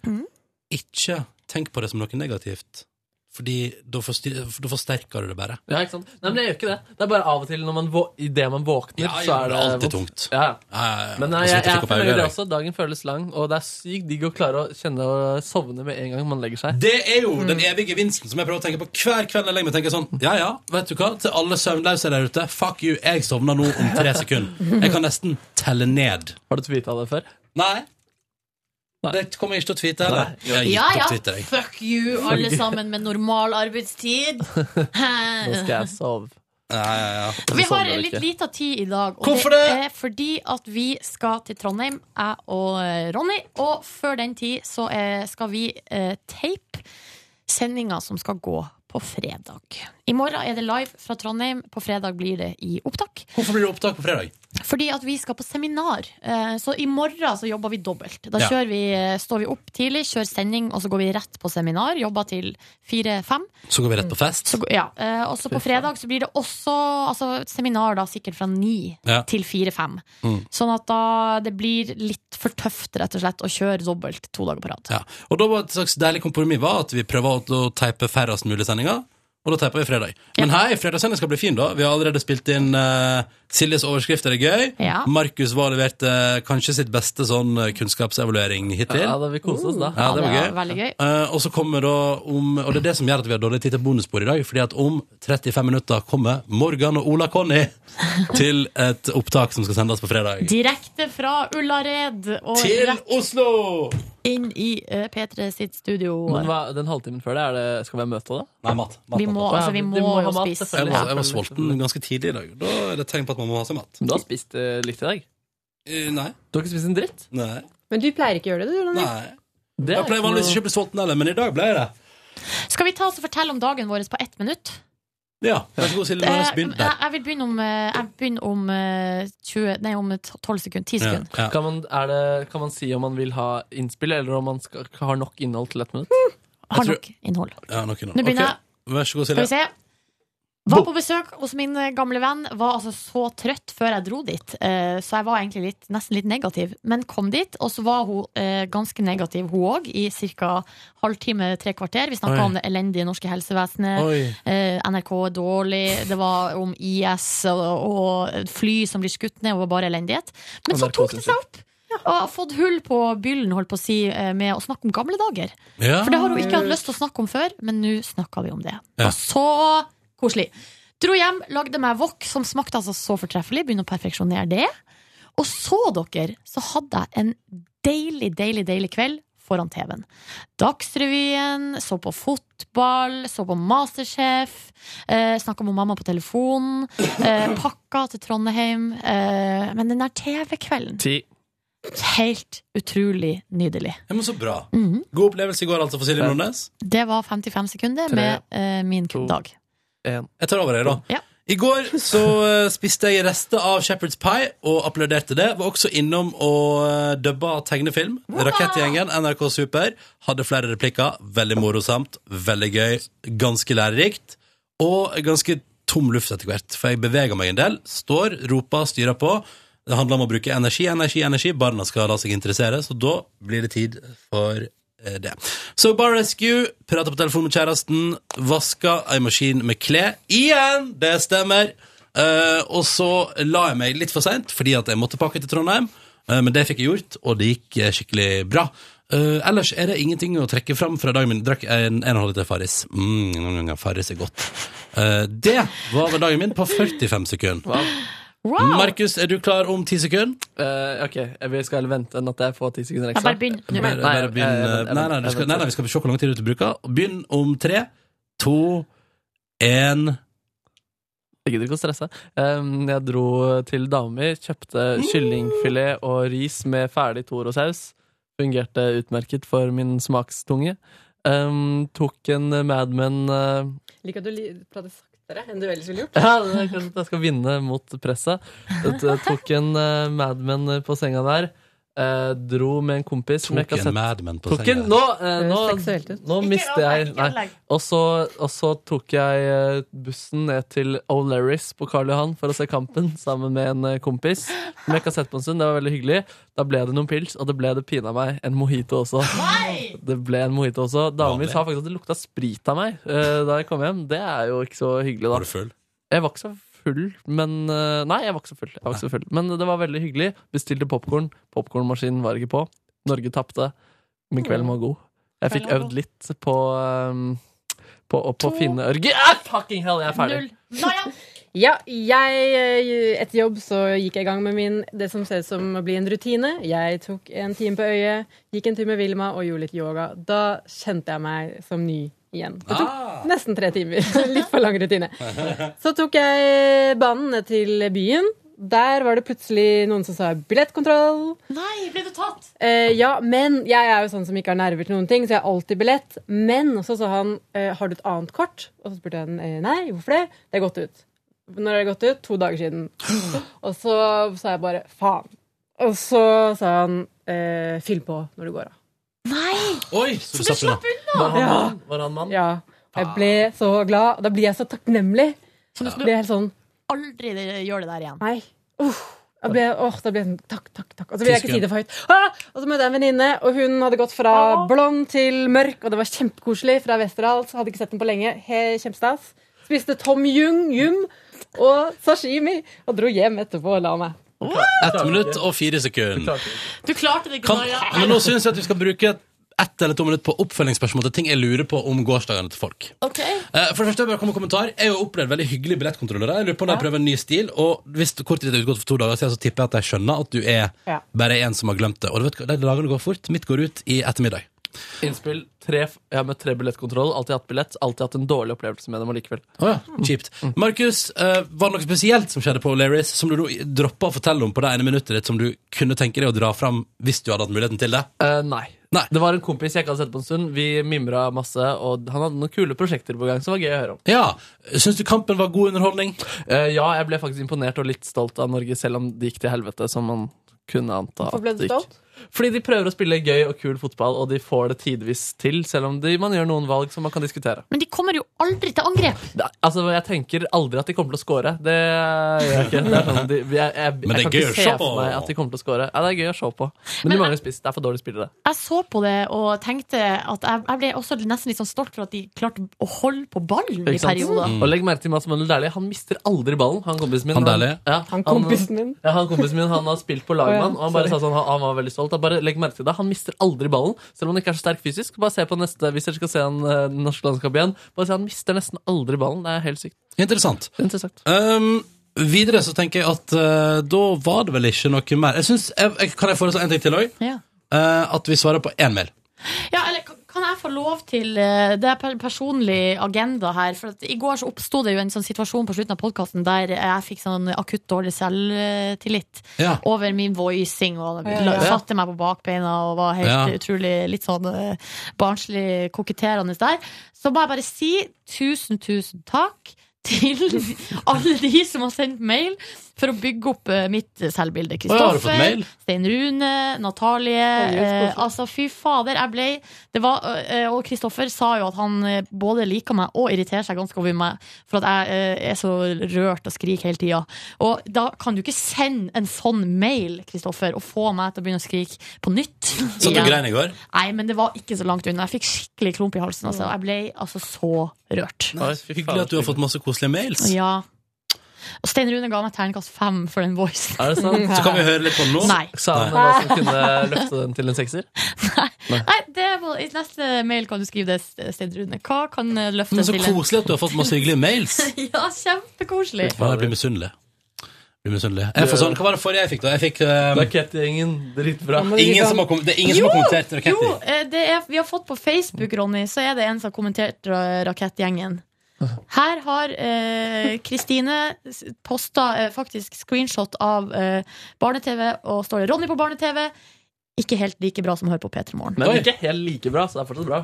Speaker 2: Ikke tenk på det som noe negativt. Fordi da forstyr- da forsterker du det bare.
Speaker 5: Ja, ikke sant? Nei, men jeg gjør ikke det. Det er bare av og til når man vå i det man våkner,
Speaker 2: Ja,
Speaker 5: så
Speaker 2: ja,
Speaker 5: er det
Speaker 2: det er alltid
Speaker 5: vondt.
Speaker 2: tungt.
Speaker 5: Ja.
Speaker 2: Ja, ja, ja.
Speaker 5: Men nei,
Speaker 2: Og så
Speaker 5: jeg, jeg
Speaker 2: sitter du ikke på
Speaker 5: føler det
Speaker 2: øynene, jeg.
Speaker 5: også. altså. Dagen føles lang, og det er sykt digg å klare å kjenne og sovne med en gang man legger seg.
Speaker 2: Det er jo den evige gevinsten som jeg prøver å tenke på hver kveld jeg legger meg. tenker jeg sånn, ja, ja, vet du hva, Til alle søvnløse der ute, fuck you, jeg sovner nå om tre sekunder. Jeg kan nesten telle ned.
Speaker 5: Har du tweeta det før?
Speaker 2: Nei. Det kommer jeg ikke til å tweete heller. Jeg har gitt
Speaker 4: Ja ja,
Speaker 2: opp Twitter, jeg.
Speaker 4: fuck you, alle sammen med normal arbeidstid.
Speaker 5: Nå skal jeg sove.
Speaker 2: Ja, ja, ja.
Speaker 4: Vi har litt lita tid i dag. Og
Speaker 2: Hvorfor
Speaker 4: det? er fordi at vi skal til Trondheim, jeg og eh, Ronny. Og før den tid så eh, skal vi eh, tape sendinga som skal gå på fredag. I morgen er det live fra Trondheim. På fredag blir det i opptak.
Speaker 2: Hvorfor blir det opptak på fredag?
Speaker 4: Fordi at vi skal på seminar. Eh, Så i morgen så jobber vi dobbelt. Da
Speaker 2: Ja.
Speaker 4: kjører vi, eh, står vi opp tidlig, kjører sending, og så går vi rett på seminar. Jobber til fire-fem.
Speaker 2: Så går vi rett på fest.
Speaker 4: Ja, eh, og så på fredag så blir det også altså, et seminar da, sikkert fra ni
Speaker 2: Ja.
Speaker 4: til fire-fem.
Speaker 2: Mm.
Speaker 4: Sånn at da det blir litt for tøft rett og slett å kjøre dobbelt to dager på rad.
Speaker 2: Ja. Og da var et slags deilig kompromiss var at vi prøver å- å teipe færrest mulig sendinger, og da teiper vi fredag. Men hei, fredagssending skal bli fin, da. Vi har allerede spilt inn eh, Siljes overskrifter er gøy.
Speaker 4: Ja.
Speaker 2: Markus var levert eh, kanskje sitt beste sånn eh, kunnskapsevaluering hittil.
Speaker 5: Ja, da vi koset oss da.
Speaker 2: Ja, det var
Speaker 4: Ja,
Speaker 2: gøy.
Speaker 4: det var veldig gøy.
Speaker 2: Eh, og så kommer da om Og det er det som gjør at vi har dårlig tid til bonusbord i dag, fordi at om 35 minutter kommer Morgan og Ola Conny til et opptak som skal sendes på fredag.
Speaker 4: Direkte fra Ullared og
Speaker 2: Til
Speaker 4: rett
Speaker 2: Oslo!
Speaker 4: inn i eh, P3 sitt studio.
Speaker 5: Men hva, den halvtimen før det, er det skal vi ha møte da?
Speaker 2: Nei, mat.
Speaker 4: Vi må- altså, vi
Speaker 5: Ja,
Speaker 4: må
Speaker 5: de
Speaker 4: jo
Speaker 5: ha mat,
Speaker 4: spise.
Speaker 2: Jeg
Speaker 5: selvfølgelig.
Speaker 2: var, jeg var sulten ganske tidlig i dag. Da er det tegn på at man må ha seg mat.
Speaker 5: Du har spist eh, litt i dag?
Speaker 2: Eh, Nei.
Speaker 5: Du har ikke spist en dritt?
Speaker 2: Nei.
Speaker 15: Men du pleier ikke å gjøre det, du,
Speaker 2: Nei.
Speaker 15: Ronny?
Speaker 5: er
Speaker 2: Jeg pleier
Speaker 5: ikke noe-
Speaker 2: vanligvis ikke å bli sulten heller, men i dag ble jeg det.
Speaker 4: Skal vi ta oss og fortelle om dagen vår på ett minutt?
Speaker 2: Ja, Vær så god, Silje. La
Speaker 4: Eh,
Speaker 2: oss begynne
Speaker 4: jeg,
Speaker 2: der.
Speaker 4: jeg vil begynne om, eh, jeg begynner om, eh, 20, nei, om 12 sekunder. 10 sekunder.
Speaker 5: Kan, man, er det, kan man si om man vil ha innspill, eller om man skal, har nok innhold til ett minutt?
Speaker 4: Hmm. Har nok innhold.
Speaker 2: Ja, nok innhold.
Speaker 4: Nå begynner
Speaker 2: Ok, Vær så god,
Speaker 4: Skal vi
Speaker 2: Silje.
Speaker 4: se. Var på besøk hos min eh, gamle venn. Var altså så trøtt før jeg dro dit, eh, så jeg var egentlig litt, nesten litt negativ. Men kom dit, og så var hun eh, ganske negativ, hun òg, i ca. halvtime, tre kvarter. Vi snakka
Speaker 16: Oi.
Speaker 4: om det elendige norske helsevesenet.
Speaker 16: Oi.
Speaker 4: Eh, NRK er dårlig. Det var om IS og, og fly som blir skutt ned, og bare elendighet. Men så tok det seg opp! Og har fått hull på byllen, holdt på å si, eh, med å snakke om gamle dager.
Speaker 16: Ja.
Speaker 4: For det har hun ikke hatt lyst til å snakke om før, men nå snakka vi om det.
Speaker 16: Ja.
Speaker 4: Og så koselig. Dro hjem, lagde meg wok som smakte altså så fortreffelig. Begynner å perfeksjonere det. Og så, dere, så hadde jeg en deilig, deilig, deilig kveld foran TV-en. Dagsrevyen, så på fotball, så på Masterchef, eh, snakka med mamma på telefonen, eh, pakka til Trondheim. Eh, men den der TV-kvelden Helt utrolig nydelig.
Speaker 2: Ja, men så bra. God opplevelse i går, altså, for Silje Nordnes.
Speaker 4: Det var 55 sekunder
Speaker 2: Tre,
Speaker 4: med eh, min dag.
Speaker 2: Jeg tar over, jeg, da. I går så eh, spiste jeg rester av Shepherd's Pie og applauderte det. Var også innom og eh, dubba tegnefilm. Rakettgjengen, NRK Super. Hadde flere replikker. Veldig morosamt, veldig gøy, ganske lærerikt. Og ganske tom luft etter hvert, for jeg beveger meg en del. Står, roper, styrer på. Det handler om å bruke energi, energi, energi. Barna skal la seg interessere, så da blir det tid for eh, det. Så Bar Rescue, prata på telefon med kjæresten, vaska ei maskin med klær. Igjen! Det stemmer. Eh, og så la jeg meg litt for seint, fordi at jeg måtte pakke til Trondheim. Eh, men det fikk jeg gjort, og det gikk eh, skikkelig bra. Eh, ellers er det ingenting å trekke fram fra dagen min. Drakk en, en og en halv liter Farris. Mm, mm, mm, Farris er godt. Eh, det var vel dagen min på 45 sekunder. Markus, er du klar om ti sekunder?
Speaker 5: Eh, ok, vi skal vente enn at jeg får ti sekunder
Speaker 4: Ja,
Speaker 5: ekstra.
Speaker 4: bare begynn.
Speaker 2: Bare, bare begynn, eh, nei, nei, du skal, nei, nei, vi skal se hvor lang tid du bruker. Begynn om tre, to, én
Speaker 5: Jeg gidder ikke å stresse. Em, jeg dro til dama mi, kjøpte kyllingfilet og ris med ferdig Toro-saus. Fungerte utmerket for min smakstunge. Em, tok en Mad Men eh,
Speaker 15: Liker at du li- prater saktere enn du ellers ville gjort.
Speaker 5: Ja, det er kanskje at jeg skal vinne mot presset. Jeg t- tok en eh, Mad Men eh, på senga der. eh, dro med en kompis som
Speaker 2: Tok
Speaker 5: jeg ikke har
Speaker 2: en
Speaker 5: sett-
Speaker 2: Mad Men på
Speaker 5: Tok en-
Speaker 2: senga.
Speaker 5: Nå, eh, nå,
Speaker 15: Seksuelt ut.
Speaker 5: nå
Speaker 15: Ikke
Speaker 5: mister
Speaker 15: ødelegg,
Speaker 5: jeg
Speaker 15: ikke
Speaker 5: nei.
Speaker 15: ødelegg.
Speaker 5: Og så, og så tok jeg eh, bussen ned til O'Lerris på Karl Johan for å se kampen sammen med en eh, kompis. Som jeg ikke har sett på en stund. Det var veldig hyggelig. Da ble det noen pils, og det ble det pina meg en mojito også. Det ble en mojito også. Dama mi sa faktisk at det lukta sprit av meg eh, da jeg kom hjem. Det er jo ikke så hyggelig, da. Var
Speaker 2: du full?
Speaker 5: Jeg var ikke så full, men eh, Nei, jeg var ikke så full. Jeg var ikke så full. Men det var veldig hyggelig. Bestilte popkorn. Popkornmaskinen var ikke på. Norge tapte, men kvelden var god. Jeg fikk
Speaker 13: Kvelden var
Speaker 5: øvd litt på um, på, på å finne ørge ah, Fucking hell, jeg er ferdig.
Speaker 15: Ja, jeg, eh, etter jobb så gikk jeg i gang med min, det som ser ut som å bli en rutine. Jeg tok en time på øyet, gikk en tur med Vilma og gjorde litt yoga. Da kjente jeg meg som ny igjen. Det tok
Speaker 5: Ah.
Speaker 15: nesten tre timer. litt for lang rutine. Så tok jeg eh, banen ned til byen. Der var det plutselig noen som sa billettkontroll.
Speaker 4: Nei, ble du tatt?
Speaker 15: Eh, ja, men jeg er jo sånn som ikke har nerver til noen ting, så jeg har alltid billett. Men så sa han eh, har du et annet kort? Og så spurte jeg den, eh, nei, hvorfor det? Det er gått ut. Når er det gått ut? To dager siden. Og så sa jeg bare faen. Og så sa han eh, fyll på når du går av.
Speaker 2: Oi, så du slapp unna.
Speaker 5: Var han
Speaker 15: Ja.
Speaker 5: mann? Var han mann?
Speaker 15: Ja. Jeg ble så glad. og Da blir jeg så takknemlig.
Speaker 4: Så du skal
Speaker 15: Blir helt sånn
Speaker 4: aldri gjør det der igjen?
Speaker 15: Nei. Uff. Da ble, jeg- åh, da ble jeg sånn takk, takk, takk. Og så vil jeg ikke si det for høyt. Ah! Og så møtte jeg en venninne, og hun hadde gått fra blond til mørk, og det var kjempekoselig fra Westerdals. Hadde ikke sett den på lenge. He, kjempestas. Spiste Tom Jung, Jum og sashimi, og dro hjem etterpå og la meg.
Speaker 2: Ett minutt og fire sekunder.
Speaker 4: Du klarte det ikke,
Speaker 2: Kan,
Speaker 4: Maria.
Speaker 2: men nå syns jeg at vi skal bruke ett eller to minutter på oppfølgingsspørsmål til ting jeg lurer på om gårsdagene til folk.
Speaker 4: Ok.
Speaker 2: Eh, For det første, bare kom med kommentar Jeg har opplevd veldig hyggelige billettkontrollører. Jeg lurer på om de prøver en ny stil. Og hvis kortet ditt er utgått for to dager siden, så tipper jeg at de skjønner at du er
Speaker 15: Ja.
Speaker 2: bare en som har glemt det. Og du vet, hva, de dagene går fort. Mitt går ut i ettermiddag.
Speaker 5: Innspill. Tre, f- jeg har møtt tre billettkontroll. Alltid hatt billett. Alltid hatt en dårlig opplevelse med dem allikevel.
Speaker 2: Å ja, Mm. kjipt. Markus, eh, var det noe spesielt som skjedde på O'Learys som du nå droppa å fortelle om på det ene minuttet ditt, som du kunne tenke deg å dra fram hvis du hadde hatt muligheten til det?
Speaker 5: Eh, nei. Det var en kompis jeg ikke hadde sett på en stund. Vi mimra masse, og han hadde noen kule prosjekter på gang som var gøy å høre om. Eh,
Speaker 2: Ja, Syns du kampen var god underholdning?
Speaker 5: ja, jeg ble faktisk imponert og litt stolt av Norge, selv om det gikk til helvete, som man kunne anta.
Speaker 15: Hvorfor ble
Speaker 5: at
Speaker 15: du
Speaker 5: det gikk.
Speaker 15: stolt?
Speaker 5: Fordi de prøver å spille gøy og kul fotball, og de får det tidvis til, selv om de, man gjør noen valg som man kan diskutere.
Speaker 4: Men de kommer jo aldri til angrep.
Speaker 5: Det, altså, Jeg tenker aldri at de kommer til å score. Det gjør jeg ikke. Det er sånn, de, jeg, jeg, jeg,
Speaker 2: Men det er
Speaker 5: kan
Speaker 2: gøy å
Speaker 5: ikke se
Speaker 2: se på.
Speaker 5: for meg at de kommer til å score. Ja, det er gøy å se på. Men, de mangler spiss. Det er for dårlige spillere.
Speaker 4: Jeg så på det og tenkte at jeg, jeg ble også nesten litt sånn stolt for at de klarte å holde på ballen i
Speaker 5: Ikke sant?
Speaker 4: perioder.
Speaker 2: Mm.
Speaker 5: Og legg merke til Mads Manuel Dæhlie. Han mister aldri ballen. Han kompisen min.
Speaker 2: Han Dæhlie?
Speaker 5: ja,
Speaker 15: Han kompisen min.
Speaker 5: Ja, han kompisen min Han har spilt på
Speaker 15: Å ja,
Speaker 5: lagmann, og han bare sa
Speaker 15: sorry.
Speaker 5: sånn, han- han var veldig stolt. Da Bare legg merke til det. Han mister aldri ballen, selv om han ikke er så sterk fysisk. Bare se på neste, Hvis dere skal se han eh, norsk landskap igjen, bare se han mister nesten aldri ballen. Det er helt sykt.
Speaker 2: Interessant.
Speaker 5: Interessant.
Speaker 2: Um, videre så tenker jeg at eh, da var det vel ikke noe mer. Jeg synes, jeg, jeg, Kan jeg foreslå en ting til òg?
Speaker 4: Ja.
Speaker 2: at vi svarer på én mail.
Speaker 4: Ja, eller kan- kan jeg få lov til eh, Det er per- personlig agenda her. For at I går så oppsto det jo en sånn situasjon på slutten av podkasten der jeg fikk sånn akutt dårlig selvtillit
Speaker 2: Ja.
Speaker 4: over min voicing og
Speaker 15: Ja, ja, ja.
Speaker 4: satte meg på bakbeina og var helt
Speaker 15: Ja.
Speaker 4: utrolig litt sånn eh, barnslig koketterende der. Så må jeg bare si tusen, tusen takk. Til alle de som har sendt mail for å bygge opp eh, mitt selvbilde.
Speaker 2: Å, ja, har du fått
Speaker 4: Kristoffer,
Speaker 2: mail?
Speaker 4: Stein Rune, Natalie
Speaker 15: Herregud,
Speaker 4: eh, Altså, fy fader, jeg ble det var, eh, Og Kristoffer sa jo at han eh, både liker meg og irriterer seg ganske over meg for at jeg eh, er så rørt og skriker hele tida. Og da kan du ikke sende en sånn mail, Kristoffer, og få meg til å begynne å skrike på nytt.
Speaker 2: Satt du
Speaker 4: igjen.
Speaker 2: grein i går?
Speaker 4: Nei, men det var ikke så langt unna. Jeg fikk skikkelig klump i halsen. Altså. Jeg ble altså så rørt.
Speaker 2: Nei, Hyggelig at du har fått masse koselige mails.
Speaker 4: Ja. Og Stein Rune ga meg terningkast fem for den voicen.
Speaker 5: Er det sant?
Speaker 2: Så kan vi høre litt på den nå.
Speaker 4: Nei.
Speaker 5: Sa han noe som kunne løfte den til en sekser?
Speaker 4: Nei, det var, I neste mail kan du skrive det, Stein Rune. Hva kan eh, løfte
Speaker 2: Men så
Speaker 4: en til en
Speaker 2: koselig at du har fått masse hyggelige mails.
Speaker 4: ja, kjempekoselig.
Speaker 2: Fy faen, Jeg blir misunnelig. Jeg Blir misunnelig. Jeg får sånn, hva var det forrige jeg fikk, da? Jeg fikk eh,
Speaker 5: Rakettgjengen. Dritbra.
Speaker 2: ingen som har kom- Det er ingen som har kommentert
Speaker 4: Jo,
Speaker 2: raketter.
Speaker 4: eh, det er, vi har fått på Facebook, Ronny, så er det en som har kommentert ra- Rakettgjengen. Her har eh, Kristine s- posta eh, faktisk screenshot av eh, barne-TV, og står det 'Ronny på barne-TV'. Ikke helt like bra som å høre på P3 Morgen.
Speaker 5: Men ikke helt like bra, så det er fortsatt bra.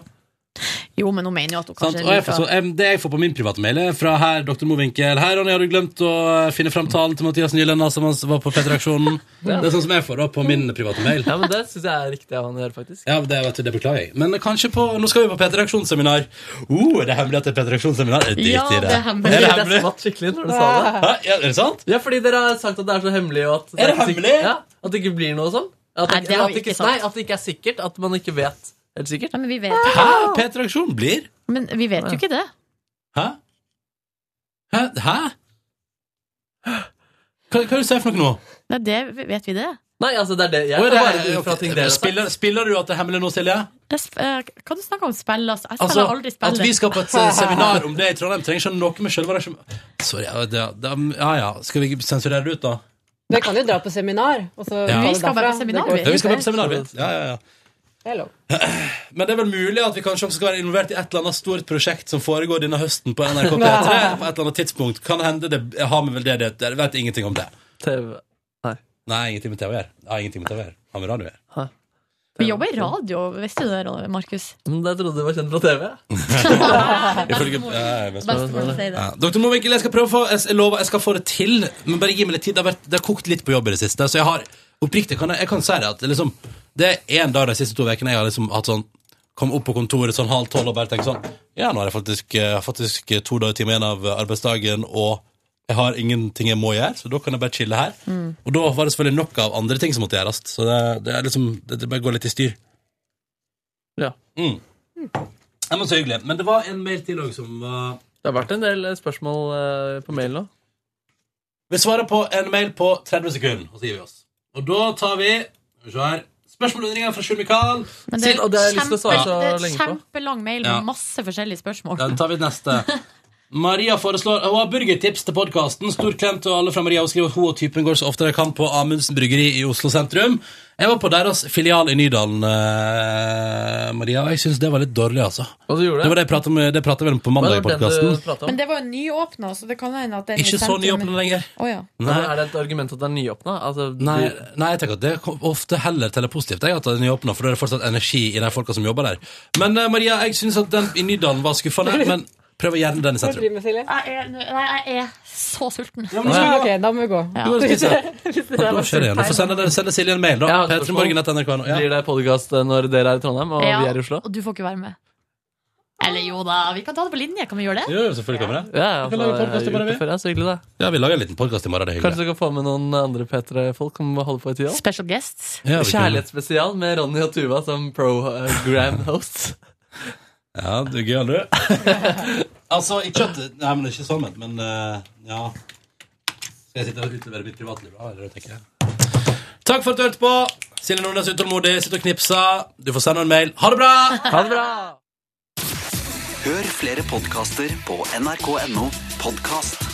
Speaker 4: Jo, men hun mener jo at hun
Speaker 2: Sant?
Speaker 4: kanskje
Speaker 2: Og jeg får, så,
Speaker 4: liker
Speaker 2: em, det jeg får på min private mail, er fra herr Dr. Mowinckel. Her, Ronny, har du glemt å eh, finne fram talen til Mathias Nyland, som han s- var på P3-aksjonen?
Speaker 5: Ja.
Speaker 2: Det er sånn som jeg får da på min private mail.
Speaker 5: Ja, men Det syns jeg er riktig av han å gjøre, faktisk.
Speaker 2: Ja, det, vet du, det beklager jeg. Men kanskje på Nå skal vi på P3-aksjonsseminar. Uh, det er hemmelig at det er P3-aksjonsseminar. Drit
Speaker 5: Ja, det
Speaker 2: i det.
Speaker 5: er hemmelig.
Speaker 2: Er det
Speaker 5: Jeg
Speaker 2: hemmelig?
Speaker 5: skvatt skikkelig når du sa det.
Speaker 2: Hæ? Ja, er det sant?
Speaker 5: Ja, fordi dere har sagt at det er så hemmelig. Og at,
Speaker 2: Er det hemmelig?
Speaker 5: Ja, at det ikke blir noe sånn. At
Speaker 4: Nei, det
Speaker 5: at
Speaker 4: har vi ikke
Speaker 5: Nei,
Speaker 4: sagt.
Speaker 5: at det ikke er sikkert. At man ikke vet helt sikkert.
Speaker 4: Nei, men vi vet
Speaker 2: Hæ? P3-aksjon blir?
Speaker 4: Men vi vet jo ikke det.
Speaker 2: Hæ? Hæ? Hæ? Hva, hva er det du sier for noe nå?
Speaker 4: Nei, det vet vi det.
Speaker 5: Nei, altså, det er det. Jeg
Speaker 2: Å, er
Speaker 5: tar
Speaker 2: det-
Speaker 5: bare det ut fra
Speaker 2: ok,
Speaker 5: ting dere har sagt.
Speaker 2: spiller, spiller du at det er hemmelig nå, Silje?
Speaker 4: Jeg sp eh, hva du snakker om spill? Altså? Jeg spiller
Speaker 2: Altså,
Speaker 4: aldri spill.
Speaker 2: at vi skal på et eh, seminar om det i Trondheim, trenger ikke ha noe med selve arrangementet Sorry, ja, det, det, ja ja. Skal vi sensurere det ut, da?
Speaker 15: Dere kan jo dra på seminar. Og så
Speaker 2: Ja.
Speaker 15: ta det
Speaker 2: Vi skal
Speaker 15: derfra.
Speaker 2: bare
Speaker 4: på seminar,
Speaker 15: Det går
Speaker 2: Ja, vi skal
Speaker 15: fint,
Speaker 2: være på seminar, vi. Ja, ja, ja.
Speaker 15: Det er lov.
Speaker 2: Men det er vel mulig at vi kanskje også skal være involvert i et eller annet stort prosjekt som foregår denne høsten på NRK P3 på et eller annet tidspunkt. Kan hende det jeg har med vel det det Jeg vet ingenting om det.
Speaker 5: TV. Nei.
Speaker 2: Nei, ingenting med TV å gjøre. Jeg har ingenting med TV å gjøre. Har med radio å gjøre.
Speaker 4: Vi jobber i radio, visste du det, Markus?
Speaker 5: Men jeg trodde du var kjent fra TV.
Speaker 2: Ifølge- ja, jeg vet
Speaker 4: Bestemor
Speaker 2: ikke.
Speaker 4: sier det.
Speaker 2: Ja. Dr. Mowinckel, jeg skal prøve å få jeg, jeg lover jeg skal få det til, men bare gi meg litt tid. Det har, vært, det har kokt litt på jobb i det siste, så jeg har oppriktig kan jeg, jeg kan si det at liksom, det er en dag de siste to ukene jeg har liksom hatt sånn Kom opp på kontoret sånn halv tolv og bare tenkt sånn Ja, nå har jeg faktisk, jeg har faktisk eh, to dager timer igjen av eh, arbeidsdagen, og jeg har ingenting jeg må gjøre, så da kan jeg bare chille her.
Speaker 13: Mm.
Speaker 2: Og da var det selvfølgelig nok av andre ting som måtte gjøres, så det, det er liksom det, det bare går litt i styr.
Speaker 5: Ja.
Speaker 2: Mm. Nei, men så hyggelig. Men det var en mail til òg som var
Speaker 5: Det har vært en del eh, spørsmål eh, på mail nå.
Speaker 2: Vi svarer på en mail på 30 sekunder, og så gir vi oss. Og da tar vi skal vi se her, spørsmål og undringer fra Sjur Mikael.
Speaker 4: Men det er
Speaker 2: Til-
Speaker 4: kjempe- det er kjempelang mail med
Speaker 2: Ja.
Speaker 4: masse forskjellige spørsmål.
Speaker 2: Den tar vi neste. Maria foreslår Hun har burgertips til podkasten. Stor klem til alle fra Maria. Hun skriver at hun og typen går så ofte de kan på Amundsen bryggeri i Oslo sentrum. Jeg var på deres filial i Nydalen, eh, Maria. Jeg syns det var litt dårlig, altså.
Speaker 5: det?
Speaker 2: var det jeg prata med- det pratet vi om på mandag
Speaker 5: Hva
Speaker 2: i
Speaker 5: er det den du
Speaker 2: podkasten.
Speaker 5: prater om?
Speaker 4: Men det var jo nyåpna, så det kan hende at den
Speaker 2: Ikke så nyåpnet lenger.
Speaker 4: Å ja.
Speaker 2: Nei.
Speaker 5: Altså, Er det et argument at det er nyåpna? Altså,
Speaker 2: Nei,
Speaker 5: du-
Speaker 2: nei, jeg tenker at det kom- ofte heller teller positivt jeg, at den er åpna, for da er det fortsatt energi i de folka som jobber der. Men eh, Maria, jeg syns at den i Nydalen var skuffende, men prøv gjerne den i
Speaker 15: Hva
Speaker 2: sentrum.
Speaker 15: driver du med, Silje?
Speaker 4: Jeg er, nei, jeg er så sulten.
Speaker 2: men nå skal
Speaker 15: Ok, da må vi gå.
Speaker 2: Du må spise. Da skjer det igjen. Du får sende, dere- sende Silje en mail, da.
Speaker 5: Jeg har et spørsmål.
Speaker 2: P3morgen.nrk.no. Ja.
Speaker 5: Blir det podkast eh, når dere er i Trondheim, og
Speaker 4: Ja,
Speaker 5: vi er i Oslo?
Speaker 4: Og du får ikke være med. Eller jo da, vi kan ta det på linje. Kan vi gjøre det?
Speaker 2: Jo, jo, selvfølgelig kommer det.
Speaker 5: Ja, ja,
Speaker 2: Vi kan lage
Speaker 5: altså,
Speaker 2: podcast i
Speaker 5: jeg har
Speaker 2: morgen,
Speaker 5: gjort det
Speaker 2: vi.
Speaker 5: før, ja, så hyggelig, da.
Speaker 2: Ja, vi lager en liten podkast i morgen. Det er hyggelig.
Speaker 5: Kanskje du kan få med noen andre P3-folk som holder på i tida?
Speaker 4: Special guests.
Speaker 2: Ja, vi kan.
Speaker 5: Kjærlighetsspesial med Ronny og Tuva som eh, program-host.
Speaker 2: Ja, du er gøyal, du. altså, ikke at Nei, men ikke sammen, men eh, ja. Skal jeg sitte og utlevere mitt privatliv, da? Eller, tenker jeg. Takk for at du hørte på. Silje Nordnes er utålmodig, sitter og knipser. Du får sende en mail. Ha det bra!
Speaker 5: Ha det bra!
Speaker 3: Hør flere podkaster på nrk.no podkast.